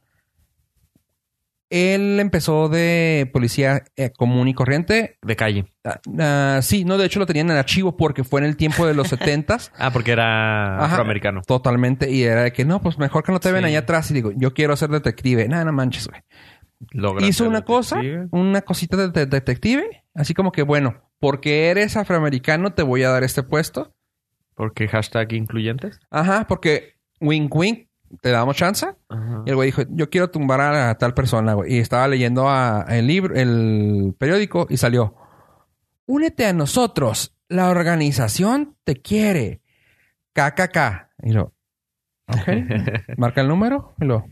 Speaker 2: Él empezó de policía eh, común y corriente.
Speaker 4: De calle.
Speaker 2: Ah, ah, sí, no, de hecho lo tenían en archivo porque fue en el tiempo de los 70
Speaker 4: Ah, porque era
Speaker 2: Ajá.
Speaker 4: afroamericano.
Speaker 2: Totalmente. Y era de que, no, pues mejor que no te ven
Speaker 4: Sí.
Speaker 2: allá atrás. Y digo, yo quiero ser detective. Nada, no manches, güey.
Speaker 4: Logra
Speaker 2: hizo
Speaker 4: ser
Speaker 2: una cosa,
Speaker 4: detective.
Speaker 2: una cosita de, de- detective, así como que, bueno, porque eres afroamericano, te voy a dar este puesto.
Speaker 4: Porque hashtag incluyentes.
Speaker 2: Ajá, porque wink wink, te damos chance.
Speaker 4: Ajá.
Speaker 2: Y el güey dijo, yo quiero tumbar a, tal persona, güey. Y estaba leyendo a- el libro, el periódico, y salió. Únete a nosotros, la organización te quiere. KKK. Y lo, ok. Marca el número, y lo.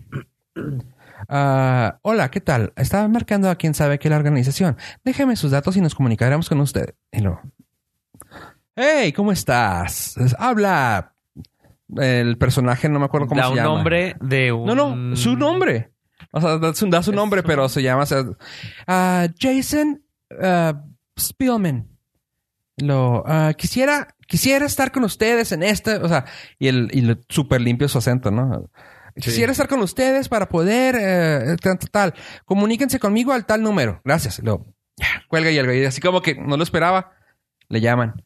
Speaker 2: "Ah, hola, ¿qué tal? Estaba marcando a quien sabe que la organización. Déjeme sus datos y nos comunicaremos con usted. Y lo. Hey, ¿cómo estás? Habla. El personaje, no me acuerdo cómo
Speaker 4: da
Speaker 2: se
Speaker 4: un
Speaker 2: llama.
Speaker 4: nombre de un...
Speaker 2: No, no, su nombre. O sea, da su, da su nombre, pero se llama o sea, ah, Jason ah, Spielman. Lo ah, quisiera, quisiera estar con ustedes en este, o sea, y el y lo- súper limpio su acento, ¿no? Quisiera estar con ustedes para poder eh, tal, tal, tal. Comuníquense conmigo al tal número. Gracias. Lo ya, cuelga y algo. Y así como que no lo esperaba, le llaman.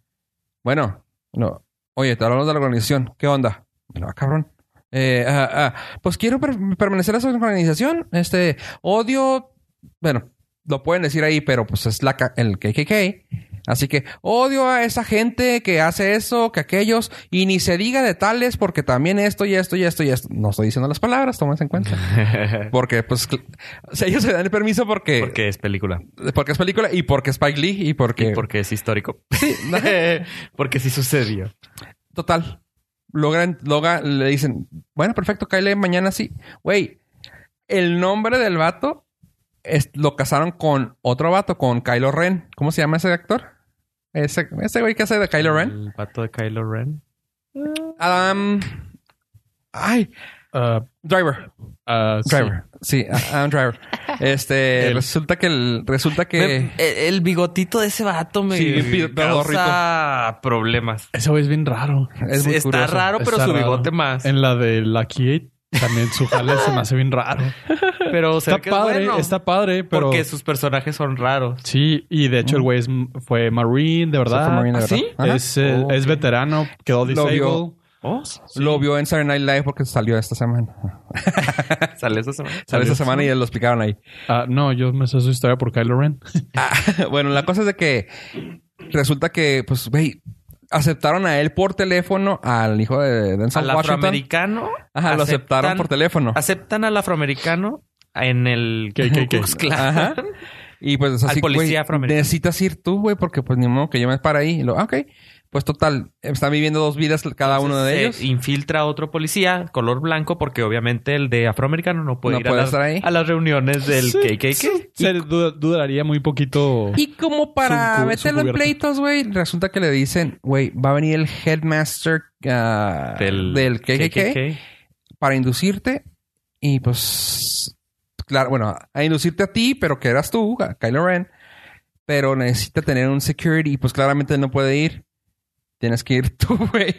Speaker 2: Bueno, no. Oye, te hablamos de la organización. ¿Qué onda? Bueno, ah, cabrón. Eh, ah, ah, pues quiero per- permanecer a esa organización. Este, odio bueno, lo pueden decir ahí, pero pues es la, ca- el KKK. Así que odio a esa gente que hace eso, que aquellos, y ni se diga de tales porque también esto y esto y esto y esto. No estoy diciendo las palabras, tomas en cuenta. Porque pues, cl- o sea, ellos se dan el permiso porque,
Speaker 1: Porque es película.
Speaker 2: porque es película y porque Spike Lee y porque...
Speaker 1: Y porque es histórico.
Speaker 2: Sí, no,
Speaker 1: porque sí sucedió.
Speaker 2: Total. Logran, logra, le dicen, bueno, perfecto, cáele mañana sí. Güey, el nombre del vato es, lo casaron con otro vato, con Kylo Ren. ¿Cómo se llama ese actor? Ese, ese güey que hace de Kylo Ren.
Speaker 1: El pato de Kylo Ren.
Speaker 2: Adam. Ay,
Speaker 3: Ah,
Speaker 2: Driver.
Speaker 3: ah, sí.
Speaker 2: Driver. Sí, Adam Driver. Este,
Speaker 3: Él.
Speaker 2: resulta que el, resulta que.
Speaker 4: Me- el, el bigotito de ese vato me
Speaker 2: Sí, bien pi-
Speaker 4: causa problemas.
Speaker 3: Ese güey es bien raro.
Speaker 2: es muy
Speaker 4: está
Speaker 2: curioso.
Speaker 4: raro, pero
Speaker 3: Está
Speaker 4: su
Speaker 3: raro.
Speaker 4: bigote más.
Speaker 3: En la de Lucky Eight también su jale se me hace bien raro.
Speaker 4: Pero
Speaker 3: Está padre, está padre, pero...
Speaker 4: Porque sus personajes son raros.
Speaker 3: Sí, y de hecho el güey es- fue Marine, de verdad.
Speaker 2: Fue Marine, de
Speaker 4: ¿Ah, sí?
Speaker 2: verdad. Ajá.
Speaker 3: Es, eh,
Speaker 4: Ok.
Speaker 3: es veterano,
Speaker 2: Lo
Speaker 3: quedó disabled.
Speaker 2: vio.
Speaker 4: Oh,
Speaker 2: Lo vio en Saturday Night Live porque salió esta semana.
Speaker 4: sale esa semana.
Speaker 2: Salió esta
Speaker 3: Salió.
Speaker 2: semana y lo explicaron ahí.
Speaker 3: Ah, no, yo me sé su historia por Kylo Ren.
Speaker 2: bueno, la cosa es de que resulta que, pues, güey, aceptaron a él por teléfono al hijo de Denzel
Speaker 4: Al
Speaker 2: Washington.
Speaker 4: afroamericano.
Speaker 2: Ajá, lo aceptaron por teléfono.
Speaker 4: Aceptan al afroamericano en el
Speaker 3: ¿Qué, qué, qué?
Speaker 4: Ku Klux Klan.
Speaker 2: Ajá. Y pues es
Speaker 4: Al
Speaker 2: así,
Speaker 4: policía
Speaker 2: güey,
Speaker 4: afroamericano.
Speaker 2: necesitas ir tú, güey, porque pues ni modo que yo me para ahí. Y lo, ah, ok. Pues total, están viviendo dos vidas cada uno de
Speaker 4: Se
Speaker 2: ellos.
Speaker 4: Infiltra otro policía, color blanco, porque obviamente el de afroamericano no puede
Speaker 2: No
Speaker 4: ir a
Speaker 2: puede
Speaker 4: las,
Speaker 2: estar ahí.
Speaker 4: a las reuniones del
Speaker 3: Sí,
Speaker 4: KKK.
Speaker 3: sí, Se du- duraría muy poquito.
Speaker 2: Y como para
Speaker 3: Su cu- su
Speaker 2: meterlo en
Speaker 3: cubierta.
Speaker 2: pleitos, güey, resulta que le dicen, güey, va a venir el headmaster ah, del, KKK. para inducirte y pues claro, bueno, a inducirte a ti, pero que eras tú, a Kylo Ren, pero necesita tener un security y pues claramente no puede ir. Tienes que ir tú, güey.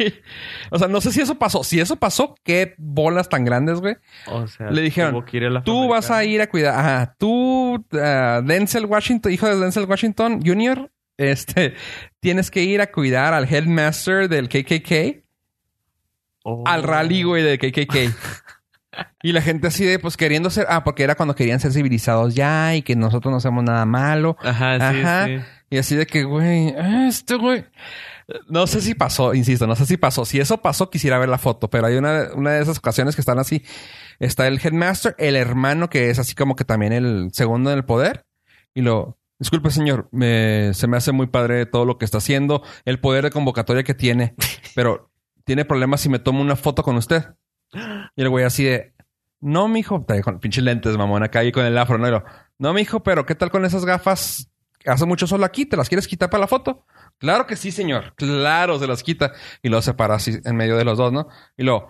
Speaker 2: O sea, no sé si eso pasó. Si eso pasó, qué bolas tan grandes, güey.
Speaker 4: O sea,
Speaker 2: Le dijeron,
Speaker 4: tuvo que ir el
Speaker 2: Tú vas a
Speaker 4: afroamericano.
Speaker 2: ir a cuidar. Ajá. Tú, ah, Denzel Washington, hijo de Denzel Washington Jr., este, tienes que ir a cuidar al headmaster del KKK
Speaker 4: Oh.
Speaker 2: al rally, güey, de KKK. y la gente así de, pues queriendo ser. Ah, porque era cuando querían ser civilizados ya y que nosotros no hacemos nada malo.
Speaker 4: Ajá, sí,
Speaker 2: Ajá.
Speaker 4: sí.
Speaker 2: Y así de que, güey, ah, este güey. No sé si pasó, insisto, no sé si pasó. Si eso pasó, quisiera ver la foto, pero hay una, una de esas ocasiones que están así. Está el headmaster, el hermano que es así como que también el segundo en el poder. Y lo, disculpe señor, me- se me hace muy padre todo lo que está haciendo, el poder de convocatoria que tiene, pero tiene problemas si me tomo una foto con usted. Y el güey así de, no, mijo, Te- con pinches lentes, mamón, acá y con el afro, ¿no? Y lo, no, mijo, pero ¿qué tal con esas gafas? Hace mucho sol aquí, ¿te las quieres quitar para la foto? Claro que sí, señor. Claro, se las quita. Y lo separa así en medio de los dos, ¿no? Y lo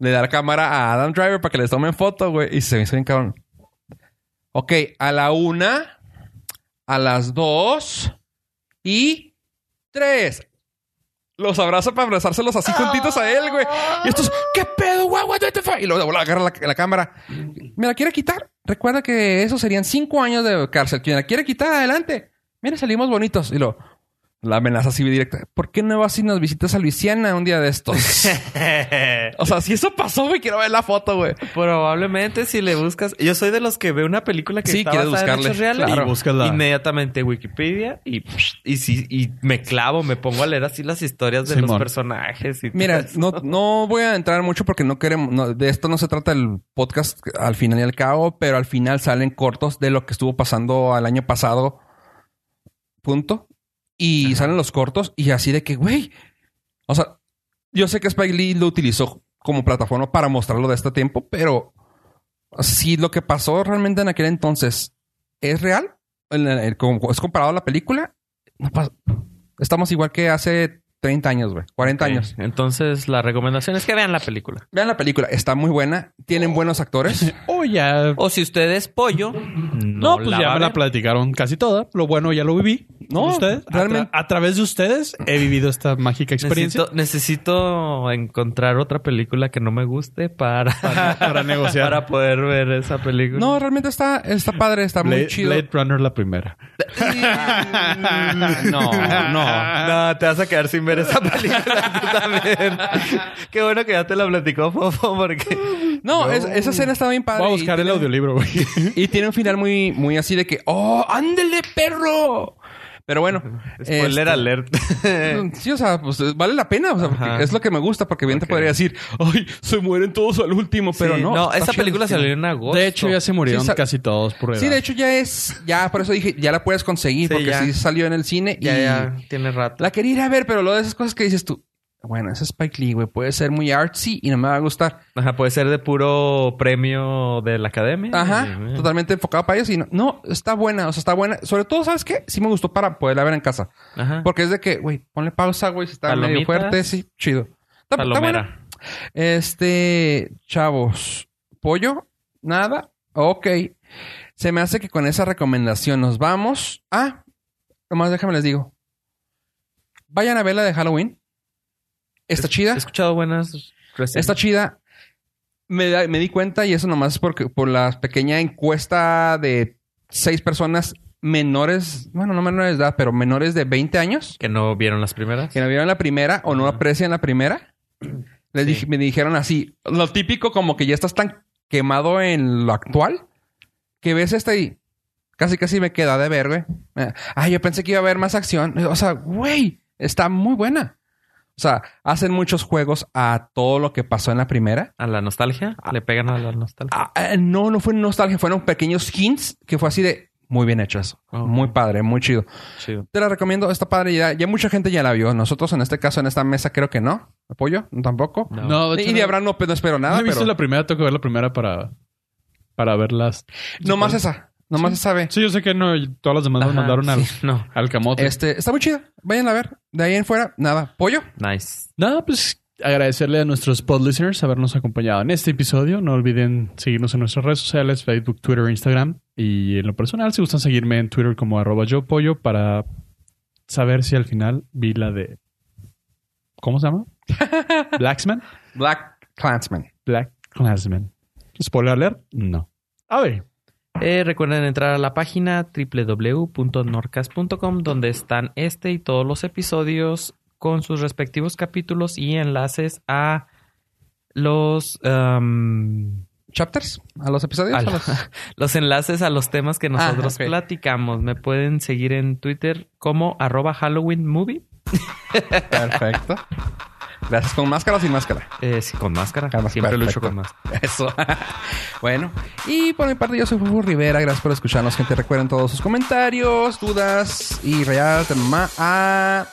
Speaker 2: le da la cámara a Adam Driver para que les tomen foto, güey. Y se me hizo bien cabrón. Ok, a la una, a las dos y tres. Los abraza para abrazárselos así juntitos a él, güey. Y estos, ¿qué pedo, guau, what the fuck? Y luego de volada agarra la, la cámara. ¿Me la quiere quitar? Recuerda que eso serían cinco años de cárcel. Quien la quiere quitar, adelante. Mira, salimos bonitos. Y lo, la amenaza así directa. ¿Por qué no vas y nos visitas a Luisiana un día de estos? o sea, si eso pasó, güey, quiero ver la foto, güey.
Speaker 4: Probablemente si le buscas. Yo soy de los que ve una película que
Speaker 2: Sí,
Speaker 4: está
Speaker 2: quieres
Speaker 4: basada en
Speaker 2: buscarle,
Speaker 4: hechos reales.
Speaker 2: claro.
Speaker 4: Y
Speaker 3: buscas la-
Speaker 4: Inmediatamente Wikipedia y, y, sí- y me clavo, me pongo a leer así las historias de los
Speaker 3: Simón.
Speaker 4: personajes. Y
Speaker 2: Mira, no, no voy a entrar mucho porque no queremos. no, de esto no se trata el podcast al final y al cabo, pero al final salen cortos de lo que estuvo pasando al año pasado. Punto. Y salen los cortos y así de que, güey. O sea, yo sé que Spike Lee lo utilizó como plataforma para mostrarlo de este tiempo, pero si lo que pasó realmente en aquel entonces es real, en la- en- como es comparado a la película, no pas- estamos igual que hace 30 años, güey, 40
Speaker 4: Ok.
Speaker 2: años.
Speaker 4: Entonces, la recomendación es que vean la película.
Speaker 2: Vean la película, está muy buena, tienen buenos actores.
Speaker 3: Oh, ya.
Speaker 4: O si usted es pollo,
Speaker 3: No,
Speaker 4: no,
Speaker 3: pues
Speaker 4: la
Speaker 3: ya
Speaker 4: va a
Speaker 3: me la
Speaker 4: ver.
Speaker 3: platicaron casi toda. Lo bueno ya lo viví.
Speaker 2: No,
Speaker 3: No, ustedes. A tra-
Speaker 2: realmente-
Speaker 3: A, través de ustedes he vivido esta mágica experiencia
Speaker 4: Necesito, necesito encontrar otra película que no me guste para,
Speaker 3: para, para negociar.
Speaker 4: para poder ver esa película.
Speaker 2: No, realmente está, está padre, está
Speaker 3: Blade,
Speaker 2: muy chido.
Speaker 3: Blade Runner la primera.
Speaker 4: Ah, No, no. No, te vas a quedar sin ver esa película tú también. Qué bueno que ya te la platicó Fofo porque
Speaker 2: No, es- esa escena está bien padre.
Speaker 3: Voy a
Speaker 2: y
Speaker 3: buscar el
Speaker 2: tiene-
Speaker 3: audiolibro, güey.
Speaker 2: Y tiene un final muy, muy así de que, ¡oh, ándele, perro! Pero bueno.
Speaker 1: Spoiler
Speaker 2: este,
Speaker 1: alert.
Speaker 2: Sí, o sea, pues vale la pena. O sea, porque
Speaker 4: Ajá.
Speaker 2: es lo que me gusta, porque bien te
Speaker 1: Ok.
Speaker 2: podría decir, ¡ay, se mueren todos al último! Pero
Speaker 4: Sí,
Speaker 2: no.
Speaker 4: No,
Speaker 2: está
Speaker 4: esa
Speaker 2: chido,
Speaker 4: película
Speaker 2: está
Speaker 4: salió
Speaker 2: chido.
Speaker 4: en agosto.
Speaker 3: De hecho, ya se murieron
Speaker 2: Sí, sa-
Speaker 3: casi todos por
Speaker 2: Sí,
Speaker 3: edad.
Speaker 2: de hecho ya es, ya por eso dije, ya la puedes conseguir,
Speaker 4: Sí,
Speaker 2: porque
Speaker 4: ya.
Speaker 2: sí salió en el cine
Speaker 4: Ya,
Speaker 2: y
Speaker 4: ya tiene rato.
Speaker 2: la quería ir a ver, pero lo de esas cosas que dices tú, bueno, ese Spike Lee, güey, puede ser muy artsy y no me va a gustar.
Speaker 4: Ajá, puede ser de puro premio de la academia. Eh,
Speaker 2: Ajá,
Speaker 4: Sí,
Speaker 2: totalmente enfocado para ellos y no, no, está buena, o sea, está buena. Sobre todo, ¿sabes qué? Sí me gustó para poderla ver en casa.
Speaker 4: Ajá.
Speaker 2: Porque es de que, güey, ponle pausa, güey, si está medio
Speaker 4: Palomitas.
Speaker 2: fuerte, sí, chido. Está, está buena.
Speaker 4: Palomera.
Speaker 2: Este, chavos, pollo, nada, ok. Se me hace que con esa recomendación nos vamos. Ah, nomás déjame les digo. Vayan a ver la de Halloween. Está chida,
Speaker 4: He escuchado buenas reseñas.
Speaker 2: está chida. Me, da- me di cuenta y eso nomás es porque por la pequeña encuesta de seis personas menores, bueno, no menores de edad, pero menores de 20 años
Speaker 4: Que no vieron las primeras.
Speaker 2: que no vieron la primera o no
Speaker 4: Ajá.
Speaker 2: aprecian la primera, les dij-
Speaker 4: Sí.
Speaker 2: me dijeron así, lo típico como que ya estás tan quemado en lo actual que ves esta y casi casi me queda de ver, güey. Eh, Ah, yo pensé que iba a haber más acción. O sea, güey, está muy buena. O sea, hacen muchos juegos a todo lo que pasó en la primera.
Speaker 4: A la nostalgia. Le pegan a la nostalgia.
Speaker 2: Ah, ah, no, no fue nostalgia, fueron pequeños hints que fue así de muy bien hecho eso.
Speaker 4: Ok.
Speaker 2: Muy padre, muy chido.
Speaker 4: Chido.
Speaker 2: Te la recomiendo, está padre. Ya, ya mucha gente ya la vio. Nosotros en este caso, en esta mesa, creo que no. ¿Apoyo? No, tampoco.
Speaker 4: No.
Speaker 3: No, de
Speaker 2: Y
Speaker 3: hecho,
Speaker 2: de
Speaker 3: no-
Speaker 2: Abraham no, no espero
Speaker 3: no
Speaker 2: nada,
Speaker 3: he visto
Speaker 2: pero...
Speaker 3: la primera, tengo que ver la primera para, para verlas.
Speaker 2: Nomás esa. Nomás esa ve.
Speaker 3: Sí, yo sé que no, todas las demás las
Speaker 4: Ajá,
Speaker 3: mandaron al,
Speaker 4: sí, No.
Speaker 3: al camote.
Speaker 2: Este, está muy chida. Vayan a ver. De ahí en fuera, nada. ¿Pollo?
Speaker 4: Nice.
Speaker 3: Nada, pues agradecerle a nuestros pod listeners habernos acompañado en este episodio. No olviden seguirnos en nuestras redes sociales, Facebook, Twitter, Instagram. Y en lo personal, si gustan seguirme en Twitter como arroba yo pollo para saber si al final vi la de... ¿Cómo se llama? Blacksman.
Speaker 2: Black Clansman.
Speaker 3: Black Clansman. ¿Spoiler alert? No. A ver.
Speaker 4: Eh, recuerden entrar a la página www.norcas.com donde están este y todos los episodios con sus respectivos capítulos y enlaces a los em,
Speaker 2: ¿Chapters? ¿A los episodios?
Speaker 4: a
Speaker 2: ¿A
Speaker 4: la-
Speaker 2: los-
Speaker 4: los enlaces a los temas que nosotros
Speaker 2: Pues, ok.
Speaker 4: platicamos. Me pueden seguir en Twitter como arroba Halloween Movie.
Speaker 2: Perfecto. Gracias. Con máscara o sin máscara.
Speaker 4: Eh, sí, con máscara.
Speaker 2: Ah,
Speaker 4: Siempre
Speaker 2: perfecto.
Speaker 4: lucho con máscara.
Speaker 2: Eso. bueno. Y por mi parte, yo soy Fufu Rivera. Gracias por escucharnos, gente. Recuerden todos sus comentarios, dudas y real tema a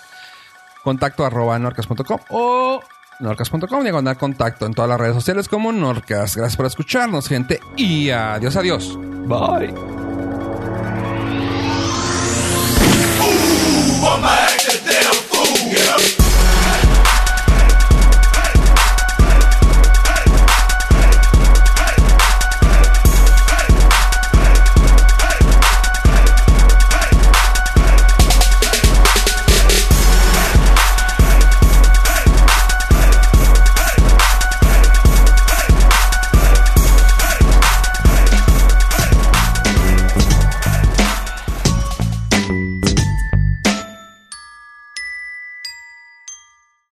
Speaker 2: contacto arroba norcas.com o norcas.com diagonal contacto en todas las redes sociales como norcas. Gracias por escucharnos, gente. Y adiós, adiós.
Speaker 4: Bye.